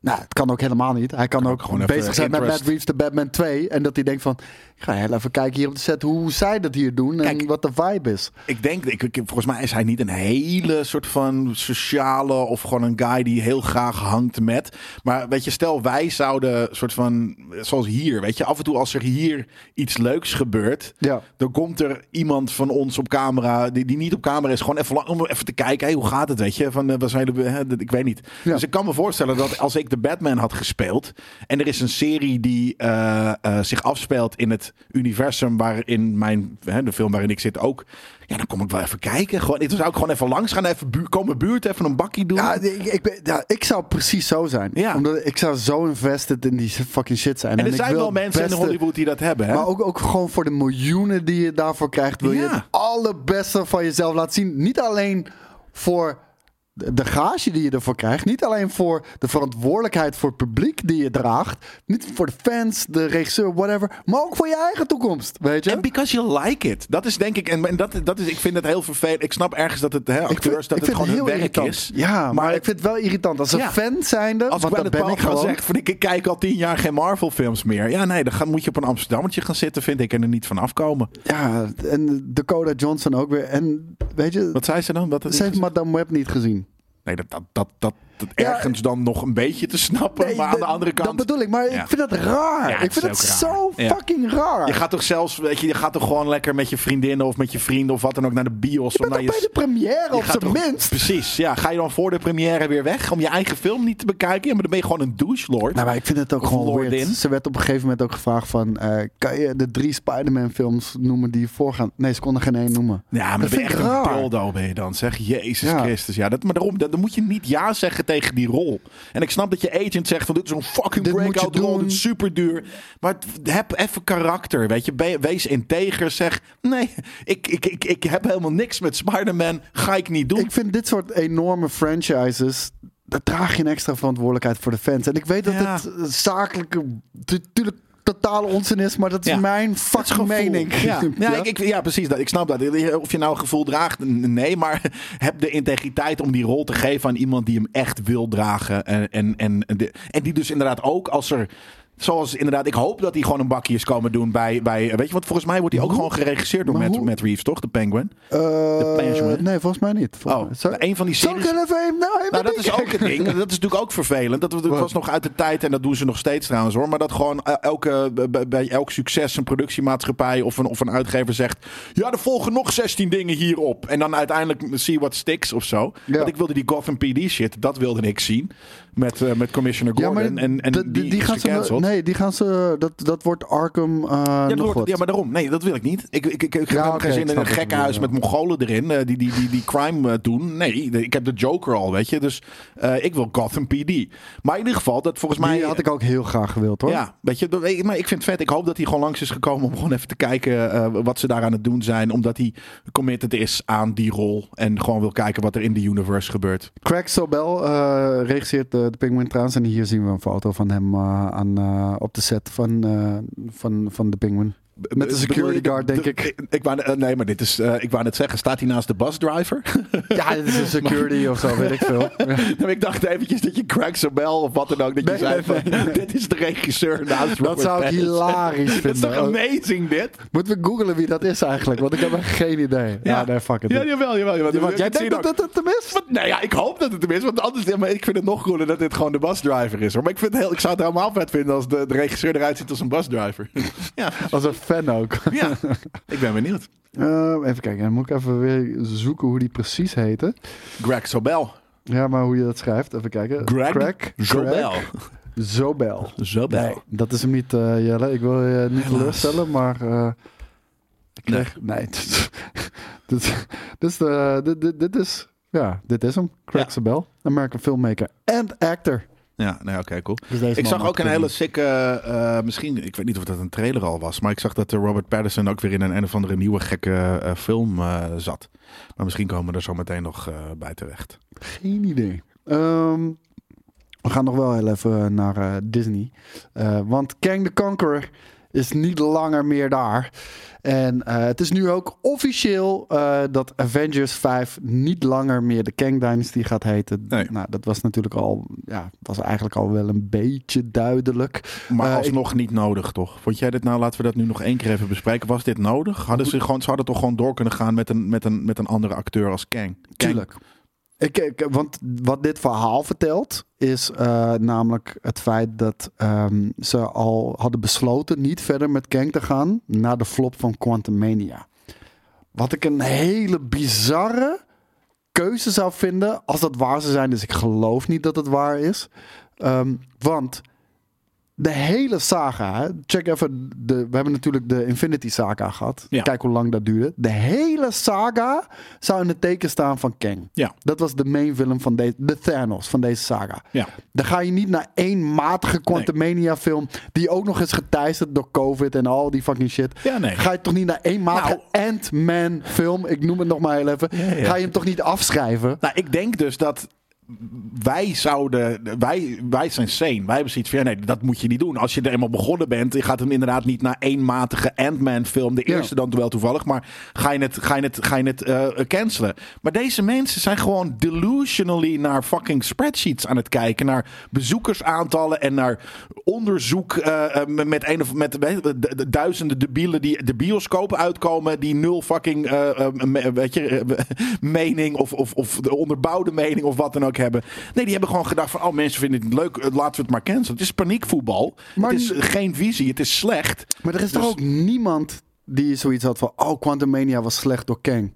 [SPEAKER 3] nou, het kan ook helemaal niet. Hij kan,
[SPEAKER 2] Kan
[SPEAKER 3] ook
[SPEAKER 2] ook gewoon
[SPEAKER 3] bezig
[SPEAKER 2] even
[SPEAKER 3] zijn met
[SPEAKER 2] interest.
[SPEAKER 3] Matt Reeves de Batman 2. En dat hij denkt van, ik ga heel even kijken hier op de set hoe zij dat hier doen. en
[SPEAKER 2] Kijk.
[SPEAKER 3] wat de vibe is.
[SPEAKER 2] Ik denk, ik, ik- volgens mij is hij niet een hele soort van sociale of gewoon een guy die heel graag hangt met. Maar weet je, stel wij zouden soort van, zoals hier, weet je, af en toe als er hier iets leuks gebeurt,
[SPEAKER 3] Ja.
[SPEAKER 2] dan komt er iemand van ons op camera, die, die niet op camera is, gewoon even, lang, om even te kijken, hey, hoe gaat het, weet je, van, eh, wat zijn de, hè, dat- ik weet niet.
[SPEAKER 3] Ja.
[SPEAKER 2] Dus ik kan me voorstellen dat als ik de Batman had gespeeld en er is een serie die eh, eh, zich afspeelt in het universum waarin mijn, hè, de film waarin ik zit ook, ja, dan kom ik wel even kijken. Gewoon, ik zou ik gewoon even langs gaan, even bu komen buurt, even een bakkie doen.
[SPEAKER 3] Ja, ik, ik, ben- ja, ik zou precies zo zijn.
[SPEAKER 2] Ja.
[SPEAKER 3] Omdat ik zou zo invested in die fucking shit zijn.
[SPEAKER 2] en er
[SPEAKER 3] ik
[SPEAKER 2] zijn
[SPEAKER 3] wil
[SPEAKER 2] wel
[SPEAKER 3] het
[SPEAKER 2] mensen in
[SPEAKER 3] beste-
[SPEAKER 2] Hollywood die dat hebben, hè?
[SPEAKER 3] Maar ook, ook gewoon voor de miljoenen die je daarvoor krijgt, wil je
[SPEAKER 2] Ja.
[SPEAKER 3] het allerbeste van jezelf laten zien. Niet alleen voor de de gage die je ervoor krijgt. Niet alleen voor de verantwoordelijkheid voor het publiek die je draagt. Niet voor de fans, de regisseur, whatever. Maar ook voor je eigen toekomst, weet je?
[SPEAKER 2] En because you like it. Dat is denk ik. En en dat, dat is, ik vind het heel vervelend. Ik snap ergens dat het hè, acteurs, dat het gewoon hun werk
[SPEAKER 3] irritant.
[SPEAKER 2] is.
[SPEAKER 3] Ja, maar,
[SPEAKER 2] Maar-
[SPEAKER 3] ik vind het wel irritant. Als een
[SPEAKER 2] Ja.
[SPEAKER 3] fan zijnde,
[SPEAKER 2] Als
[SPEAKER 3] want
[SPEAKER 2] ik
[SPEAKER 3] dat
[SPEAKER 2] bij
[SPEAKER 3] ben
[SPEAKER 2] de
[SPEAKER 3] ik
[SPEAKER 2] paal
[SPEAKER 3] gewoon.
[SPEAKER 2] zeg van ik ik kijk al tien jaar geen Marvel films meer. Ja, nee, dan ga, moet je op een Amsterdammertje gaan zitten, vind ik, en er niet van afkomen.
[SPEAKER 3] Ja, en Dakota Johnson ook weer. En weet je,
[SPEAKER 2] Wat zei ze dan? Dat
[SPEAKER 3] ze heeft Madame Web niet gezien.
[SPEAKER 2] Nee, dat, dat, dat, dat, dat
[SPEAKER 3] Ja.
[SPEAKER 2] ergens dan nog een beetje te snappen.
[SPEAKER 3] Nee,
[SPEAKER 2] maar aan de
[SPEAKER 3] dat-
[SPEAKER 2] andere kant.
[SPEAKER 3] Dat bedoel ik, maar
[SPEAKER 2] Ja.
[SPEAKER 3] ik vind dat raar.
[SPEAKER 2] Ja, het
[SPEAKER 3] ik vind dat
[SPEAKER 2] is ook raar.
[SPEAKER 3] zo
[SPEAKER 2] Ja.
[SPEAKER 3] fucking raar.
[SPEAKER 2] Je gaat toch zelfs, weet je, je gaat toch gewoon lekker met je vriendinnen of met je vrienden of wat dan ook naar de bios.
[SPEAKER 3] je
[SPEAKER 2] om
[SPEAKER 3] bent
[SPEAKER 2] naar
[SPEAKER 3] toch bij de première op
[SPEAKER 2] gaat
[SPEAKER 3] zijn
[SPEAKER 2] toch-
[SPEAKER 3] minst?
[SPEAKER 2] Precies, ja. Ga je dan voor de première weer weg om je eigen film niet te bekijken? Ja, maar dan ben je gewoon een douche lord.
[SPEAKER 3] Nou, maar ik vind het ook
[SPEAKER 2] Of
[SPEAKER 3] gewoon
[SPEAKER 2] Lordin.
[SPEAKER 3] weird. Ze werd op een gegeven moment ook gevraagd van... eh, kan je de drie Spider-Man films noemen die voorgaan? Nee, ze konden geen één noemen.
[SPEAKER 2] Ja, maar dan
[SPEAKER 3] dat
[SPEAKER 2] ben je
[SPEAKER 3] vind
[SPEAKER 2] echt
[SPEAKER 3] ik raar.
[SPEAKER 2] een dildo ben je dan, zeg. Jezus
[SPEAKER 3] Ja.
[SPEAKER 2] Christus. Ja, dat, maar daarom, dat, dan moet je niet ja zeggen tegen die rol. En ik snap dat je agent zegt van dit is een fucking
[SPEAKER 3] Dit moet je
[SPEAKER 2] breakout rol,
[SPEAKER 3] doen.
[SPEAKER 2] dit is super duur. Maar het- heb even karakter, weet je. Be- wees integer, zeg nee, ik, ik, ik, ik heb helemaal niks met Spider-Man, ga ik niet doen.
[SPEAKER 3] Ik vind dit soort enorme franchises... Daar draag je een extra verantwoordelijkheid voor de fans. En ik weet dat
[SPEAKER 2] Ja.
[SPEAKER 3] het eh, zakelijke... Natuurlijk totale onzin is, maar dat is
[SPEAKER 2] Ja.
[SPEAKER 3] mijn
[SPEAKER 2] Dat is
[SPEAKER 3] fucking
[SPEAKER 2] gevoel.
[SPEAKER 3] mening.
[SPEAKER 2] Ja, ja, ik, ik, ja precies. Dat. Ik snap dat. Of je nou gevoel draagt, n- nee. Maar heb de integriteit om die rol te geven aan iemand die hem echt wil dragen. En, en, en, de- en die dus inderdaad ook als er... Zoals inderdaad, ik hoop dat hij gewoon een bakje is komen doen bij, bij... Weet je, want volgens mij wordt hij ook gewoon geregisseerd door
[SPEAKER 3] maar
[SPEAKER 2] Matt,
[SPEAKER 3] hoe-
[SPEAKER 2] Matt Reeves, toch? De Penguin.
[SPEAKER 3] Eh,
[SPEAKER 2] Penguin.
[SPEAKER 3] nee, volgens mij niet. Volgens
[SPEAKER 2] Oh,
[SPEAKER 3] mij. Zou-
[SPEAKER 2] een van die
[SPEAKER 3] Zou
[SPEAKER 2] series-
[SPEAKER 3] ik even hem nou even
[SPEAKER 2] Nou, dat is
[SPEAKER 3] denken?
[SPEAKER 2] ook het ding. Dat is natuurlijk ook vervelend. Dat, dat was nog uit de tijd en dat doen ze nog steeds trouwens hoor. Maar dat gewoon eh, elke, bij- bij elk succes een productiemaatschappij of een, of een uitgever zegt... Ja, er volgen nog 16 dingen hierop. En dan uiteindelijk see what sticks of zo.
[SPEAKER 3] Ja.
[SPEAKER 2] Want ik wilde die Gotham PD shit, dat wilde ik zien. Met, eh, met Commissioner
[SPEAKER 3] Ja,
[SPEAKER 2] Gordon.
[SPEAKER 3] maar
[SPEAKER 2] en, en
[SPEAKER 3] de-
[SPEAKER 2] die,
[SPEAKER 3] de- die
[SPEAKER 2] is
[SPEAKER 3] gaan ze.
[SPEAKER 2] gecanceld.
[SPEAKER 3] Nee, die gaan ze. Dat, dat wordt Arkham. eh
[SPEAKER 2] Ja,
[SPEAKER 3] nog
[SPEAKER 2] dat hoort-
[SPEAKER 3] wat.
[SPEAKER 2] ja, maar daarom. Nee, dat wil ik niet. Ik, ik, ik, ik heb
[SPEAKER 3] Ja,
[SPEAKER 2] helemaal
[SPEAKER 3] oké,
[SPEAKER 2] geen
[SPEAKER 3] ik
[SPEAKER 2] zin in
[SPEAKER 3] snap
[SPEAKER 2] een
[SPEAKER 3] wat je
[SPEAKER 2] gekkenhuis
[SPEAKER 3] bedoelt,
[SPEAKER 2] met Mongolen erin eh, die, die, die, die crime eh, doen. Nee, de- ik heb de Joker al, weet je. Dus eh, ik wil Gotham PD. Maar in ieder geval, dat volgens mij... eh,
[SPEAKER 3] die had ik ook heel graag gewild hoor.
[SPEAKER 2] Ja, weet je, dat- ik- maar ik vind het vet. Ik hoop dat hij gewoon langs is gekomen om gewoon even te kijken eh, wat ze daar aan het doen zijn. Omdat hij committed is aan die rol. En gewoon wil kijken wat er in de universe gebeurt.
[SPEAKER 3] Craig Sobel eh, regisseert eh, de Penguin trouwens. En hier zien we een foto van hem eh, aan, eh, op de set van, eh, van, van de Penguin. Met de security guard, denk ik.
[SPEAKER 2] Ik, wou, eh, nee, maar dit is, eh, ik wou net zeggen, staat hij naast de busdriver?
[SPEAKER 3] Ja, dit is een security of zo, weet ik veel.
[SPEAKER 2] Nou, ik dacht eventjes dat je Craig Sobel of wat dan ook, dat je
[SPEAKER 3] Nee,
[SPEAKER 2] zei
[SPEAKER 3] nee,
[SPEAKER 2] van, dit is de regisseur naast
[SPEAKER 3] Dat zou ik hilarisch
[SPEAKER 2] Dat is
[SPEAKER 3] vinden.
[SPEAKER 2] toch amazing dit?
[SPEAKER 3] Moeten we googlen wie dat is eigenlijk? Want ik heb echt geen idee. Ja, nee, fuck it.
[SPEAKER 2] Ja, jawel, jawel. jawel.
[SPEAKER 3] Want jij
[SPEAKER 2] Het zie je
[SPEAKER 3] denkt dat
[SPEAKER 2] ook.
[SPEAKER 3] dat het hem is?
[SPEAKER 2] Wat? Nou ja, ik hoop dat het hem is. Want anders, ja, maar ik vind het nog cooler dat dit gewoon de busdriver is. Hoor. Maar ik, vind het heel, ik zou het helemaal vet vinden als de, de regisseur eruit ziet als een busdriver. ja.
[SPEAKER 3] Als een fan ook.
[SPEAKER 2] ja, ik ben benieuwd.
[SPEAKER 3] Ehm, even kijken, dan moet ik even weer zoeken hoe die precies heette.
[SPEAKER 2] Greg Sobel.
[SPEAKER 3] Ja, maar hoe je dat schrijft, even kijken.
[SPEAKER 2] Greg
[SPEAKER 3] Craig
[SPEAKER 2] Zobel.
[SPEAKER 3] Craig Zobel.
[SPEAKER 2] Zobel.
[SPEAKER 3] Nee, dat is hem niet, eh, Jelle. Ik wil je niet teleurstellen, maar... eh, ik
[SPEAKER 2] Nee.
[SPEAKER 3] kreeg- Nee. dit, dit, is de, dit, dit, dit is... Ja, dit is hem. Craig
[SPEAKER 2] Ja.
[SPEAKER 3] Zobel. American filmmaker en actor.
[SPEAKER 2] Ja, nee, oké, cool.
[SPEAKER 3] Dus deze
[SPEAKER 2] Ik
[SPEAKER 3] man
[SPEAKER 2] zag
[SPEAKER 3] had
[SPEAKER 2] ook een
[SPEAKER 3] kunnen-
[SPEAKER 2] hele sikke, eh, misschien, ik weet niet of dat een trailer al was, maar ik zag dat eh, Robert Patterson ook weer in een, een of andere nieuwe gekke eh, film eh, zat. Maar misschien komen we er zo meteen nog eh, bij terecht.
[SPEAKER 3] Geen idee. Ehm, we gaan nog wel heel even naar eh, Disney. Eh, want Kang the Conqueror is niet langer meer daar. En eh, het is nu ook officieel eh, dat Avengers 5 niet langer meer de Kang Dynasty gaat heten.
[SPEAKER 2] Nee.
[SPEAKER 3] Nou, dat was natuurlijk al, ja, was eigenlijk al wel een beetje duidelijk.
[SPEAKER 2] Maar
[SPEAKER 3] Eh, ik-
[SPEAKER 2] alsnog niet nodig, toch? Vond jij dit nou, laten we dat nu nog één keer even bespreken. Was dit nodig? Hadden ze, gewoon, ze hadden toch gewoon door kunnen gaan met een, met een, met een andere acteur als Kang? Kang.
[SPEAKER 3] Tuurlijk. Ik, ik- want wat dit verhaal vertelt, is eh, namelijk het feit dat ehm, ze al hadden besloten niet verder met Kang te gaan na de flop van Quantumania. Wat ik een hele bizarre keuze zou vinden als dat waar zou zijn. Dus ik geloof niet dat het waar is. Ehm, want de hele saga, hè, check even, de, we hebben natuurlijk de Infinity Saga gehad.
[SPEAKER 2] Ja.
[SPEAKER 3] Kijk hoe lang dat duurde. De hele saga zou in het teken staan van Kang.
[SPEAKER 2] Ja.
[SPEAKER 3] Dat was de main villain van deze, de Thanos van deze saga.
[SPEAKER 2] Ja.
[SPEAKER 3] Dan ga je niet naar één matige Quantumania film die ook nog is geteisterd door COVID en al die fucking shit.
[SPEAKER 2] Ja, nee.
[SPEAKER 3] Ga je toch niet naar één matige Ant-Man film, ik noem het nog maar heel even.
[SPEAKER 2] Ja, ja.
[SPEAKER 3] Ga je hem toch niet afschrijven?
[SPEAKER 2] Nou, ik denk dus dat wij zouden, wij, wij zijn sane. Wij hebben zoiets van, ja, nee, dat moet je niet doen. Als je er eenmaal begonnen bent, je gaat hem inderdaad niet naar eenmatige Ant-Man film, de
[SPEAKER 3] Ja.
[SPEAKER 2] eerste dan wel toevallig, maar ga je het, ga je het, ga je het eh, cancelen. Maar deze mensen zijn gewoon delusionally naar fucking spreadsheets aan het kijken, naar bezoekersaantallen en naar onderzoek eh, eh, met, een of, met weet- de- de- duizenden debielen die de bioscoop uitkomen, die nul fucking eh, eh, me- weet je, eh, mening of, of, of de onderbouwde mening of wat dan ook hebben. Nee, die hebben gewoon gedacht van, oh mensen vinden het niet leuk, eh, laten we het maar cancelen. Het is paniekvoetbal.
[SPEAKER 3] Maar
[SPEAKER 2] het is
[SPEAKER 3] n-
[SPEAKER 2] geen visie, het is slecht.
[SPEAKER 3] Maar er is toch
[SPEAKER 2] Dus-
[SPEAKER 3] ook niemand die zoiets had van... Oh, Quantumania was slecht door Kang.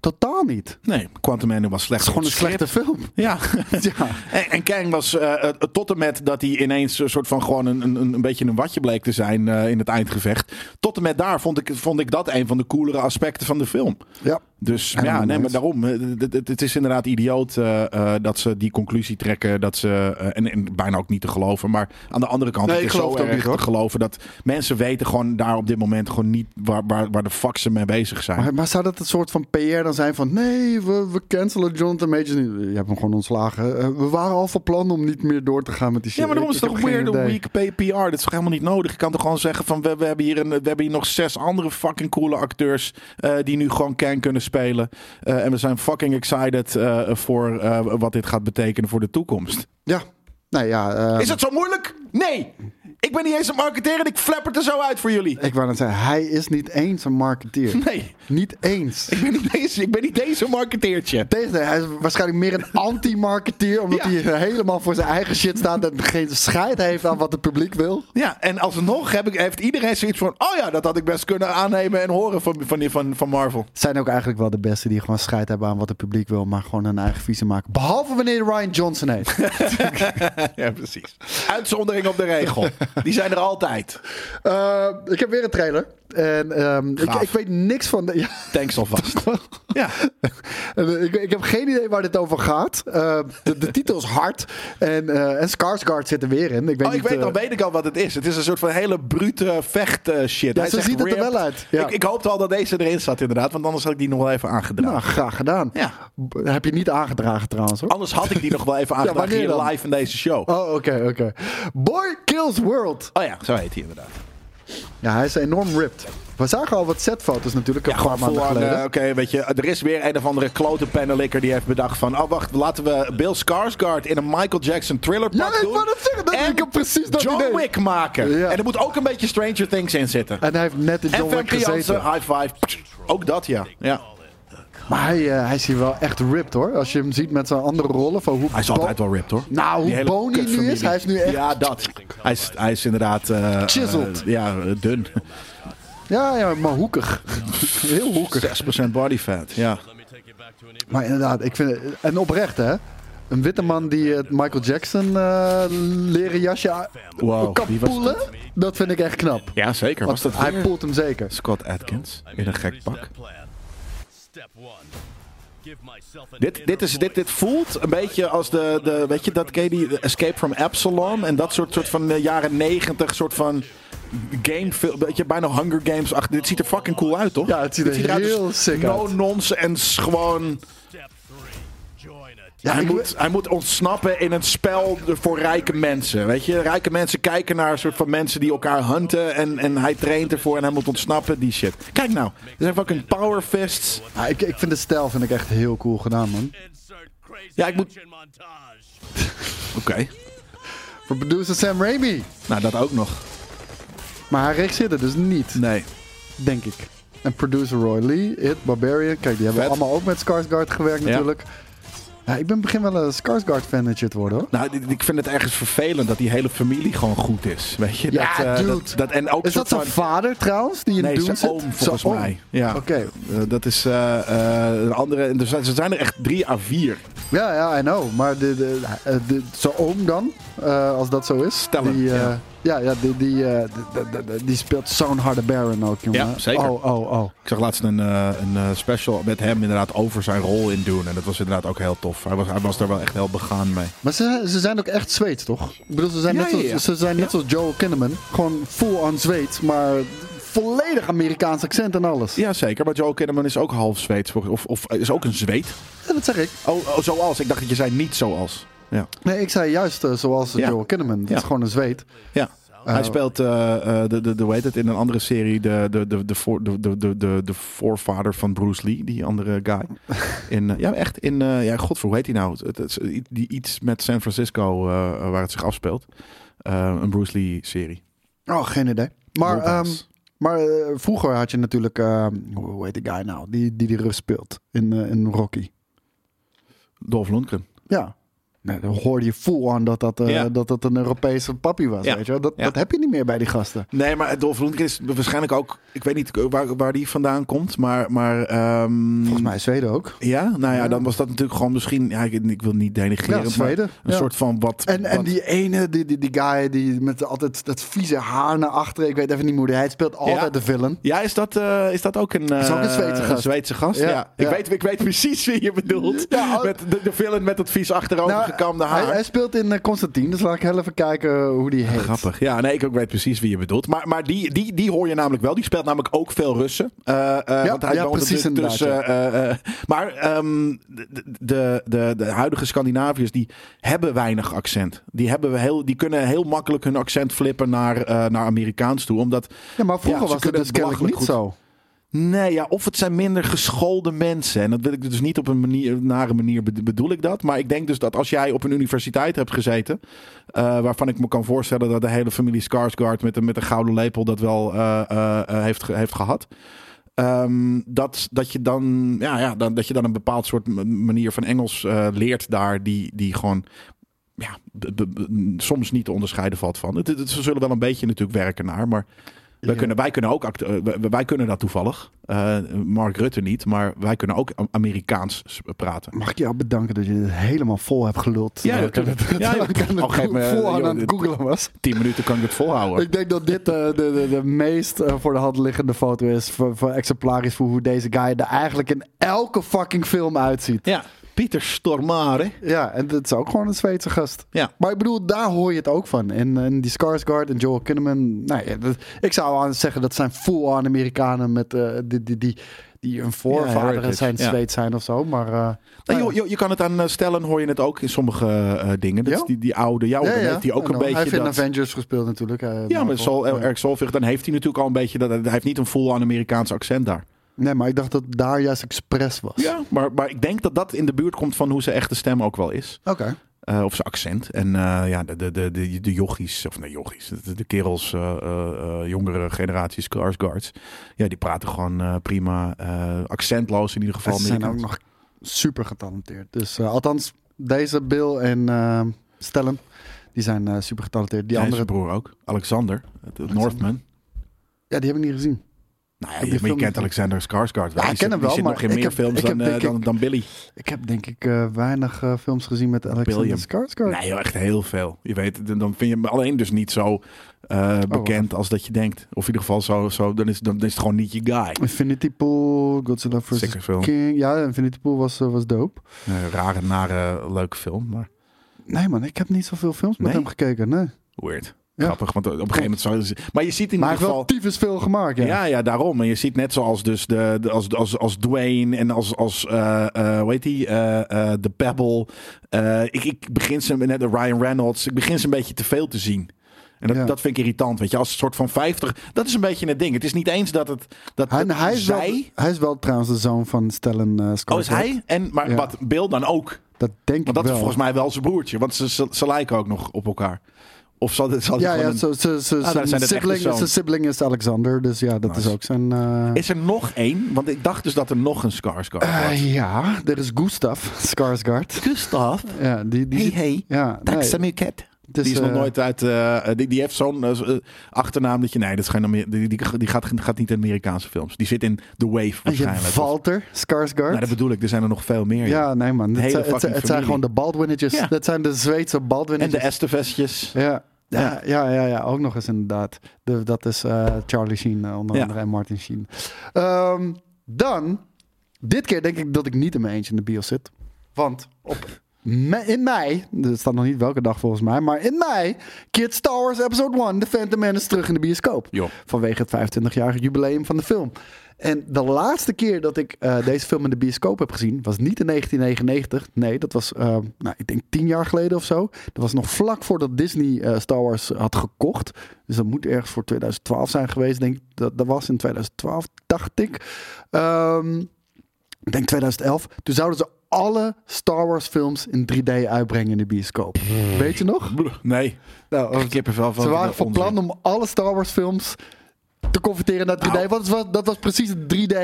[SPEAKER 3] Totaal niet. Het
[SPEAKER 2] Nee, Quantum Mania was slecht.
[SPEAKER 3] is gewoon een
[SPEAKER 2] voor het
[SPEAKER 3] slechte film.
[SPEAKER 2] script. Ja.
[SPEAKER 3] Ja.
[SPEAKER 2] En, en Kang was eh, eh, tot en met dat hij ineens een soort van gewoon een, een, een beetje een watje bleek te zijn eh, in het eindgevecht. Tot en met daar vond ik, vond ik dat een van de coolere aspecten van de film.
[SPEAKER 3] ja.
[SPEAKER 2] Dus
[SPEAKER 3] Helemaal
[SPEAKER 2] ja, nee,
[SPEAKER 3] mee
[SPEAKER 2] maar
[SPEAKER 3] eens.
[SPEAKER 2] daarom. eh, Het, het- het is inderdaad idioot eh, eh, dat ze die conclusie trekken. Dat ze, eh, en, en bijna ook niet te geloven. Maar aan de andere kant,
[SPEAKER 3] Nee,
[SPEAKER 2] het
[SPEAKER 3] ik
[SPEAKER 2] is
[SPEAKER 3] geloof
[SPEAKER 2] zo
[SPEAKER 3] het ook
[SPEAKER 2] erg
[SPEAKER 3] niet,
[SPEAKER 2] te
[SPEAKER 3] hoor.
[SPEAKER 2] geloven dat mensen weten gewoon daar op dit moment gewoon niet waar, waar, waar de fuck ze mee bezig zijn.
[SPEAKER 3] Maar, maar zou dat een soort van PR dan zijn van... Nee, we, we cancelen Jonathan Majors niet. Je hebt hem gewoon ontslagen. Eh, we waren al van plan om niet meer door te gaan met die shit.
[SPEAKER 2] Ja, maar daarom
[SPEAKER 3] Ik-
[SPEAKER 2] is
[SPEAKER 3] ik
[SPEAKER 2] het toch
[SPEAKER 3] heb geen
[SPEAKER 2] weer de
[SPEAKER 3] idee.
[SPEAKER 2] weak PPR. Dat is toch helemaal niet nodig. Ik kan toch gewoon zeggen van we, we hebben, hier een, we hebben hier nog zes andere fucking coole acteurs eh, die nu gewoon Kang kunnen spelen. Eh, en we zijn fucking excited eh, voor eh, wat dit gaat betekenen voor de toekomst.
[SPEAKER 3] Ja. Nou ja, eh,
[SPEAKER 2] Is dat zo moeilijk? Nee! Ik ben niet eens een marketeer en ik flap het er zo uit voor jullie.
[SPEAKER 3] ik wou net zeggen, hij is niet eens een marketeer.
[SPEAKER 2] Nee,
[SPEAKER 3] Niet eens.
[SPEAKER 2] ik ben niet deze, ik ben niet deze marketeertje.
[SPEAKER 3] Tegendeel, hij is waarschijnlijk meer een anti-marketeer. Omdat
[SPEAKER 2] Ja.
[SPEAKER 3] hij helemaal voor zijn eigen shit staat. En geen scheid heeft aan wat het publiek wil.
[SPEAKER 2] Ja, en alsnog heb ik, heeft iedereen zoiets van... Oh ja, dat had ik best kunnen aannemen en horen van, van, van, van Marvel.
[SPEAKER 3] zijn ook eigenlijk wel de beste die gewoon scheid hebben aan wat het publiek wil, maar gewoon hun eigen visie maken. Behalve wanneer Ryan Johnson heet.
[SPEAKER 2] Ja, precies. Uitzondering op de regel. Die zijn er altijd.
[SPEAKER 3] Eh, ik heb weer een trailer. En ehm, ik,
[SPEAKER 2] Gaaf.
[SPEAKER 3] ik weet niks van. De, ja.
[SPEAKER 2] Thanks alvast. Ja.
[SPEAKER 3] En, eh, ik, ik heb geen idee waar dit over gaat. Eh, de, de titel is hard. En, eh en Skarsgård zit er weer in. Ik weet
[SPEAKER 2] Oh, ik
[SPEAKER 3] niet,
[SPEAKER 2] weet,
[SPEAKER 3] eh,
[SPEAKER 2] dan weet ik al wat het is. Het is een soort van hele brute vecht eh, shit.
[SPEAKER 3] Ja,
[SPEAKER 2] Hij
[SPEAKER 3] zo
[SPEAKER 2] zegt
[SPEAKER 3] ziet het er
[SPEAKER 2] ripped.
[SPEAKER 3] wel uit. Ja.
[SPEAKER 2] Ik, ik hoopte al dat deze erin zat inderdaad, want anders had ik die nog wel even aangedragen.
[SPEAKER 3] Nou, graag gedaan.
[SPEAKER 2] Ja.
[SPEAKER 3] B- Heb je niet aangedragen trouwens hoor.
[SPEAKER 2] Anders had ik die nog wel even aangedragen
[SPEAKER 3] wanneer
[SPEAKER 2] hier
[SPEAKER 3] dan?
[SPEAKER 2] live in deze show.
[SPEAKER 3] Oh, oké, oké. Oh, Boy Kills World.
[SPEAKER 2] Oh ja, zo heet hij inderdaad.
[SPEAKER 3] Ja, hij is enorm ripped. We zagen al wat setfoto's natuurlijk een
[SPEAKER 2] Ja,
[SPEAKER 3] paar
[SPEAKER 2] gewoon
[SPEAKER 3] maanden
[SPEAKER 2] full-on,
[SPEAKER 3] geleden.
[SPEAKER 2] eh, Oké, weet je, er is weer een of andere klote panelikker die heeft bedacht van... Oh, wacht, laten we Bill Skarsgård in een Michael Jackson thriller pak
[SPEAKER 3] Ja, ik
[SPEAKER 2] doen.
[SPEAKER 3] wou dat zeggen, dat-
[SPEAKER 2] en
[SPEAKER 3] ik heb precies dat
[SPEAKER 2] John
[SPEAKER 3] idee.
[SPEAKER 2] Wick maken.
[SPEAKER 3] Ja.
[SPEAKER 2] En er moet ook een beetje Stranger Things in zitten.
[SPEAKER 3] en hij heeft net in
[SPEAKER 2] En
[SPEAKER 3] John
[SPEAKER 2] John
[SPEAKER 3] Wick gezeten.
[SPEAKER 2] Jansen, high five. Pst, Ook dat, ja. ja.
[SPEAKER 3] Maar hij, eh, hij is hier wel echt ripped hoor. Als je hem ziet met zijn andere rollen. Van hoe
[SPEAKER 2] Hij is
[SPEAKER 3] bo-
[SPEAKER 2] altijd wel ripped, hoor.
[SPEAKER 3] Nou,
[SPEAKER 2] Die
[SPEAKER 3] hoe
[SPEAKER 2] hele
[SPEAKER 3] bony hij nu is.
[SPEAKER 2] kutfamilie.
[SPEAKER 3] Hij is nu echt...
[SPEAKER 2] Ja, dat. Hij is, hij is inderdaad... eh,
[SPEAKER 3] Chiseled.
[SPEAKER 2] eh, ja, dun.
[SPEAKER 3] Ja, ja, maar hoekig. Heel hoekig.
[SPEAKER 2] 6% body fat, ja.
[SPEAKER 3] Maar inderdaad, ik vind het- En oprecht, hè. Een witte man die het Michael Jackson eh, leren jasje a-
[SPEAKER 2] Wow,
[SPEAKER 3] kan
[SPEAKER 2] wie was
[SPEAKER 3] poelen. Dat vind ik echt knap.
[SPEAKER 2] Ja, zeker.
[SPEAKER 3] Want
[SPEAKER 2] Was dat
[SPEAKER 3] hij poelt hem zeker.
[SPEAKER 2] Scott Atkins in een gek pak? Dit, dit, is, dit, dit voelt een beetje als de, de weet je, dat ken je die Escape from Epsilon en dat soort, soort van eh, jaren negentig, soort van game, weet je, bijna Hunger Games. Ach, dit ziet er fucking cool uit, toch?
[SPEAKER 3] Ja, het ziet er
[SPEAKER 2] Dit eruit als
[SPEAKER 3] heel sick
[SPEAKER 2] no
[SPEAKER 3] uit.
[SPEAKER 2] nonsense, gewoon.
[SPEAKER 3] Ja,
[SPEAKER 2] hij,
[SPEAKER 3] ik
[SPEAKER 2] moet,
[SPEAKER 3] wil-
[SPEAKER 2] hij moet ontsnappen in een spel voor rijke mensen. Weet je, rijke mensen kijken naar een soort van mensen die elkaar hunten. En, en hij traint ervoor en hij moet ontsnappen, die shit. Kijk nou, er zijn fucking power fists.
[SPEAKER 3] Ja, ik, ik vind de stijl vind ik echt heel cool gedaan, man.
[SPEAKER 2] Ja, ik moet- Oké,
[SPEAKER 3] Voor producer Sam Raimi.
[SPEAKER 2] nou dat ook nog.
[SPEAKER 3] Maar hij regisseerde dus niet,
[SPEAKER 2] Nee.
[SPEAKER 3] denk ik. En producer Roy Lee, It, Barbarian. Kijk, die hebben
[SPEAKER 2] Vet.
[SPEAKER 3] allemaal ook met Skarsgård gewerkt natuurlijk. Ja, ik ben begin wel een Skarsgård-fannetje te worden, hoor.
[SPEAKER 2] Nou, dit- ik vind het ergens vervelend dat die hele familie gewoon goed is. Weet je?
[SPEAKER 3] Ja,
[SPEAKER 2] dat, eh,
[SPEAKER 3] dude.
[SPEAKER 2] Dat, dat- en ook
[SPEAKER 3] Is dat
[SPEAKER 2] soort
[SPEAKER 3] zijn
[SPEAKER 2] van-
[SPEAKER 3] vader trouwens, die in
[SPEAKER 2] Nee,
[SPEAKER 3] Dune
[SPEAKER 2] zijn
[SPEAKER 3] zit?
[SPEAKER 2] oom volgens
[SPEAKER 3] Zijn oom.
[SPEAKER 2] mij. Ja.
[SPEAKER 3] Oké.
[SPEAKER 2] Eh, dat is eh, eh, een andere. en Er zijn, er zijn er echt drie à vier.
[SPEAKER 3] Ja, ja, I know. Maar de, de, eh, de, zijn oom dan, eh, als dat zo is.
[SPEAKER 2] Stellan,
[SPEAKER 3] die, eh,
[SPEAKER 2] ja.
[SPEAKER 3] ja, ja, die, die, eh, de- de- de- die speelt zo'n harde Baron ook, jongen.
[SPEAKER 2] Ja, zeker.
[SPEAKER 3] Oh, oh, oh.
[SPEAKER 2] Ik zag laatst een, eh, een eh, special met hem inderdaad over zijn rol in doen. En dat was inderdaad ook heel tof. Hij was, hij was daar wel echt heel begaan mee.
[SPEAKER 3] Maar ze, ze zijn ook echt Zweeds, toch? Ik bedoel, ze zijn,
[SPEAKER 2] Ja,
[SPEAKER 3] net, zoals,
[SPEAKER 2] ja, ja.
[SPEAKER 3] Ze zijn net zoals Joel Kinnaman. Gewoon full-on Zweeds, maar volledig Amerikaans accent en alles. Ja,
[SPEAKER 2] Ja, zeker. Maar Joe Kinnaman is ook half Zweeds. volgens- Of, of is ook een Zweed.
[SPEAKER 3] dat zeg ik.
[SPEAKER 2] Oh, oh, zoals. Ik dacht dat je zei niet zoals. Ja.
[SPEAKER 3] Nee, ik zei juist eh, zoals
[SPEAKER 2] Ja.
[SPEAKER 3] Joel Kinnaman. Dat
[SPEAKER 2] Ja.
[SPEAKER 3] is gewoon een Zweed.
[SPEAKER 2] Ja. hij speelt, eh, eh, de, de, de, hoe heet het, in een andere serie, de, de, de, de, voor- de, de, de, de, de voorvader van Bruce Lee, die andere guy. In, eh, ja, echt in, eh, ja, godver, hoe heet hij nou? Het, het is i- die iets met San Francisco, eh, waar het zich afspeelt. Eh, een Bruce Lee-serie.
[SPEAKER 3] Oh, geen idee. Maar,
[SPEAKER 2] Roadhouse.
[SPEAKER 3] ehm, maar eh, vroeger had je natuurlijk, ehm, hoe hoe heet die guy nou? Die die, die rust speelt in, eh, in Rocky.
[SPEAKER 2] Dolph Lundgren.
[SPEAKER 3] Ja. Nee, dan hoorde je full aan dat dat, eh,
[SPEAKER 2] Ja.
[SPEAKER 3] dat dat een Europese pappie was,
[SPEAKER 2] Ja.
[SPEAKER 3] weet je wel. Dat,
[SPEAKER 2] Ja.
[SPEAKER 3] dat heb je niet meer bij die gasten.
[SPEAKER 2] Nee, maar Dolph Lundgren is waarschijnlijk ook, ik weet niet eh, waar, waar die vandaan komt, maar... maar ehm,
[SPEAKER 3] Volgens mij Zweden ook.
[SPEAKER 2] Ja, nou ja,
[SPEAKER 3] Ja.
[SPEAKER 2] dan was dat natuurlijk gewoon misschien, ja, ik, ik wil niet denigreren,
[SPEAKER 3] Ja,
[SPEAKER 2] maar
[SPEAKER 3] Zweden,
[SPEAKER 2] een
[SPEAKER 3] ja.
[SPEAKER 2] soort van wat...
[SPEAKER 3] En, en
[SPEAKER 2] wat-
[SPEAKER 3] die ene, die, die, die guy die met altijd dat vieze haar naar achteren. Ik weet even niet hoe hij het speelt. Altijd
[SPEAKER 2] Ja.
[SPEAKER 3] de villain.
[SPEAKER 2] Ja, is dat, eh, is dat ook een,
[SPEAKER 3] Is ook een
[SPEAKER 2] eh,
[SPEAKER 3] Zweedse gast.
[SPEAKER 2] Zweedse gast?
[SPEAKER 3] Ja,
[SPEAKER 2] Ja.
[SPEAKER 3] ja.
[SPEAKER 2] Ik, weet, ik weet precies wie je bedoelt.
[SPEAKER 3] Ja, al-
[SPEAKER 2] met de, de villain met dat vies achterovergekamde
[SPEAKER 3] Nou, hij,
[SPEAKER 2] haar.
[SPEAKER 3] hij speelt in eh, Constantine, dus laat ik heel even kijken hoe die heet.
[SPEAKER 2] Grappig. Ja, nee, ik ook weet precies wie je bedoelt. Maar, maar die, die, die hoor je namelijk wel. Die speelt namelijk ook veel Russen. Eh eh, want hij
[SPEAKER 3] ja,
[SPEAKER 2] woont
[SPEAKER 3] precies
[SPEAKER 2] dus,
[SPEAKER 3] inderdaad,
[SPEAKER 2] dus,
[SPEAKER 3] ja.
[SPEAKER 2] eh, eh, eh, maar ehm, de, de, de, de huidige Scandinaviërs, die hebben weinig accent. Die, hebben we heel, die kunnen heel makkelijk hun accent flippen naar, eh, naar Amerikaans toe. Omdat
[SPEAKER 3] Ja, maar vroeger
[SPEAKER 2] Ja, ze
[SPEAKER 3] was het
[SPEAKER 2] kunnen
[SPEAKER 3] dus
[SPEAKER 2] het
[SPEAKER 3] kennelijk niet
[SPEAKER 2] belachelijk
[SPEAKER 3] zo.
[SPEAKER 2] Nee, ja, of het zijn minder geschoolde mensen. En dat wil ik dus niet op een manier, nare manier bed- bedoel ik dat. Maar ik denk dus dat als jij op een universiteit hebt gezeten. eh, waarvan ik me kan voorstellen dat de hele familie Skarsgård met een, met een gouden lepel dat wel eh, eh, eh, heeft, ge- heeft gehad. Ehm, dat, dat, je dan, ja, ja, dan, dat je dan een bepaald soort m- manier van Engels eh, leert daar, die, die gewoon ja, b- b- b- soms niet te onderscheiden valt van. Het, het, het- ze zullen wel een beetje natuurlijk werken naar, maar wij,
[SPEAKER 3] Ja.
[SPEAKER 2] kunnen, wij kunnen ook act- eh, wij, wij kunnen dat toevallig. Eh, Mark Rutte niet, maar wij kunnen ook A- Amerikaans s- praten.
[SPEAKER 3] Mag ik jou bedanken dat je dit helemaal vol hebt geluld?
[SPEAKER 2] Ja,
[SPEAKER 3] dat
[SPEAKER 2] natuurlijk. Ja, joh. Oh, geef me-
[SPEAKER 3] vol aan
[SPEAKER 2] joh,
[SPEAKER 3] aan het
[SPEAKER 2] dit-
[SPEAKER 3] googelen was.
[SPEAKER 2] Tien minuten kan ik het volhouden.
[SPEAKER 3] Ik denk dat dit eh, de, de, de meest eh, voor de hand liggende foto is. Voor, voor exemplarisch voor hoe deze guy er eigenlijk in elke fucking film uitziet.
[SPEAKER 2] Ja. Pieter Stormare.
[SPEAKER 3] Ja, en dat is ook gewoon een Zweedse gast.
[SPEAKER 2] Ja.
[SPEAKER 3] Maar ik bedoel, daar hoor je het ook van. En, en die Skarsgård en Joel Kinnaman. Nou ja, dat- ik zou aan zeggen dat zijn full-on Amerikanen met, eh, die, die, die, die hun voorvaderen
[SPEAKER 2] heritage,
[SPEAKER 3] zijn
[SPEAKER 2] ja.
[SPEAKER 3] Zweed zijn of zo. Maar, eh,
[SPEAKER 2] Nou,
[SPEAKER 3] nou ja.
[SPEAKER 2] je, je, je kan het aan eh, stellen, hoor je het ook in sommige eh, dingen. Dat
[SPEAKER 3] Ja?
[SPEAKER 2] is die, die oude, jouw
[SPEAKER 3] Ja, ja.
[SPEAKER 2] die ook
[SPEAKER 3] En
[SPEAKER 2] een
[SPEAKER 3] dan- Hij
[SPEAKER 2] beetje
[SPEAKER 3] heeft
[SPEAKER 2] dat...
[SPEAKER 3] in Avengers gespeeld natuurlijk. eh,
[SPEAKER 2] Ja, maar
[SPEAKER 3] Marvel.
[SPEAKER 2] Sol,
[SPEAKER 3] Ja.
[SPEAKER 2] Eric Solvig, dan heeft hij natuurlijk al een beetje... Dat, hij heeft niet een full-on Amerikaans accent daar.
[SPEAKER 3] Nee, maar ik dacht dat daar juist expres was.
[SPEAKER 2] Ja, maar, maar ik denk dat dat in de buurt komt van hoe zijn echte stem ook wel is.
[SPEAKER 3] Oké.
[SPEAKER 2] Eh, of zijn accent. En eh, ja, de, de, de, de, de jochies, of nee jochies, de, de kerels, eh, eh, eh, jongere generaties, Skarsgårds. Ja, die praten gewoon eh, prima, eh, accentloos in ieder geval.
[SPEAKER 3] Ze zijn ook
[SPEAKER 2] Amerikaans.
[SPEAKER 3] nog super getalenteerd. Dus eh, althans, deze Bill en eh Stellan, die zijn eh, super getalenteerd. Die
[SPEAKER 2] Ja, en
[SPEAKER 3] andere,
[SPEAKER 2] zijn broer ook, Alexander, de Northman.
[SPEAKER 3] ja, die heb ik niet gezien.
[SPEAKER 2] Nou ja,
[SPEAKER 3] Heb je
[SPEAKER 2] je, maar je
[SPEAKER 3] film
[SPEAKER 2] kent
[SPEAKER 3] gezien?
[SPEAKER 2] Alexander Skarsgård wel. Die
[SPEAKER 3] ik ken
[SPEAKER 2] zit-
[SPEAKER 3] hem
[SPEAKER 2] die
[SPEAKER 3] wel,
[SPEAKER 2] zit
[SPEAKER 3] maar
[SPEAKER 2] nog in
[SPEAKER 3] ik
[SPEAKER 2] meer
[SPEAKER 3] heb-
[SPEAKER 2] films
[SPEAKER 3] ik heb
[SPEAKER 2] dan, eh,
[SPEAKER 3] denk
[SPEAKER 2] dan,
[SPEAKER 3] ik-
[SPEAKER 2] dan Billy.
[SPEAKER 3] Ik heb denk ik eh, weinig eh, films gezien met Alexander
[SPEAKER 2] Billion.
[SPEAKER 3] Skarsgård.
[SPEAKER 2] Nee, joh, echt heel veel. Je weet, dan- dan vind je hem alleen dus niet zo
[SPEAKER 3] Oh,
[SPEAKER 2] eh, bekend als dat je denkt. Of in ieder geval zo, zo dan, is, dan is het gewoon niet je guy.
[SPEAKER 3] Infinity Pool, Godzilla vs.
[SPEAKER 2] Zeker film.
[SPEAKER 3] King. Ja, Infinity Pool was, eh, was dope.
[SPEAKER 2] Eh, rare, nare, leuke film, maar
[SPEAKER 3] Nee man, ik heb niet zoveel films met
[SPEAKER 2] Nee?
[SPEAKER 3] hem gekeken. Nee.
[SPEAKER 2] weird.
[SPEAKER 3] Ja.
[SPEAKER 2] Grappig, want op een gegeven moment... Zou, maar je ziet in
[SPEAKER 3] Maar
[SPEAKER 2] ieder
[SPEAKER 3] hij heeft wel
[SPEAKER 2] geval...
[SPEAKER 3] tyfus veel gemaakt. Ja.
[SPEAKER 2] Ja, ja, daarom. En je ziet net zoals dus de, de- als, als, als Dwayne en als, als eh, eh, hoe heet die, eh, eh, de Pebble. Eh, ik, ik begin ze net, Ryan Reynolds, ik begin ze een beetje te veel te zien. En dat,
[SPEAKER 3] Ja.
[SPEAKER 2] dat vind ik irritant, weet je. Als een soort van 50, dat is een beetje het ding. Het is niet eens dat het, dat
[SPEAKER 3] Hij,
[SPEAKER 2] dat
[SPEAKER 3] hij, is wel,
[SPEAKER 2] zij,
[SPEAKER 3] hij is wel trouwens de zoon van Stellan eh
[SPEAKER 2] oh
[SPEAKER 3] Skarsgård.
[SPEAKER 2] is hij, en, maar
[SPEAKER 3] Ja.
[SPEAKER 2] wat Bill dan ook.
[SPEAKER 3] Dat denk
[SPEAKER 2] Want
[SPEAKER 3] ik
[SPEAKER 2] dat is
[SPEAKER 3] wel.
[SPEAKER 2] volgens mij wel zijn broertje, want ze, ze, ze lijken ook nog op elkaar. Of zal, dit- zal dit
[SPEAKER 3] Ja,
[SPEAKER 2] gewoon
[SPEAKER 3] ja,
[SPEAKER 2] een- Ah,
[SPEAKER 3] zo, zo, zo,
[SPEAKER 2] daar
[SPEAKER 3] zijn
[SPEAKER 2] zijn het echte
[SPEAKER 3] sibling,
[SPEAKER 2] zoons.
[SPEAKER 3] zijn sibling is Alexander, dus ja, dat
[SPEAKER 2] Nice.
[SPEAKER 3] is ook zijn... eh,
[SPEAKER 2] Is er nog één? Want ik dacht dus dat er nog een Skarsgård was.
[SPEAKER 3] Eh, ja, er is Gustav Skarsgård.
[SPEAKER 2] Gustav?
[SPEAKER 3] Ja, die, die
[SPEAKER 2] Hey,
[SPEAKER 3] zit-
[SPEAKER 2] hey.
[SPEAKER 3] Ja, nee,
[SPEAKER 2] Taxamuket.
[SPEAKER 3] het is,
[SPEAKER 2] die is nog
[SPEAKER 3] eh,
[SPEAKER 2] nooit uit. eh, eh, die, die heeft zo'n eh, achternaam dat je. Nee, dat is geen Amer- die, die, die gaat, gaat niet in Amerikaanse films. Die zit in The Wave
[SPEAKER 3] en je hebt
[SPEAKER 2] waarschijnlijk. Of-
[SPEAKER 3] Walter Skarsgård.
[SPEAKER 2] nou, dat bedoel ik. Er zijn er nog veel meer. joh.
[SPEAKER 3] ja, nee man,
[SPEAKER 2] Hele
[SPEAKER 3] het, zijn- het,
[SPEAKER 2] fucking
[SPEAKER 3] zijn- het zijn
[SPEAKER 2] familie.
[SPEAKER 3] gewoon de Baldwinetjes.
[SPEAKER 2] Ja.
[SPEAKER 3] Dat zijn de Zweedse
[SPEAKER 2] en de
[SPEAKER 3] Baldwinetjes.
[SPEAKER 2] Estevesjes.
[SPEAKER 3] ja. Ja, ja, ja, ja, ook nog eens inderdaad. De, dat is eh, Charlie Sheen eh, onder
[SPEAKER 2] Ja.
[SPEAKER 3] andere en Martin Sheen. Ehm, dan, dit keer denk ik dat ik niet in mijn eentje in de bios zit. Want op me- in mei, er staat nog niet welke dag volgens mij, maar in mei keert Star Wars Episode 1 The Phantom Menace terug in de bioscoop.
[SPEAKER 2] Joh.
[SPEAKER 3] Vanwege het 25-jarige jubileum van de film. En de laatste keer dat ik eh, deze film in de bioscoop heb gezien, was niet in 1999. Nee, dat was, eh, nou, ik denk tien jaar geleden of zo. Dat was nog vlak voordat Disney eh, Star Wars had gekocht. Dus dat moet ergens voor 2012 zijn geweest, denk ik. Dat, dat was in 2012, dacht ik. Ehm ik denk 2011, toen zouden ze alle Star Wars films in 3D uitbrengen in de bioscoop. Weet je nog?
[SPEAKER 2] Nee.
[SPEAKER 3] Nou,
[SPEAKER 2] Ik kippenvel van.
[SPEAKER 3] ze waren van
[SPEAKER 2] onzin.
[SPEAKER 3] plan om alle Star Wars films te converteren naar 3D. Want het was- dat was precies het 3D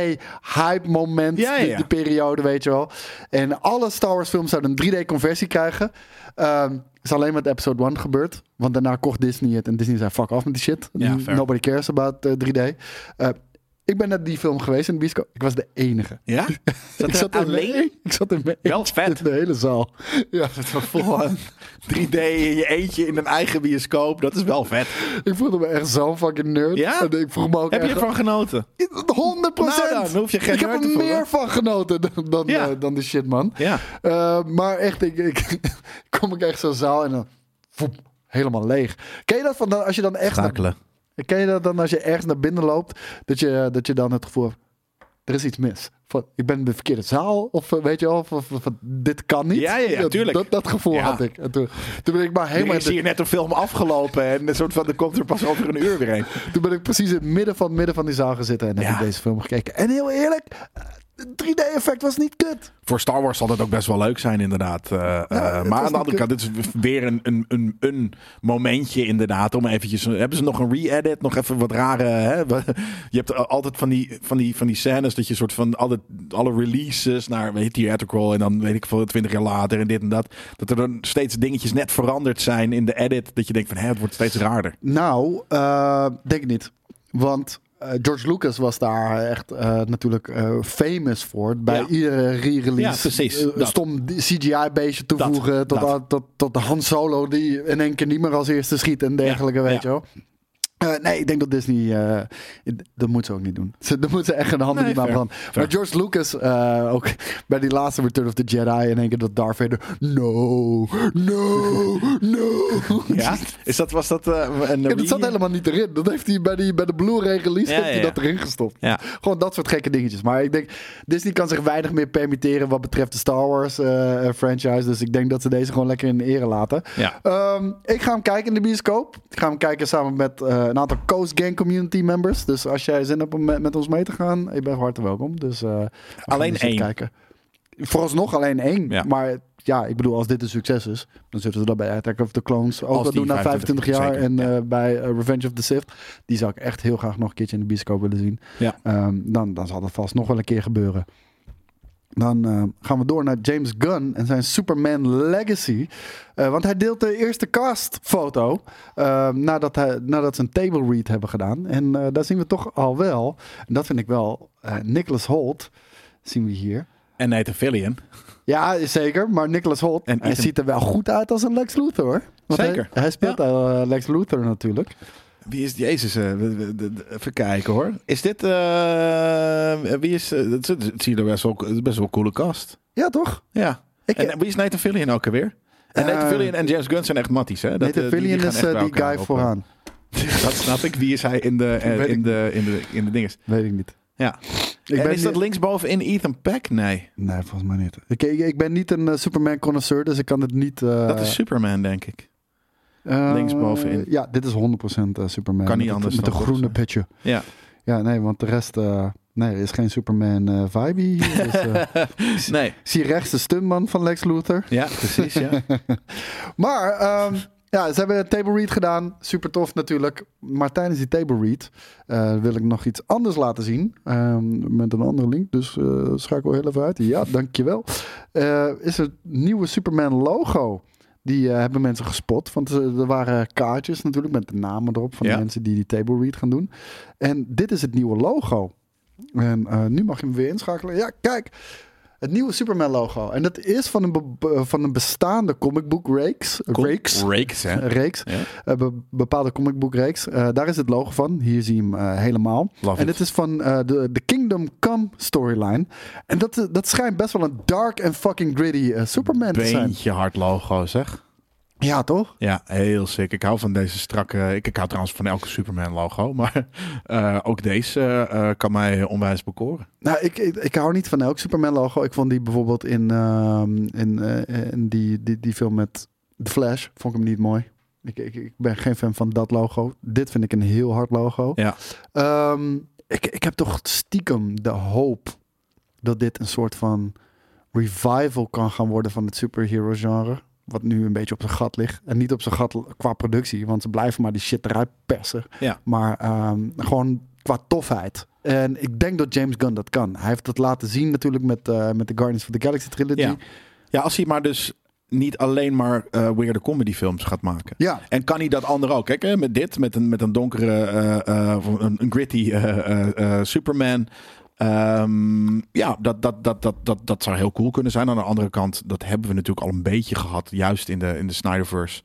[SPEAKER 3] hype moment,
[SPEAKER 2] Ja, ja,
[SPEAKER 3] die-
[SPEAKER 2] ja.
[SPEAKER 3] die periode, weet je wel. En alle Star Wars films zouden een 3D conversie krijgen. Ehm is alleen met episode 1 gebeurd. Want daarna kocht Disney het en Disney zei fuck off met die shit.
[SPEAKER 2] Ja, fair.
[SPEAKER 3] Nobody cares about eh, 3D. Eh, ik ben naar die film geweest in de bioscoop. Ik was de enige.
[SPEAKER 2] Ja? Zat er
[SPEAKER 3] Ik zat, in mijn-
[SPEAKER 2] alleen?
[SPEAKER 3] ik zat in mijn
[SPEAKER 2] Wel
[SPEAKER 3] eentje
[SPEAKER 2] vet.
[SPEAKER 3] in de hele zaal. Ja.
[SPEAKER 2] Vol aan 3D in je eentje in een eigen bioscoop. Dat is wel vet.
[SPEAKER 3] Ik voelde me echt zo'n fucking nerd.
[SPEAKER 2] Ja?
[SPEAKER 3] En ik vroeg me ook
[SPEAKER 2] Heb je
[SPEAKER 3] echt-
[SPEAKER 2] ervan genoten?
[SPEAKER 3] 100
[SPEAKER 2] Nou, dan hoef je geen
[SPEAKER 3] Ik heb
[SPEAKER 2] nerd
[SPEAKER 3] er
[SPEAKER 2] te voelen.
[SPEAKER 3] meer van genoten dan, dan,
[SPEAKER 2] Ja.
[SPEAKER 3] eh, dan de shit, man.
[SPEAKER 2] Ja.
[SPEAKER 3] Eh, maar echt, ik, ik kom ik echt zo'n zaal en dan voep, helemaal leeg. Ken je dat van als je dan echt. Naar,
[SPEAKER 2] Schakelen.
[SPEAKER 3] ken je dat dan als je ergens naar binnen loopt, dat je, dat je dan het gevoel hebt, er is iets mis. Van, ik ben in de verkeerde zaal, of eh, weet je wel, of, of- of- dit kan niet.
[SPEAKER 2] Ja, ja, ja, tuurlijk.
[SPEAKER 3] Dat, dat gevoel
[SPEAKER 2] Ja.
[SPEAKER 3] had ik. En toen, toen ben ik maar
[SPEAKER 2] Hey,
[SPEAKER 3] helemaal... in
[SPEAKER 2] is hier
[SPEAKER 3] de-
[SPEAKER 2] net een film afgelopen en een soort van, er komt er pas over een uur weer een.
[SPEAKER 3] Toen ben ik precies in het midden van, midden van die zaal gezeten en heb
[SPEAKER 2] Ja.
[SPEAKER 3] ik deze film gekeken. En heel eerlijk, het 3D-effect was niet kut.
[SPEAKER 2] Voor Star Wars zal dat ook best wel leuk zijn, inderdaad. Eh, eh, maar aan
[SPEAKER 3] niet
[SPEAKER 2] de andere kant, het is weer een, een, een, een momentje, inderdaad. Om eventjes, eh, hebben ze nog een re-edit? Nog even wat rare. Hè? Je hebt al- altijd van die, van, die, van die scènes dat je soort van alle, alle releases naar weet, je, theatrical en dan weet ik veel, twintig jaar later en dit en dat. Dat er dan steeds dingetjes net veranderd zijn in de edit. Dat je denkt van, hè, het wordt steeds raarder.
[SPEAKER 3] Nou, eh, denk ik niet. Want eh, George Lucas was daar echt eh, natuurlijk eh, famous voor. Bij
[SPEAKER 2] Ja.
[SPEAKER 3] iedere re-release.
[SPEAKER 2] Ja, precies,
[SPEAKER 3] Eh,
[SPEAKER 2] dat.
[SPEAKER 3] stom CGI-beestje toevoegen.
[SPEAKER 2] Dat,
[SPEAKER 3] tot,
[SPEAKER 2] dat.
[SPEAKER 3] Tot, tot de Han Solo die in één keer niet meer als eerste schiet en dergelijke,
[SPEAKER 2] Ja,
[SPEAKER 3] weet
[SPEAKER 2] ja.
[SPEAKER 3] je wel. Eh, nee, ik denk dat Disney. eh, het- dat moet ze ook niet doen. Ze, dat moeten ze echt hun handen
[SPEAKER 2] Nee,
[SPEAKER 3] niet aan
[SPEAKER 2] fair.
[SPEAKER 3] branden. Maar George Lucas, eh, ook bij die laatste Return of the Jedi, in één keer dat Darth Vader. No, no, no.
[SPEAKER 2] Ja? Is dat, was dat eh, een
[SPEAKER 3] Ja, dat zat helemaal niet erin. Dat heeft hij bij, die, bij de Blu-ray release
[SPEAKER 2] Ja,
[SPEAKER 3] heeft hij
[SPEAKER 2] ja, ja.
[SPEAKER 3] dat erin gestopt.
[SPEAKER 2] Ja.
[SPEAKER 3] Gewoon dat soort gekke dingetjes. Maar ik denk, Disney kan zich weinig meer permitteren wat betreft de Star Wars eh, eh, franchise. Dus ik denk dat ze deze gewoon lekker in ere laten.
[SPEAKER 2] Ja.
[SPEAKER 3] Ehm, ik ga hem kijken in de bioscoop. Ik ga hem kijken samen met eh, een aantal Coast Gang community members. Dus als jij zin hebt om met, met ons mee te gaan, je bent van harte welkom. Dus, eh, we gaan
[SPEAKER 2] Alleen
[SPEAKER 3] die shit
[SPEAKER 2] één.
[SPEAKER 3] Kijken. Vooralsnog alleen één.
[SPEAKER 2] Ja.
[SPEAKER 3] Maar ja, ik bedoel, als dit een succes is, dan zullen ze dat bij Attack of the Clones ook
[SPEAKER 2] Als
[SPEAKER 3] wel
[SPEAKER 2] die
[SPEAKER 3] doen na 25 jaar.
[SPEAKER 2] 25,
[SPEAKER 3] en
[SPEAKER 2] zeker,
[SPEAKER 3] eh, bij eh, Revenge of the Sith, die zou ik echt heel graag nog een keertje in de bioscoop willen zien.
[SPEAKER 2] Ja.
[SPEAKER 3] Ehm, dan, dan zal dat vast nog wel een keer gebeuren. Dan eh, gaan we door naar James Gunn en zijn Superman Legacy. Eh, want hij deelt de eerste castfoto eh, nadat, hij, nadat ze een table read hebben gedaan. En eh, daar zien we toch al wel, en dat vind ik wel, eh, Nicholas Holt zien we hier.
[SPEAKER 2] En Nathan Fillion.
[SPEAKER 3] Ja, zeker. Maar Nicholas Holt,
[SPEAKER 2] En
[SPEAKER 3] hij
[SPEAKER 2] Ethan-
[SPEAKER 3] ziet er wel goed uit als een Lex Luthor. hoor. Want
[SPEAKER 2] Zeker.
[SPEAKER 3] Hij, hij speelt eh, Lex Luthor natuurlijk.
[SPEAKER 2] Wie is Jezus? eh, we- we- de- de- even kijken hoor. Is dit. eh, wie is. eh, Het het- het zie je er best wel, het is best wel een coole kast.
[SPEAKER 3] Ja, toch?
[SPEAKER 2] Ja.
[SPEAKER 3] Ik,
[SPEAKER 2] En eh, wie is Nathan Fillion ook alweer? En
[SPEAKER 3] Eh,
[SPEAKER 2] Nathan Fillion en James Gunn zijn echt matties, hè? Dat, eh,
[SPEAKER 3] Nathan
[SPEAKER 2] die- die
[SPEAKER 3] Fillion
[SPEAKER 2] gaan
[SPEAKER 3] is
[SPEAKER 2] echt
[SPEAKER 3] eh,
[SPEAKER 2] bij
[SPEAKER 3] die
[SPEAKER 2] elkaar
[SPEAKER 3] guy
[SPEAKER 2] op, eh.
[SPEAKER 3] vooraan.
[SPEAKER 2] Dat snap ik. Wie is hij in de, eh,
[SPEAKER 3] Weet ik
[SPEAKER 2] in de, in de, in de dinges?
[SPEAKER 3] Weet ik niet.
[SPEAKER 2] Ja.
[SPEAKER 3] Ik
[SPEAKER 2] en
[SPEAKER 3] ben
[SPEAKER 2] is dat
[SPEAKER 3] niet-
[SPEAKER 2] linksbovenin Ethan Peck? Nee.
[SPEAKER 3] Nee, volgens mij niet. Ik, ik, ik ben niet een eh, Superman connoisseur, dus ik kan het niet... eh,
[SPEAKER 2] dat is Superman, denk ik.
[SPEAKER 3] eh,
[SPEAKER 2] linksbovenin.
[SPEAKER 3] Ja, dit is 100% eh, Superman.
[SPEAKER 2] Kan niet
[SPEAKER 3] Met het-
[SPEAKER 2] anders
[SPEAKER 3] Met een
[SPEAKER 2] dan toch,
[SPEAKER 3] groene
[SPEAKER 2] eh.
[SPEAKER 3] petje.
[SPEAKER 2] Ja.
[SPEAKER 3] Ja, nee, want de rest... eh, nee, er is geen Superman eh vibe hier. Dus, eh,
[SPEAKER 2] nee.
[SPEAKER 3] ik zie rechts de stuntman van Lex Luthor.
[SPEAKER 2] Ja, precies, ja.
[SPEAKER 3] Maar ehm, ja, ze hebben een table read gedaan. Super tof natuurlijk. Maar tijdens die table read eh, wil ik nog iets anders laten zien. Ehm, met een andere link. Dus eh schakel heel even uit. Ja, dankjewel. Eh is het nieuwe Superman logo. Die eh, hebben mensen gespot. Want eh, er waren kaartjes natuurlijk met de namen erop van
[SPEAKER 2] Ja.
[SPEAKER 3] de mensen die die table read gaan doen. En dit is het nieuwe logo. En eh, nu mag je hem weer inschakelen. Ja, kijk. Het nieuwe Superman logo. En dat is van een, be- be- van een bestaande comic book reeks. reeks.
[SPEAKER 2] Rakes, hè?
[SPEAKER 3] Eh, reeks.
[SPEAKER 2] Ja.
[SPEAKER 3] Eh, be- bepaalde comic book reeks. Eh, daar is het logo van. Hier zie je hem eh, helemaal.
[SPEAKER 2] Love
[SPEAKER 3] en
[SPEAKER 2] it.
[SPEAKER 3] het is van eh, de, de Kingdom Come storyline. En dat, eh, dat schijnt best wel een dark en fucking gritty eh, Superman te zijn.
[SPEAKER 2] Beentje hard logo, zeg.
[SPEAKER 3] Ja, toch?
[SPEAKER 2] Ja, heel sick. Ik hou van deze strakke... Ik, ik hou trouwens van elke Superman-logo. Maar eh, ook deze eh, kan mij onwijs bekoren.
[SPEAKER 3] Nou, ik, ik, ik hou niet van elk Superman logo. Ik vond die bijvoorbeeld in, ehm, in, eh, in die, die, die film met The Flash. Vond ik hem niet mooi. Ik, ik, ik ben geen fan van dat logo. Dit vind ik een heel hard logo.
[SPEAKER 2] Ja.
[SPEAKER 3] Ehm, ik, ik heb toch stiekem de hoop dat dit een soort van revival kan gaan worden van het superhero genre. Wat nu een beetje op zijn gat ligt. En niet op zijn gat l- qua productie, want ze blijven maar die shit eruit persen.
[SPEAKER 2] Ja.
[SPEAKER 3] Maar ehm, gewoon qua tofheid. En ik denk dat James Gunn dat kan. Hij heeft dat laten zien natuurlijk met, eh, met de Guardians of the Galaxy trilogy.
[SPEAKER 2] Ja. Ja, als hij maar dus niet alleen maar eh weirde comedyfilms gaat maken.
[SPEAKER 3] Ja.
[SPEAKER 2] En kan hij dat ander ook? Kijk, hè, met dit, met een, met een donkere, eh, eh, of een, een gritty eh, eh, eh, Superman. Ehm, ja, dat, dat, dat, dat, dat, dat zou heel cool kunnen zijn. Aan de andere kant, dat hebben we natuurlijk al een beetje gehad. Juist in de, in de Snyderverse.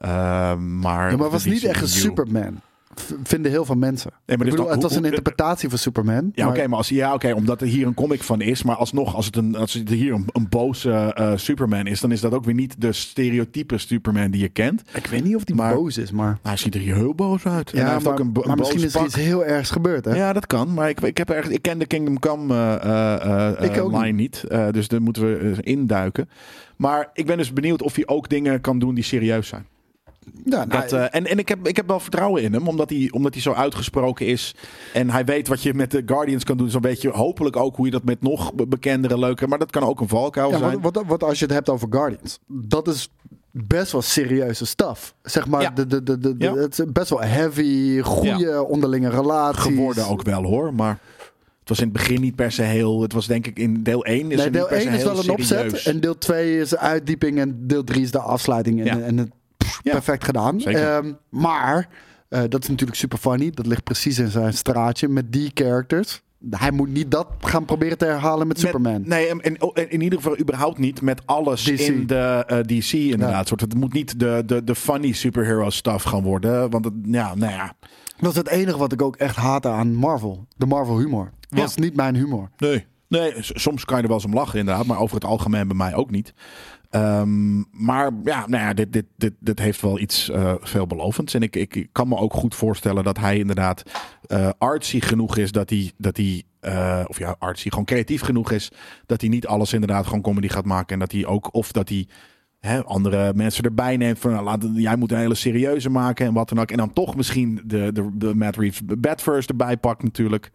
[SPEAKER 2] Ehm, maar
[SPEAKER 3] Ja, maar het was
[SPEAKER 2] de
[SPEAKER 3] niet echt een
[SPEAKER 2] DCU.
[SPEAKER 3] Superman. V- vinden heel veel mensen.
[SPEAKER 2] dit
[SPEAKER 3] ik
[SPEAKER 2] is
[SPEAKER 3] bedoel,
[SPEAKER 2] toch-
[SPEAKER 3] het was
[SPEAKER 2] dus hoe-
[SPEAKER 3] een
[SPEAKER 2] hoe-
[SPEAKER 3] interpretatie van Superman.
[SPEAKER 2] Ja, oké, maar als, ja, oké, omdat er hier een comic van is. Maar alsnog, als het, een, als het hier een, een boze eh, Superman is... dan is dat ook weer niet de stereotype Superman die je kent.
[SPEAKER 3] Ik weet niet of die
[SPEAKER 2] Maar-
[SPEAKER 3] boos is, maar...
[SPEAKER 2] Hij ziet er hier heel boos uit. en hij heeft
[SPEAKER 3] maar,
[SPEAKER 2] ook een, bo- een
[SPEAKER 3] maar misschien
[SPEAKER 2] boos
[SPEAKER 3] is er
[SPEAKER 2] pak.
[SPEAKER 3] iets heel ergs gebeurd, hè?
[SPEAKER 2] Ja, dat kan. Maar ik, ik, heb ergens, ik ken de Kingdom Come eh, eh, eh,
[SPEAKER 3] Ik ook
[SPEAKER 2] line niet. Eh, dus daar moeten we eh, induiken. Maar ik ben dus benieuwd of hij ook dingen kan doen die serieus zijn.
[SPEAKER 3] Ja, nou,
[SPEAKER 2] Dat, eh, en en ik, heb, ik heb wel vertrouwen in hem, omdat hij, omdat hij zo uitgesproken is. En hij weet wat je met de Guardians kan doen. Zo'n beetje hopelijk ook hoe je dat met nog be- bekendere, leukere. Maar dat kan ook een valkuil
[SPEAKER 3] ja,
[SPEAKER 2] zijn.
[SPEAKER 3] wat, wat, wat als je het hebt over Guardians? Dat is best wel serieuze staf. Zeg maar,
[SPEAKER 2] Ja.
[SPEAKER 3] de, de, de, de, de-
[SPEAKER 2] Ja.
[SPEAKER 3] het is best wel heavy, goede onderlinge relaties.
[SPEAKER 2] Geworden ook wel hoor. Maar het was in het begin niet per se heel. Het was denk ik in deel 1 is
[SPEAKER 3] Nee,
[SPEAKER 2] het niet
[SPEAKER 3] deel
[SPEAKER 2] per se
[SPEAKER 3] 1 is
[SPEAKER 2] heel
[SPEAKER 3] wel een opzet.
[SPEAKER 2] serieus.
[SPEAKER 3] En deel 2 is de uitdieping. En deel 3 is de afsluiting. En,
[SPEAKER 2] Ja.
[SPEAKER 3] en het pff,
[SPEAKER 2] Ja.
[SPEAKER 3] perfect gedaan.
[SPEAKER 2] Zeker.
[SPEAKER 3] Ehm, maar eh, dat is natuurlijk super funny. Dat ligt precies in zijn straatje met die characters. Hij moet niet dat gaan proberen te herhalen met, Superman.
[SPEAKER 2] Met- nee, en- en- en in ieder geval überhaupt niet met alles
[SPEAKER 3] DC.
[SPEAKER 2] in de eh, DC inderdaad.
[SPEAKER 3] Ja.
[SPEAKER 2] Soort, het moet niet de, de, de funny superhero stuff gaan worden. Want het, ja, nou ja.
[SPEAKER 3] Dat is het enige wat ik ook echt haatte aan Marvel. De Marvel humor. Was niet mijn humor.
[SPEAKER 2] Nee. Nee, s- soms kan je er wel eens om lachen inderdaad. Maar over het algemeen bij mij ook niet. Ehm, maar ja, nou ja dit, dit, dit, dit heeft wel iets eh, veelbelovends. En ik, ik, ik kan me ook goed voorstellen dat hij inderdaad eh, artsy genoeg is. Dat hij, dat hij eh, of ja, artsy, gewoon creatief genoeg is. Dat hij niet alles inderdaad gewoon comedy gaat maken. En dat hij ook, of dat hij hè, andere mensen erbij neemt. Van, nou, laat, jij moet een hele serieuze maken en wat dan ook. En dan toch misschien de, de, de Matt Reeves Batverse erbij pakt natuurlijk.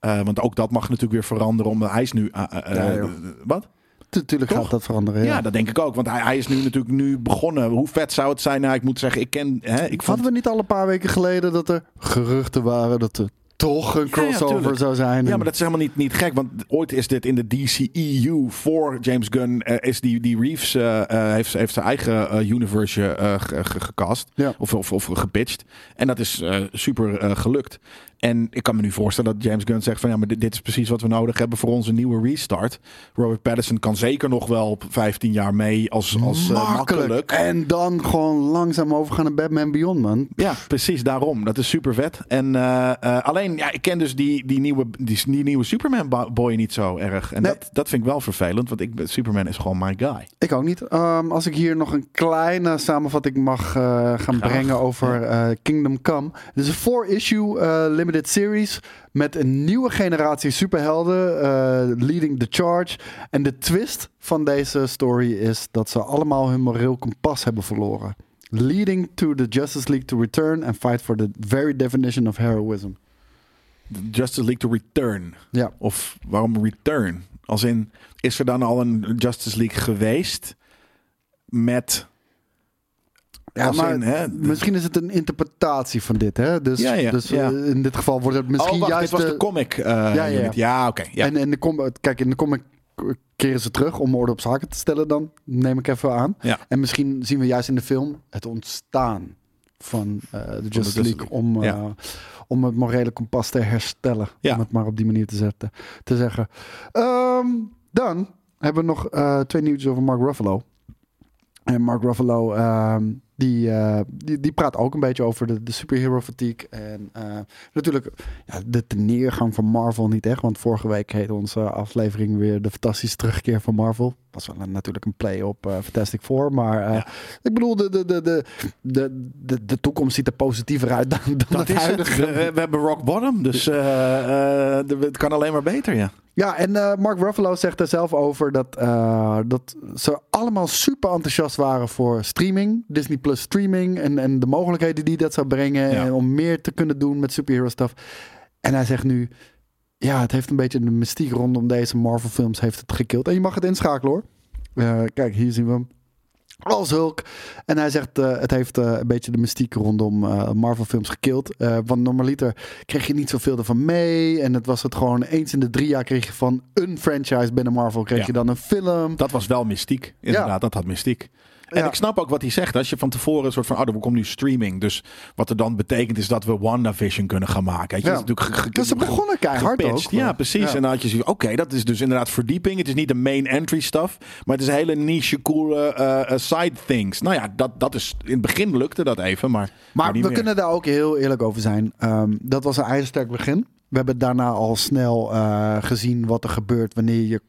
[SPEAKER 2] Eh, want ook dat mag natuurlijk weer veranderen. Omdat hij is nu... eh, eh,
[SPEAKER 3] Ja,
[SPEAKER 2] eh,
[SPEAKER 3] joh.
[SPEAKER 2] wat?
[SPEAKER 3] Natuurlijk
[SPEAKER 2] Toch?
[SPEAKER 3] gaat dat veranderen. Ja.
[SPEAKER 2] Ja, dat denk ik ook. Want hij, hij is nu natuurlijk nu begonnen. Hoe vet zou het zijn? Nou, ik moet zeggen, ik ken. Hè, ik vond
[SPEAKER 3] Hadden we niet al een paar weken geleden dat er geruchten waren dat er toch een crossover
[SPEAKER 2] tuurlijk.
[SPEAKER 3] zou zijn?
[SPEAKER 2] Ja, maar dat is helemaal niet, niet gek. Want ooit is dit in de DCEU voor James Gunn. eh, is die, die Reeves eh, eh, heeft, heeft zijn eigen eh, universe eh, ge- ge- gecast.
[SPEAKER 3] Ja.
[SPEAKER 2] Of, of, of gepitcht. En dat is eh, super eh, gelukt. En ik kan me nu voorstellen dat James Gunn zegt van ja, maar dit, dit is precies wat we nodig hebben voor onze nieuwe restart. Robert Pattinson kan zeker nog wel op 15 jaar mee als, als eh, makkelijk.
[SPEAKER 3] En dan gewoon langzaam overgaan naar Batman Beyond, man.
[SPEAKER 2] Ja, precies daarom. Dat is super vet. En eh, eh, alleen, ja, ik ken dus die, die nieuwe, die, die nieuwe Superman bo- boy niet zo erg. En
[SPEAKER 3] Nee.
[SPEAKER 2] dat, dat vind ik wel vervelend, want ik, ben- Superman is gewoon my guy.
[SPEAKER 3] Ik ook niet. Ehm, als ik hier nog een kleine samenvatting mag eh, gaan brengen over eh, Kingdom Come. Het is een four-issue eh, limited series met een nieuwe generatie superhelden eh, leading the charge. En de twist van deze story is dat ze allemaal hun moreel kompas hebben verloren. Leading to the Justice League to return and fight for the very definition of heroism.
[SPEAKER 2] Justice League to return.
[SPEAKER 3] Ja.
[SPEAKER 2] Of waarom return? Als in, is er dan al een Justice League geweest met...
[SPEAKER 3] Ja,
[SPEAKER 2] Als
[SPEAKER 3] maar
[SPEAKER 2] in, hè, de-
[SPEAKER 3] misschien is het een interpretatie van dit, hè? Dus,
[SPEAKER 2] Ja, ja,
[SPEAKER 3] dus
[SPEAKER 2] ja.
[SPEAKER 3] eh, in dit geval wordt het misschien
[SPEAKER 2] oh, wacht,
[SPEAKER 3] juist
[SPEAKER 2] dit was de,
[SPEAKER 3] de-
[SPEAKER 2] comic eh,
[SPEAKER 3] ja, ja.
[SPEAKER 2] unit. Ja, oké. ja.
[SPEAKER 3] En in de com- kijk, in de comic keren ze terug om orde op zaken te stellen dan, neem ik even aan.
[SPEAKER 2] Ja.
[SPEAKER 3] En misschien zien we juist in de film het ontstaan van eh, de Justice
[SPEAKER 2] Justice
[SPEAKER 3] League
[SPEAKER 2] League.
[SPEAKER 3] om, eh,
[SPEAKER 2] Ja.
[SPEAKER 3] om het morele kompas te herstellen.
[SPEAKER 2] Ja.
[SPEAKER 3] Om het maar op die manier te, zetten, te zeggen. Ehm, dan hebben we nog eh, twee nieuwtjes over Mark Ruffalo. En Mark Ruffalo, ehm, die, eh, die, die praat ook een beetje over de, de superhero fatigue. En eh, natuurlijk ja, de teneergang van Marvel niet echt. Want vorige week heet onze aflevering weer de fantastische terugkeer van Marvel. Was wel een- natuurlijk een play op eh, Fantastic Four. Maar eh,
[SPEAKER 2] Ja.
[SPEAKER 3] ik bedoel, de, de, de, de, de, de, de toekomst ziet er positiever uit dan, dan
[SPEAKER 2] dat
[SPEAKER 3] het
[SPEAKER 2] is het.
[SPEAKER 3] huidige.
[SPEAKER 2] We, we hebben rock bottom, dus eh, eh, de- het kan alleen maar beter, ja.
[SPEAKER 3] Ja, en eh, Mark Ruffalo zegt er zelf over dat, eh, dat ze allemaal super enthousiast waren voor streaming. Disney Plus streaming en, en de mogelijkheden die dat zou brengen.
[SPEAKER 2] Ja.
[SPEAKER 3] En om meer te kunnen doen met superhero stuff. En hij zegt nu, ja, het heeft een beetje de mystiek rondom deze Marvel films heeft het gekild. En je mag het inschakelen hoor. Eh, kijk, hier zien we hem. Als Hulk. En hij zegt, eh, het heeft eh, een beetje de mystiek rondom eh, Marvel-films gekild. Eh, want normaliter kreeg je niet zoveel ervan mee. En het was het gewoon eens in de drie jaar kreeg je van een franchise binnen Marvel. Kreeg
[SPEAKER 2] Ja.
[SPEAKER 3] je dan een film.
[SPEAKER 2] Dat was wel mystiek. Inderdaad, dat had mystiek. En
[SPEAKER 3] Ja.
[SPEAKER 2] ik snap ook wat hij zegt. Als je van tevoren een soort van, oh, er komt nu streaming. Dus wat er dan betekent is dat we WandaVision kunnen gaan maken. Weet je?
[SPEAKER 3] Ja.
[SPEAKER 2] Dat is natuurlijk ge- ge-
[SPEAKER 3] Dus ze begonnen keihard
[SPEAKER 2] gepitcht.
[SPEAKER 3] ook.
[SPEAKER 2] Ja, precies.
[SPEAKER 3] Ja.
[SPEAKER 2] En dan had je zoiets van, oké, dat is dus inderdaad verdieping. Het is niet de main entry stuff. Maar het is hele niche, coole eh, eh, side things. Nou ja, dat, dat is, in het begin lukte dat even, maar nou,
[SPEAKER 3] Maar we
[SPEAKER 2] niet meer.
[SPEAKER 3] kunnen daar ook heel eerlijk over zijn. Ehm, dat was een ijzersterk begin. We hebben daarna al snel eh, gezien wat er gebeurt wanneer je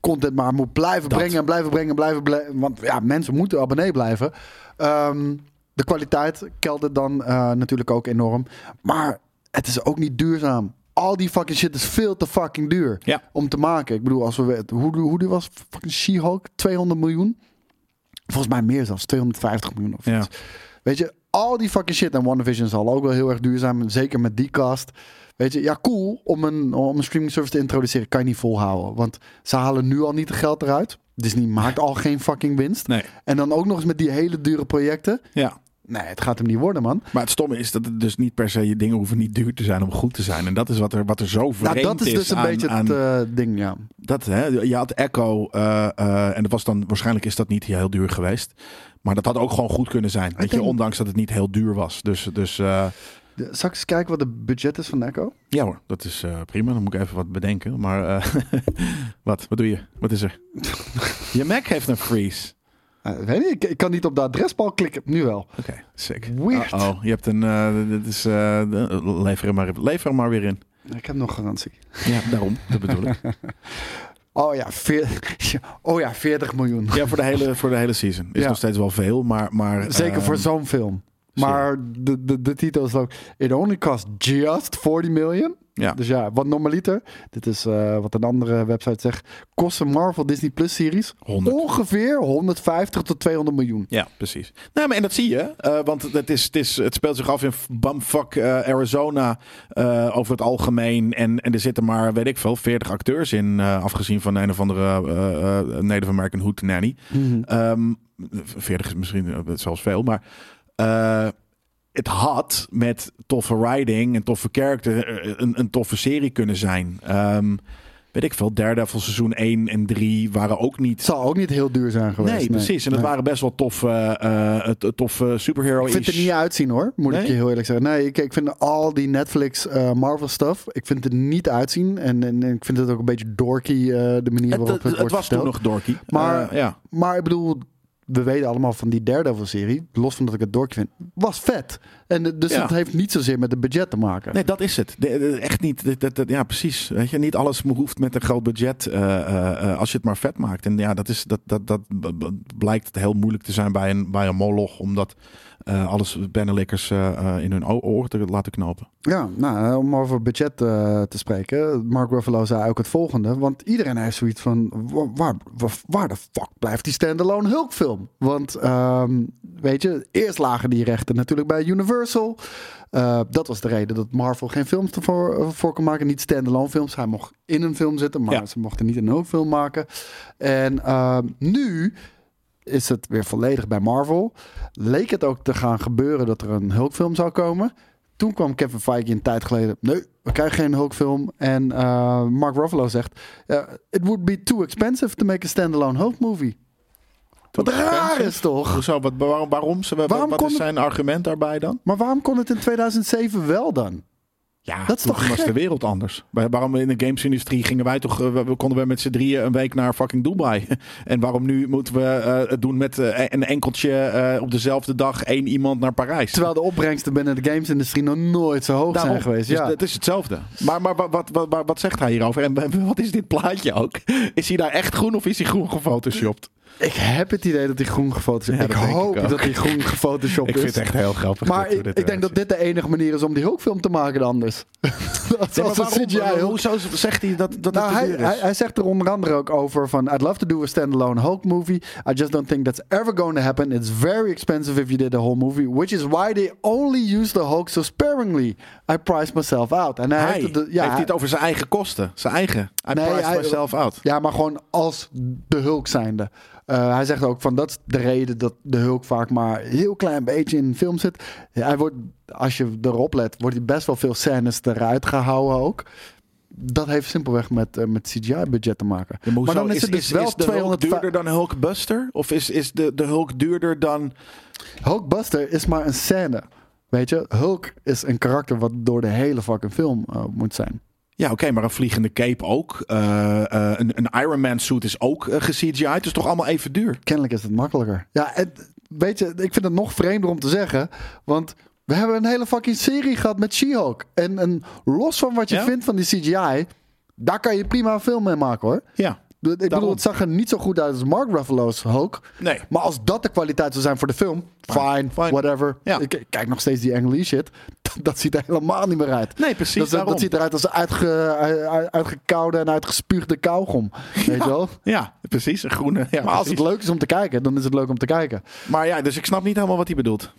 [SPEAKER 3] content maar moet blijven
[SPEAKER 2] Dat.
[SPEAKER 3] brengen en blijven brengen en blijven blijven. Want ja, mensen moeten abonnee blijven. Ehm, de kwaliteit keldert dan eh, natuurlijk ook enorm. Maar het is ook niet duurzaam. Al die fucking shit is veel te fucking duur
[SPEAKER 2] Ja.
[SPEAKER 3] om te maken. Ik bedoel, als we weten- hoe, hoe die was fucking She-Hulk 200 miljoen. Volgens mij meer zelfs 250 miljoen of
[SPEAKER 2] Ja.
[SPEAKER 3] iets. Weet je, al die fucking shit. En WandaVision zal ook wel heel erg duur zijn. Zeker met die cast. Weet je, ja, cool om een, om een streaming service te introduceren. Kan je niet volhouden. Want ze halen nu al niet het geld eruit. Disney maakt al geen fucking winst.
[SPEAKER 2] Nee.
[SPEAKER 3] En dan ook nog eens met die hele dure projecten.
[SPEAKER 2] Ja.
[SPEAKER 3] Nee, het gaat hem niet worden, man.
[SPEAKER 2] Maar het stomme is dat het dus niet per se je dingen hoeven niet duur te zijn om goed te zijn. En dat is wat er, wat er zo vreemd
[SPEAKER 3] Nou, dat is dus een
[SPEAKER 2] aan-
[SPEAKER 3] beetje
[SPEAKER 2] aan-
[SPEAKER 3] het eh, ding, ja.
[SPEAKER 2] Dat, hè, je had Echo, eh, eh, en dat was dan, waarschijnlijk is dat niet heel duur geweest. Maar dat had ook gewoon goed kunnen zijn. Weet je,
[SPEAKER 3] denk-
[SPEAKER 2] ondanks dat het niet heel duur was. Dus, dus eh,
[SPEAKER 3] Ja, Zal ik eens kijken wat het budget is van Echo?
[SPEAKER 2] Ja hoor, dat is eh, prima. Dan moet ik even wat bedenken. Maar eh, wat? Wat doe je? Wat is er? je Mac heeft een freeze.
[SPEAKER 3] Eh, weet niet, ik, ik kan niet op de adresbal klikken. Nu wel.
[SPEAKER 2] Oké, sick.
[SPEAKER 3] Weird.
[SPEAKER 2] Oh, je hebt een. eh, dit is, eh, lever, hem maar, lever hem maar weer in.
[SPEAKER 3] Ik heb nog garantie.
[SPEAKER 2] Ja, daarom. Dat bedoel ik.
[SPEAKER 3] Oh ja, veer- oh ja 40 miljoen.
[SPEAKER 2] Ja, voor de hele, voor de hele season. Is
[SPEAKER 3] Ja.
[SPEAKER 2] nog steeds wel veel, maar. maar
[SPEAKER 3] Zeker
[SPEAKER 2] ehm,
[SPEAKER 3] voor zo'n film. Maar de, de, de titel is ook... It only cost just 40 million.
[SPEAKER 2] Ja.
[SPEAKER 3] Dus ja, wat normaliter... Dit is eh, wat een andere website zegt. Kost een Marvel Disney Plus series...
[SPEAKER 2] 100.
[SPEAKER 3] ongeveer 150 tot 200 miljoen.
[SPEAKER 2] Ja, precies. Nou, maar en dat zie je, eh, want het, is, het, is, het speelt zich af in bumfuck eh, Arizona eh, over het algemeen. En, en er zitten maar, weet ik veel, 40 acteurs in, eh, afgezien van een of andere eh, eh, Native American Hood Nanny. Ehm, 40 is misschien eh, zelfs veel, maar eh, het had met toffe riding en toffe character eh, een, een toffe serie kunnen zijn. Ehm, weet ik veel, Daredevil seizoen 1 en 3 waren ook niet
[SPEAKER 3] Het zal ook niet heel duur zijn geweest.
[SPEAKER 2] Nee, precies. En dat
[SPEAKER 3] Nee.
[SPEAKER 2] waren best wel toffe, eh, eh, toffe superhero
[SPEAKER 3] Ik vind het er niet uitzien hoor, moet ik
[SPEAKER 2] Nee?
[SPEAKER 3] je heel eerlijk zeggen. Nee, ik, ik vind al die Netflix eh, Marvel stuff, ik vind het niet uitzien. En, en, en ik vind het ook een beetje dorky, eh, de manier
[SPEAKER 2] Het,
[SPEAKER 3] waarop het,
[SPEAKER 2] het, het
[SPEAKER 3] wordt
[SPEAKER 2] was
[SPEAKER 3] verteld.
[SPEAKER 2] toen nog dorky.
[SPEAKER 3] Maar-
[SPEAKER 2] Eh, ja.
[SPEAKER 3] Maar ik bedoel, we weten allemaal van die Daredevil-serie, los van dat ik het dorky vind, was vet. En eh, dus
[SPEAKER 2] Ja.
[SPEAKER 3] het heeft niet zozeer met het budget te maken.
[SPEAKER 2] Nee, dat is het. De- de- echt niet. Dat- dat- dat- ja, precies. Weet je, niet alles hoeft met een groot budget. eh, eh, eh, als je het maar vet maakt. En ja, dat, is, dat, dat, dat b- b- blijkt heel moeilijk te zijn bij een, bij een moloch. Omdat eh, alles Benelikkers eh, eh, in hun o- oor te laten knopen.
[SPEAKER 3] Ja, nou, eh, om over budget eh, te spreken. Mark Ruffalo zei ook het volgende. Want iedereen heeft zoiets van... wa- Waar, waar, waar de fuck blijft die standalone Hulk film? Want, ehm, weet je, eerst lagen die rechten natuurlijk bij Universal. Eh, dat was de reden dat Marvel geen films ervoor eh, voor kon maken. Niet standalone films. Hij mocht in een film zitten, maar
[SPEAKER 2] Ja.
[SPEAKER 3] ze mochten niet een Hulk film maken. En ehm, nu is het weer volledig bij Marvel. Leek het ook te gaan gebeuren dat er een Hulkfilm zou komen. Toen kwam Kevin Feige een tijd geleden. Nee, we krijgen geen Hulkfilm. En eh, Mark Ruffalo zegt... eh, It would be too expensive to make a standalone Hulk movie. Wat raar is toch?
[SPEAKER 2] Hoezo? Wat, waarom, waarom, ze-
[SPEAKER 3] Waarom
[SPEAKER 2] wat
[SPEAKER 3] kon
[SPEAKER 2] is
[SPEAKER 3] het-
[SPEAKER 2] zijn argument daarbij dan?
[SPEAKER 3] Maar waarom kon het in 2007 wel dan?
[SPEAKER 2] Ja,
[SPEAKER 3] Dat is
[SPEAKER 2] toen
[SPEAKER 3] toch
[SPEAKER 2] was
[SPEAKER 3] gek?
[SPEAKER 2] de wereld anders. Waar- Waarom in de gamesindustrie gingen wij toch, eh, we- we konden we met z'n drieën een week naar fucking Dubai. En waarom nu moeten we eh, het doen met eh, een enkeltje eh, op dezelfde dag één iemand naar Parijs?
[SPEAKER 3] Terwijl de opbrengsten binnen de gamesindustrie nog nooit zo hoog zijn geweest.
[SPEAKER 2] Dus
[SPEAKER 3] Ja.
[SPEAKER 2] het is hetzelfde. Maar, maar wa- wat, wat, wat, wat zegt hij hierover? En wa- wat is dit plaatje ook? Is hij daar echt groen of is hij groen gefotoshopt?
[SPEAKER 3] Ik heb het idee dat hij groen gefotoshopt
[SPEAKER 2] Ja,
[SPEAKER 3] Ik
[SPEAKER 2] dat denk ik
[SPEAKER 3] hoop
[SPEAKER 2] ook.
[SPEAKER 3] dat hij groen gefotoshopt
[SPEAKER 2] Ik
[SPEAKER 3] is.
[SPEAKER 2] vind het echt heel grappig.
[SPEAKER 3] Maar
[SPEAKER 2] dit- hoe
[SPEAKER 3] ik,
[SPEAKER 2] dit
[SPEAKER 3] ik denk dat
[SPEAKER 2] eruit
[SPEAKER 3] dit de enige manier is om die Hulkfilm te maken dan anders. Als-
[SPEAKER 2] ziet. Nee,
[SPEAKER 3] Als
[SPEAKER 2] maar
[SPEAKER 3] een
[SPEAKER 2] waarom-
[SPEAKER 3] CGI Hulk.
[SPEAKER 2] Hoezo zegt hij dat, dat
[SPEAKER 3] Nou,
[SPEAKER 2] het te
[SPEAKER 3] hij,
[SPEAKER 2] duur is?
[SPEAKER 3] hij, hij zegt er onder andere ook over van... I'd love to do a standalone Hulk movie. I just don't think that's ever going to happen. It's very expensive if you did a whole movie. Which is why they only use the Hulk so sparingly. I price myself out. En hij,
[SPEAKER 2] Hij
[SPEAKER 3] heeft
[SPEAKER 2] heeft,
[SPEAKER 3] het... ja, hij-
[SPEAKER 2] dit over zijn eigen kosten. Zijn eigen. I
[SPEAKER 3] Nee,
[SPEAKER 2] priced
[SPEAKER 3] hij-
[SPEAKER 2] myself out.
[SPEAKER 3] Ja, maar gewoon als de Hulk zijnde. Eh, hij zegt ook van dat is de reden dat de Hulk vaak maar een heel klein beetje in film zit. Ja, hij wordt, als je erop let, wordt hij best wel veel scènes eruit gehouden ook. Dat heeft simpelweg met, eh, met CGI-budget te maken.
[SPEAKER 2] Ja, maar,
[SPEAKER 3] maar
[SPEAKER 2] hoezo?
[SPEAKER 3] dan is, het dus wel
[SPEAKER 2] is de Hulk
[SPEAKER 3] 200...
[SPEAKER 2] duurder dan Hulkbuster? Of is, is de, de Hulk duurder dan...
[SPEAKER 3] Hulkbuster is maar een scène. Weet je, Hulk is een karakter wat door de hele fucking film eh, moet zijn.
[SPEAKER 2] Ja, oké, maar een vliegende cape ook. Eh, eh, een, een Iron Man suit is ook eh, ge-CGI'd. Het is toch allemaal even duur?
[SPEAKER 3] kennelijk is het makkelijker. Ja, en weet je, ik vind het nog vreemder om te zeggen. Want we hebben een hele fucking serie gehad met She-Hulk. En, en los van wat je
[SPEAKER 2] Ja?
[SPEAKER 3] vindt van die CGI, daar kan je prima een film mee maken hoor.
[SPEAKER 2] Ja.
[SPEAKER 3] Ik bedoel,
[SPEAKER 2] Daarom.
[SPEAKER 3] het zag er niet zo goed uit als Mark Ruffalo's Hulk.
[SPEAKER 2] Nee.
[SPEAKER 3] Maar als dat de kwaliteit zou zijn voor de film, fine,
[SPEAKER 2] Fine.
[SPEAKER 3] whatever.
[SPEAKER 2] Ja.
[SPEAKER 3] Ik, ik kijk nog steeds die Ang Lee shit. Dat ziet er helemaal niet meer uit.
[SPEAKER 2] Nee, precies,
[SPEAKER 3] Dat, dat,
[SPEAKER 2] daarom.
[SPEAKER 3] ziet eruit als uitge, uit- uitgekoude en uitgespuugde kauwgom. Weet je wel?
[SPEAKER 2] Ja, precies. Een groene. Ja,
[SPEAKER 3] Maar als
[SPEAKER 2] precies.
[SPEAKER 3] het leuk is om te kijken, dan is het leuk om te kijken.
[SPEAKER 2] maar ja, dus ik snap niet helemaal wat hij bedoelt.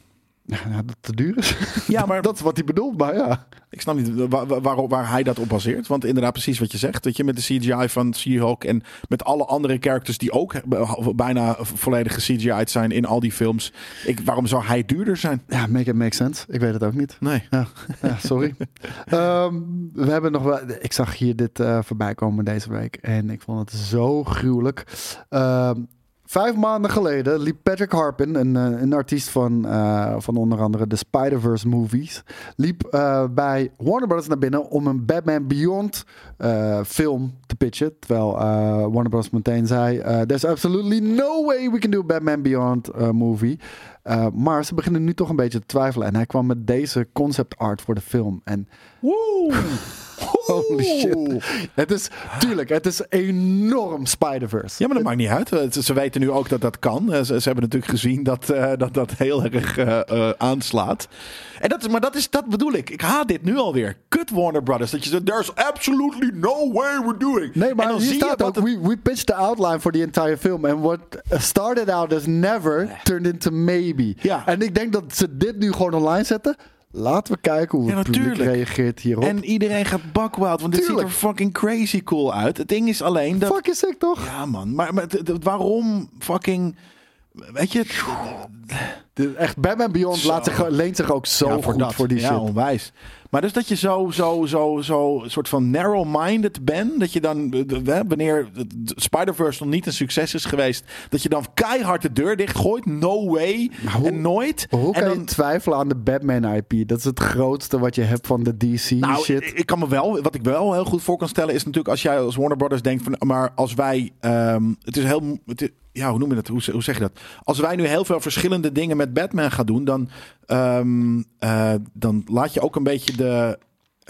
[SPEAKER 3] Ja, dat het te duur is.
[SPEAKER 2] Ja, maar-
[SPEAKER 3] dat is wat hij bedoelt, maar ja.
[SPEAKER 2] Ik snap niet wa- wa- waar, waar, hij dat op baseert. Want inderdaad, precies wat je zegt. Dat je met de CGI van She-Hulk en met alle andere characters die ook eh, bijna volledig ge-CGI'd zijn in al die films. Ik, waarom zou hij duurder zijn?
[SPEAKER 3] Ja, make it make sense. Ik weet het ook niet.
[SPEAKER 2] Nee.
[SPEAKER 3] Ja, ja, sorry. Ehm, we hebben nog wel. Ik zag hier dit eh, voorbij komen deze week en ik vond het zo gruwelijk. Ehm, Vijf maanden geleden liep Patrick Harpin, een, eh, een artiest van, eh, van onder andere de Spider-Verse movies, liep eh, bij Warner Brothers naar binnen om een Batman Beyond eh, film te pitchen. Terwijl eh, Warner Brothers meteen zei, eh, there's absolutely no way we can do a Batman Beyond eh, movie. Eh, maar ze beginnen nu toch een beetje te twijfelen. En hij kwam met deze concept art voor de film. En Holy shit. Het is, tuurlijk, het is enorm Spider-Verse.
[SPEAKER 2] Ja, maar dat maakt niet uit. Eh, Ze, ze weten nu ook dat dat kan. Eh, Ze, ze hebben natuurlijk gezien dat eh, dat, dat heel erg eh, eh, aanslaat. En dat is, maar dat, is, dat bedoel ik. Ik haat dit nu alweer. Kut Warner Brothers. Dat je zegt, there's absolutely no way we're doing.
[SPEAKER 3] Nee,
[SPEAKER 2] en
[SPEAKER 3] maar
[SPEAKER 2] dan
[SPEAKER 3] hier
[SPEAKER 2] zie je
[SPEAKER 3] staat
[SPEAKER 2] wat
[SPEAKER 3] ook,
[SPEAKER 2] het-
[SPEAKER 3] we, we pitched the outline for the entire film. And what started out as never, turned into maybe.
[SPEAKER 2] Ja.
[SPEAKER 3] En ik denk dat ze dit nu gewoon online zetten. Laten we kijken hoe
[SPEAKER 2] Ja,
[SPEAKER 3] het publiek
[SPEAKER 2] natuurlijk.
[SPEAKER 3] reageert hierop.
[SPEAKER 2] En iedereen gaat bakwild, want dit ziet er
[SPEAKER 3] Tuurlijk.
[SPEAKER 2] fucking crazy cool uit. Het ding is alleen dat...
[SPEAKER 3] Fuck is sick, toch?
[SPEAKER 2] Ja man, maar, maar het- het- waarom fucking... Weet je... het-
[SPEAKER 3] De- Echt, Batman Beyond
[SPEAKER 2] Zo.
[SPEAKER 3] laat zich, leent zich ook zo
[SPEAKER 2] Ja,
[SPEAKER 3] goed voor die
[SPEAKER 2] ja,
[SPEAKER 3] shit.
[SPEAKER 2] onwijs. Maar dus dat je zo, zo, zo, zo, soort van narrow-minded bent. Dat je dan, eh, de- hè, wanneer het- de Spider-Verse nog niet een succes is geweest, dat je dan keihard de deur dichtgooit. No way.
[SPEAKER 3] hoe-
[SPEAKER 2] en nooit.
[SPEAKER 3] Hoe
[SPEAKER 2] en
[SPEAKER 3] kan
[SPEAKER 2] dan-
[SPEAKER 3] je twijfelen aan de Batman IP? Dat is het grootste wat je hebt van de DC
[SPEAKER 2] nou,
[SPEAKER 3] shit.
[SPEAKER 2] Ik, ik kan me wel, wat ik wel heel goed voor kan stellen, is natuurlijk als jij als Warner Brothers denkt van, maar als wij, ehm, het is heel, mo- het is- ja, hoe noem je dat? Hoe, hoe zeg je dat? Als wij nu heel veel verschillende dingen met Batman gaan doen, dan, ehm, eh, dan laat je ook een beetje de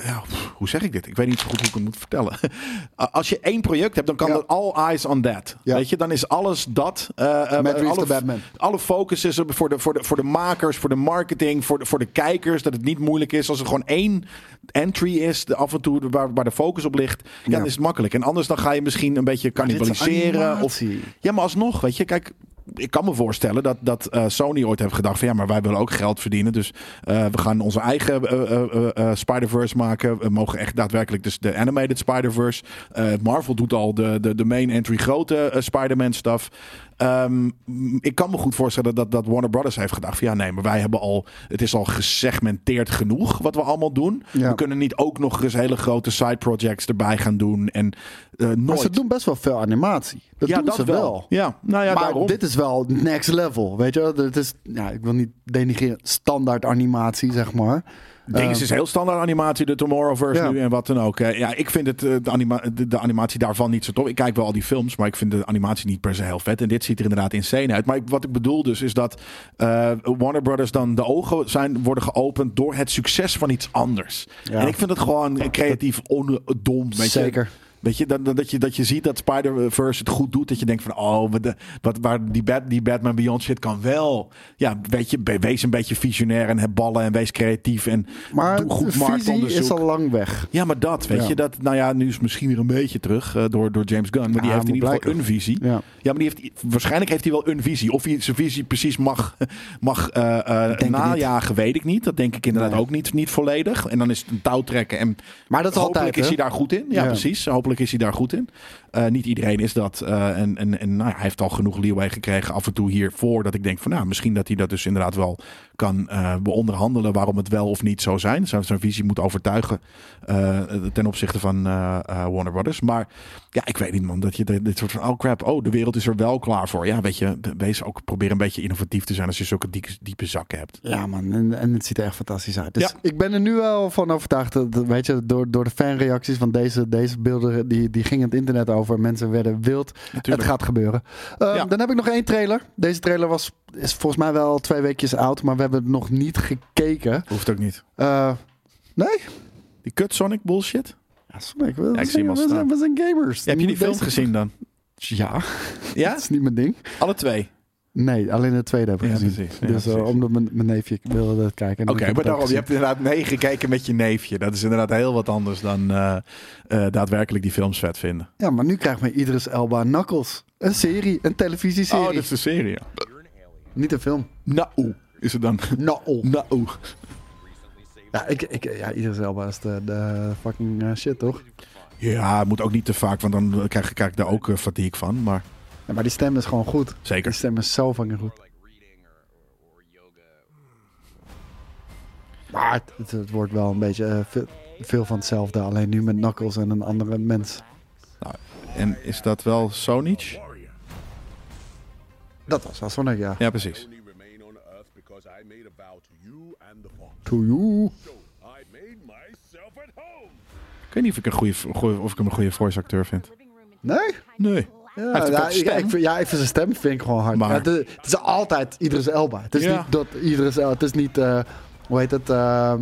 [SPEAKER 2] ja, pff, hoe zeg ik dit? Ik weet niet zo goed hoe ik het moet vertellen. A- Als je één project hebt, dan kan
[SPEAKER 3] Ja.
[SPEAKER 2] dat all eyes on that.
[SPEAKER 3] Ja.
[SPEAKER 2] Weet je, dan is alles dat. eh, eh,
[SPEAKER 3] Reeves
[SPEAKER 2] alle,
[SPEAKER 3] de Batman.
[SPEAKER 2] alle focus is er voor de, voor, de, voor de makers, voor de marketing, voor de, voor de kijkers. Dat het niet moeilijk is als er gewoon één entry is, de, af en toe de- waar, waar de focus op ligt. Ja,
[SPEAKER 3] Ja.
[SPEAKER 2] dan is het makkelijk. En anders dan ga je misschien een beetje
[SPEAKER 3] dit is
[SPEAKER 2] cannibaliseren. Of,
[SPEAKER 3] animatie.
[SPEAKER 2] ja, maar alsnog, weet je, kijk. Ik kan me voorstellen dat, dat eh, Sony ooit heeft gedacht van ja, maar wij willen ook geld verdienen. Dus eh, we gaan onze eigen eh, eh, eh, eh, Spider-Verse maken. We mogen echt daadwerkelijk dus de animated Spider-Verse. Eh, Marvel doet al de, de, de main entry grote eh, Spider-Man stuff. Ehm, m, ik kan me goed voorstellen dat, dat Warner Brothers heeft gedacht van ja, nee, maar wij hebben al, het is al gesegmenteerd genoeg wat we allemaal doen.
[SPEAKER 3] Ja.
[SPEAKER 2] We kunnen niet ook nog eens hele grote side projects erbij gaan doen. En eh
[SPEAKER 3] Maar
[SPEAKER 2] nooit.
[SPEAKER 3] ze doen best wel veel animatie. Dat
[SPEAKER 2] ja,
[SPEAKER 3] doen
[SPEAKER 2] dat
[SPEAKER 3] ze wel.
[SPEAKER 2] Ja, nou ja,
[SPEAKER 3] maar
[SPEAKER 2] daarom.
[SPEAKER 3] dit is wel next level, weet je wel? Het is, ja, ik wil niet denigreren, standaard animatie, zeg maar.
[SPEAKER 2] Ding is, is heel standaard animatie, de Tomorrowverse
[SPEAKER 3] Ehm, Ja.
[SPEAKER 2] nu en wat dan ook. Eh, Ja, ik vind het, eh, de, anima de, de animatie daarvan niet zo tof. Ik kijk wel al die films, maar ik vind de animatie niet per se heel vet. En dit ziet er inderdaad insane uit. Maar ik- wat ik bedoel dus, is dat eh, Warner Brothers dan de ogen zijn, worden geopend door het succes van iets anders.
[SPEAKER 3] Ja.
[SPEAKER 2] En ik vind het gewoon creatief ondom. Weet
[SPEAKER 3] Zeker.
[SPEAKER 2] Je? Weet je, dat, dat- dat je, dat je ziet dat Spider-Verse het goed doet. Dat je denkt van, oh, wat, de- wat, waar die, Bat, die Batman Beyond shit kan wel. Ja, weet je, be- wees een beetje visionair en heb ballen en wees creatief. En
[SPEAKER 3] Maar
[SPEAKER 2] doe goed
[SPEAKER 3] de visie
[SPEAKER 2] marktonderzoek.
[SPEAKER 3] is al lang weg.
[SPEAKER 2] Ja, maar dat, weet
[SPEAKER 3] Ja.
[SPEAKER 2] je. Dat, nou ja, nu is het misschien weer een beetje terug eh, door, door James Gunn. Maar die
[SPEAKER 3] Ja,
[SPEAKER 2] heeft in
[SPEAKER 3] moet
[SPEAKER 2] ieder geval
[SPEAKER 3] blijken.
[SPEAKER 2] een visie.
[SPEAKER 3] Ja.
[SPEAKER 2] maar die heeft, waarschijnlijk heeft hij wel een visie. Of hij zijn visie precies mag, mag eh, eh,
[SPEAKER 3] het
[SPEAKER 2] najagen, weet ik niet. Dat denk ik inderdaad
[SPEAKER 3] Nee.
[SPEAKER 2] ook niet, niet volledig. En dan is het een touw trekken. En
[SPEAKER 3] Maar dat is
[SPEAKER 2] hopelijk
[SPEAKER 3] altijd,
[SPEAKER 2] is
[SPEAKER 3] hè?
[SPEAKER 2] hij daar goed in. Ja,
[SPEAKER 3] Ja.
[SPEAKER 2] precies. Hopelijk is hij daar goed in. Eh, niet iedereen is dat. eh, en en, en nou ja, hij heeft al genoeg leeway gekregen af en toe hiervoor. Dat ik denk van nou, misschien dat hij dat dus inderdaad wel kan eh, beonderhandelen. Waarom het wel of niet zo zijn. Zijn, zijn visie moet overtuigen eh, ten opzichte van eh, eh, Warner Brothers. Maar ja, ik weet niet man. Dat je dit dit soort van oh crap. Oh, de wereld is er wel klaar voor. Ja, weet je. Wees ook, probeer een beetje innovatief te zijn als je zulke dieke- diepe zakken hebt.
[SPEAKER 3] Ja, man. En, en het ziet er echt fantastisch uit. Dus
[SPEAKER 2] Ja.
[SPEAKER 3] ik ben er nu wel van overtuigd. Dat, dat- weet je, door, door de fanreacties van deze, deze beelden, die, die gingen het internet over. Mensen werden wild. Het gaat gebeuren. Eh,
[SPEAKER 2] Ja.
[SPEAKER 3] Dan heb ik nog één trailer. Deze trailer was, is volgens mij wel twee weekjes oud, maar we hebben het nog niet gekeken.
[SPEAKER 2] Hoeft ook niet.
[SPEAKER 3] Eh, nee?
[SPEAKER 2] Die kut Sonic bullshit.
[SPEAKER 3] Ja, Sonic, we,
[SPEAKER 2] Ja, ik
[SPEAKER 3] we
[SPEAKER 2] zie hem
[SPEAKER 3] zijn,
[SPEAKER 2] al
[SPEAKER 3] we, zijn,
[SPEAKER 2] staan.
[SPEAKER 3] we zijn gamers.
[SPEAKER 2] Heb je die
[SPEAKER 3] Moet
[SPEAKER 2] film
[SPEAKER 3] deze-
[SPEAKER 2] gezien dan?
[SPEAKER 3] Ja,
[SPEAKER 2] Ja?
[SPEAKER 3] dat is niet mijn ding.
[SPEAKER 2] Alle twee.
[SPEAKER 3] Nee, alleen de tweede heb ik
[SPEAKER 2] Ja,
[SPEAKER 3] gezien.
[SPEAKER 2] precies. Ja,
[SPEAKER 3] dus eh,
[SPEAKER 2] precies.
[SPEAKER 3] omdat mijn, mijn neefje wilde dat kijken.
[SPEAKER 2] Oké, maar daarom, je hebt inderdaad nee gekeken met je neefje. Dat is inderdaad heel wat anders dan eh, eh, daadwerkelijk die films vet vinden.
[SPEAKER 3] Ja, maar nu krijgt men Idris Elba Knuckles. Een serie, een televisieserie.
[SPEAKER 2] Oh, dat is de serie. ja.
[SPEAKER 3] Niet een film.
[SPEAKER 2] Nou, is het dan?
[SPEAKER 3] Nou.
[SPEAKER 2] Nou.
[SPEAKER 3] Ja, ik, ik, ja, Idris Elba is de, de fucking eh, shit, toch?
[SPEAKER 2] Ja, het moet ook niet te vaak, want dan krijg, krijg ik daar ook eh, fatigue van. Maar
[SPEAKER 3] Ja, maar die stem is gewoon goed.
[SPEAKER 2] Zeker.
[SPEAKER 3] Die stem is zo fucking goed.
[SPEAKER 5] like reading or, or, or yoga
[SPEAKER 3] Maar het, het- het wordt wel een beetje eh, veel, veel van hetzelfde. Alleen nu met Knuckles en een andere mens.
[SPEAKER 2] En is dat wel Sonic?
[SPEAKER 3] Dat was Sonic, ja.
[SPEAKER 2] Ja, precies.
[SPEAKER 6] only remain on Earth because I made a vow to you and the Fox.
[SPEAKER 3] To you.
[SPEAKER 6] So I made myself at home.
[SPEAKER 2] Ik weet niet of ik, een goede, goeie- of ik hem een goede voice acteur vind.
[SPEAKER 3] Nee?
[SPEAKER 2] Nee.
[SPEAKER 3] Ja,
[SPEAKER 2] heeft een
[SPEAKER 3] ja,
[SPEAKER 2] vette
[SPEAKER 3] ik,
[SPEAKER 2] stem.
[SPEAKER 3] ik vind, ja, ik vind zijn stem vind ik gewoon hard.
[SPEAKER 2] Maar-
[SPEAKER 3] Ja, het, is- het is altijd Idris Elba. Het is
[SPEAKER 2] Ja.
[SPEAKER 3] niet dat Idris Elba... Het is niet, eh, hoe heet het? ehm,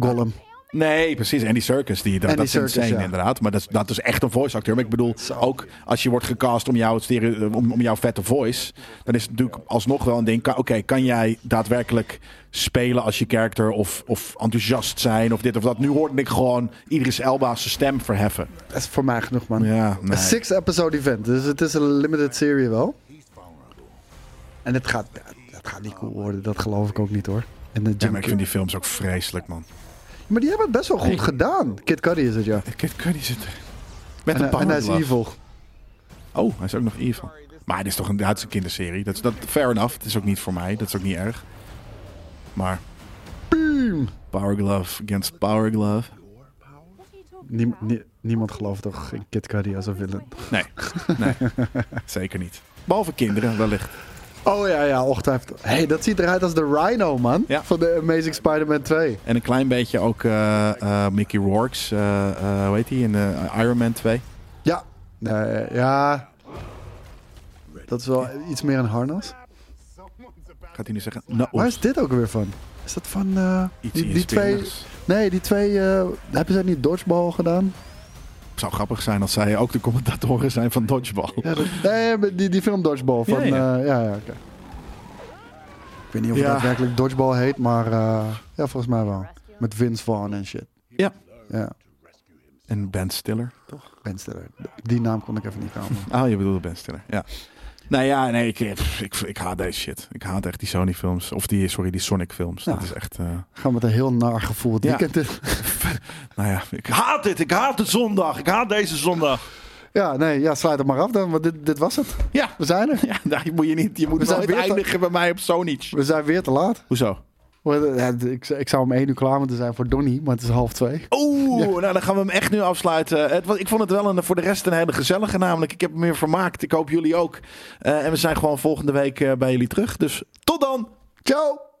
[SPEAKER 3] Gollum.
[SPEAKER 2] Nee, precies. Andy Circus, die, dat,
[SPEAKER 3] Andy
[SPEAKER 2] dat is
[SPEAKER 3] Serkis,
[SPEAKER 2] insane
[SPEAKER 3] ja.
[SPEAKER 2] inderdaad. Maar dat is, dat is echt een voice acteur. Maar ik bedoel, ook als je wordt gecast om, jouw stereo- eh, om, om jouw vette voice... dan is het natuurlijk alsnog wel een ding... kan- oké, kan jij daadwerkelijk spelen als je character... Of, of enthousiast zijn of dit of dat. Nu hoorde ik gewoon Idris Elba's stem verheffen.
[SPEAKER 3] Dat is voor mij genoeg, man.
[SPEAKER 2] Ja, nee.
[SPEAKER 3] Een six-episode event. Dus het is een limited serie wel. En het gaat, ja, het gaat niet cool worden. Dat geloof ik ook niet, hoor. En de
[SPEAKER 2] Ja,
[SPEAKER 3] Jim
[SPEAKER 2] maar ik vind die films ook vreselijk, man.
[SPEAKER 3] Maar die hebben het best wel goed gedaan. Kid Cudi is het, ja.
[SPEAKER 2] Kid Cudi zit er. Met
[SPEAKER 3] En,
[SPEAKER 2] een
[SPEAKER 3] en hij is
[SPEAKER 2] powerglove.
[SPEAKER 3] evil.
[SPEAKER 2] Oh, hij is ook nog evil. Maar het is toch een, ja, het is een kinderserie. Dat is dat, fair enough. Het is ook niet voor mij. Dat is ook niet erg. Maar... Power Glove against Power Glove.
[SPEAKER 3] Niem- nie- niemand gelooft toch in Kid Cudi als een villain.
[SPEAKER 2] Nee, nee. zeker niet. Behalve kinderen wellicht.
[SPEAKER 3] Oh ja, ja, ongetwijfeld. Hé, hey, dat ziet eruit als de Rhino, man.
[SPEAKER 2] Ja.
[SPEAKER 3] Van de Amazing Spider-Man 2.
[SPEAKER 2] En een klein beetje ook eh, eh, Mickey Rourke's, eh, eh, hoe heet hij, in eh, Iron Man 2.
[SPEAKER 3] Ja. Nee, ja. Dat is wel iets meer een harnas.
[SPEAKER 2] Gaat hij nu zeggen, nou,
[SPEAKER 3] Waar
[SPEAKER 2] oeps,
[SPEAKER 3] is dit ook weer van? Is dat van... eh,
[SPEAKER 2] iets
[SPEAKER 3] die, die twee...
[SPEAKER 2] inspirerends.
[SPEAKER 3] Nee, die twee... eh, hebben zij niet dodgeball gedaan?
[SPEAKER 2] zou grappig zijn als zij ook de commentatoren zijn van Dodgeball.
[SPEAKER 3] Ja, dat- nee, maar die, die film dodgeball. Van,
[SPEAKER 2] Ja, ja.
[SPEAKER 3] ja, ja. ja, oké. Ik weet niet of
[SPEAKER 2] Ja.
[SPEAKER 3] het daadwerkelijk dodgeball heet, maar... eh, ja, volgens mij wel. Met Vince Vaughn en shit.
[SPEAKER 2] Ja.
[SPEAKER 3] Ja.
[SPEAKER 2] En Ben Stiller.
[SPEAKER 3] Ben Stiller. Die naam kon ik even niet komen.
[SPEAKER 2] Ah, je bedoelde Ben Stiller, ja. Nou ja, nee, ik, pff, ik, ik haat deze shit. Ik haat echt die Sony films. Of die, sorry, die Sonic films. Dat is echt, eh,
[SPEAKER 3] Gaan we met een heel naar gevoel het
[SPEAKER 2] Ja.
[SPEAKER 3] weekend in.
[SPEAKER 2] nou ja, ik haat dit. Ik haat de zondag. Ik haat deze zondag.
[SPEAKER 3] Ja, nee, ja, sluit het maar af dan, want dit, dit was het.
[SPEAKER 2] Ja,
[SPEAKER 3] We zijn er.
[SPEAKER 2] ja daar moet je niet. Je moet
[SPEAKER 3] We zijn
[SPEAKER 2] nooit
[SPEAKER 3] weer te-
[SPEAKER 2] eindigen bij mij op Sonic.
[SPEAKER 3] We zijn weer te laat.
[SPEAKER 2] Hoezo?
[SPEAKER 3] We- ja, Ik, ik zou om één uur klaar moeten zijn voor Donnie, maar het is half twee.
[SPEAKER 2] Oeh, nou dan gaan we hem echt nu afsluiten. Het, was- ik vond het wel een, voor de rest een hele gezellige namelijk. Ik heb hem weer vermaakt. Ik hoop jullie ook. Eh, en we zijn gewoon volgende week eh, bij jullie terug. Dus tot dan.
[SPEAKER 3] Ciao!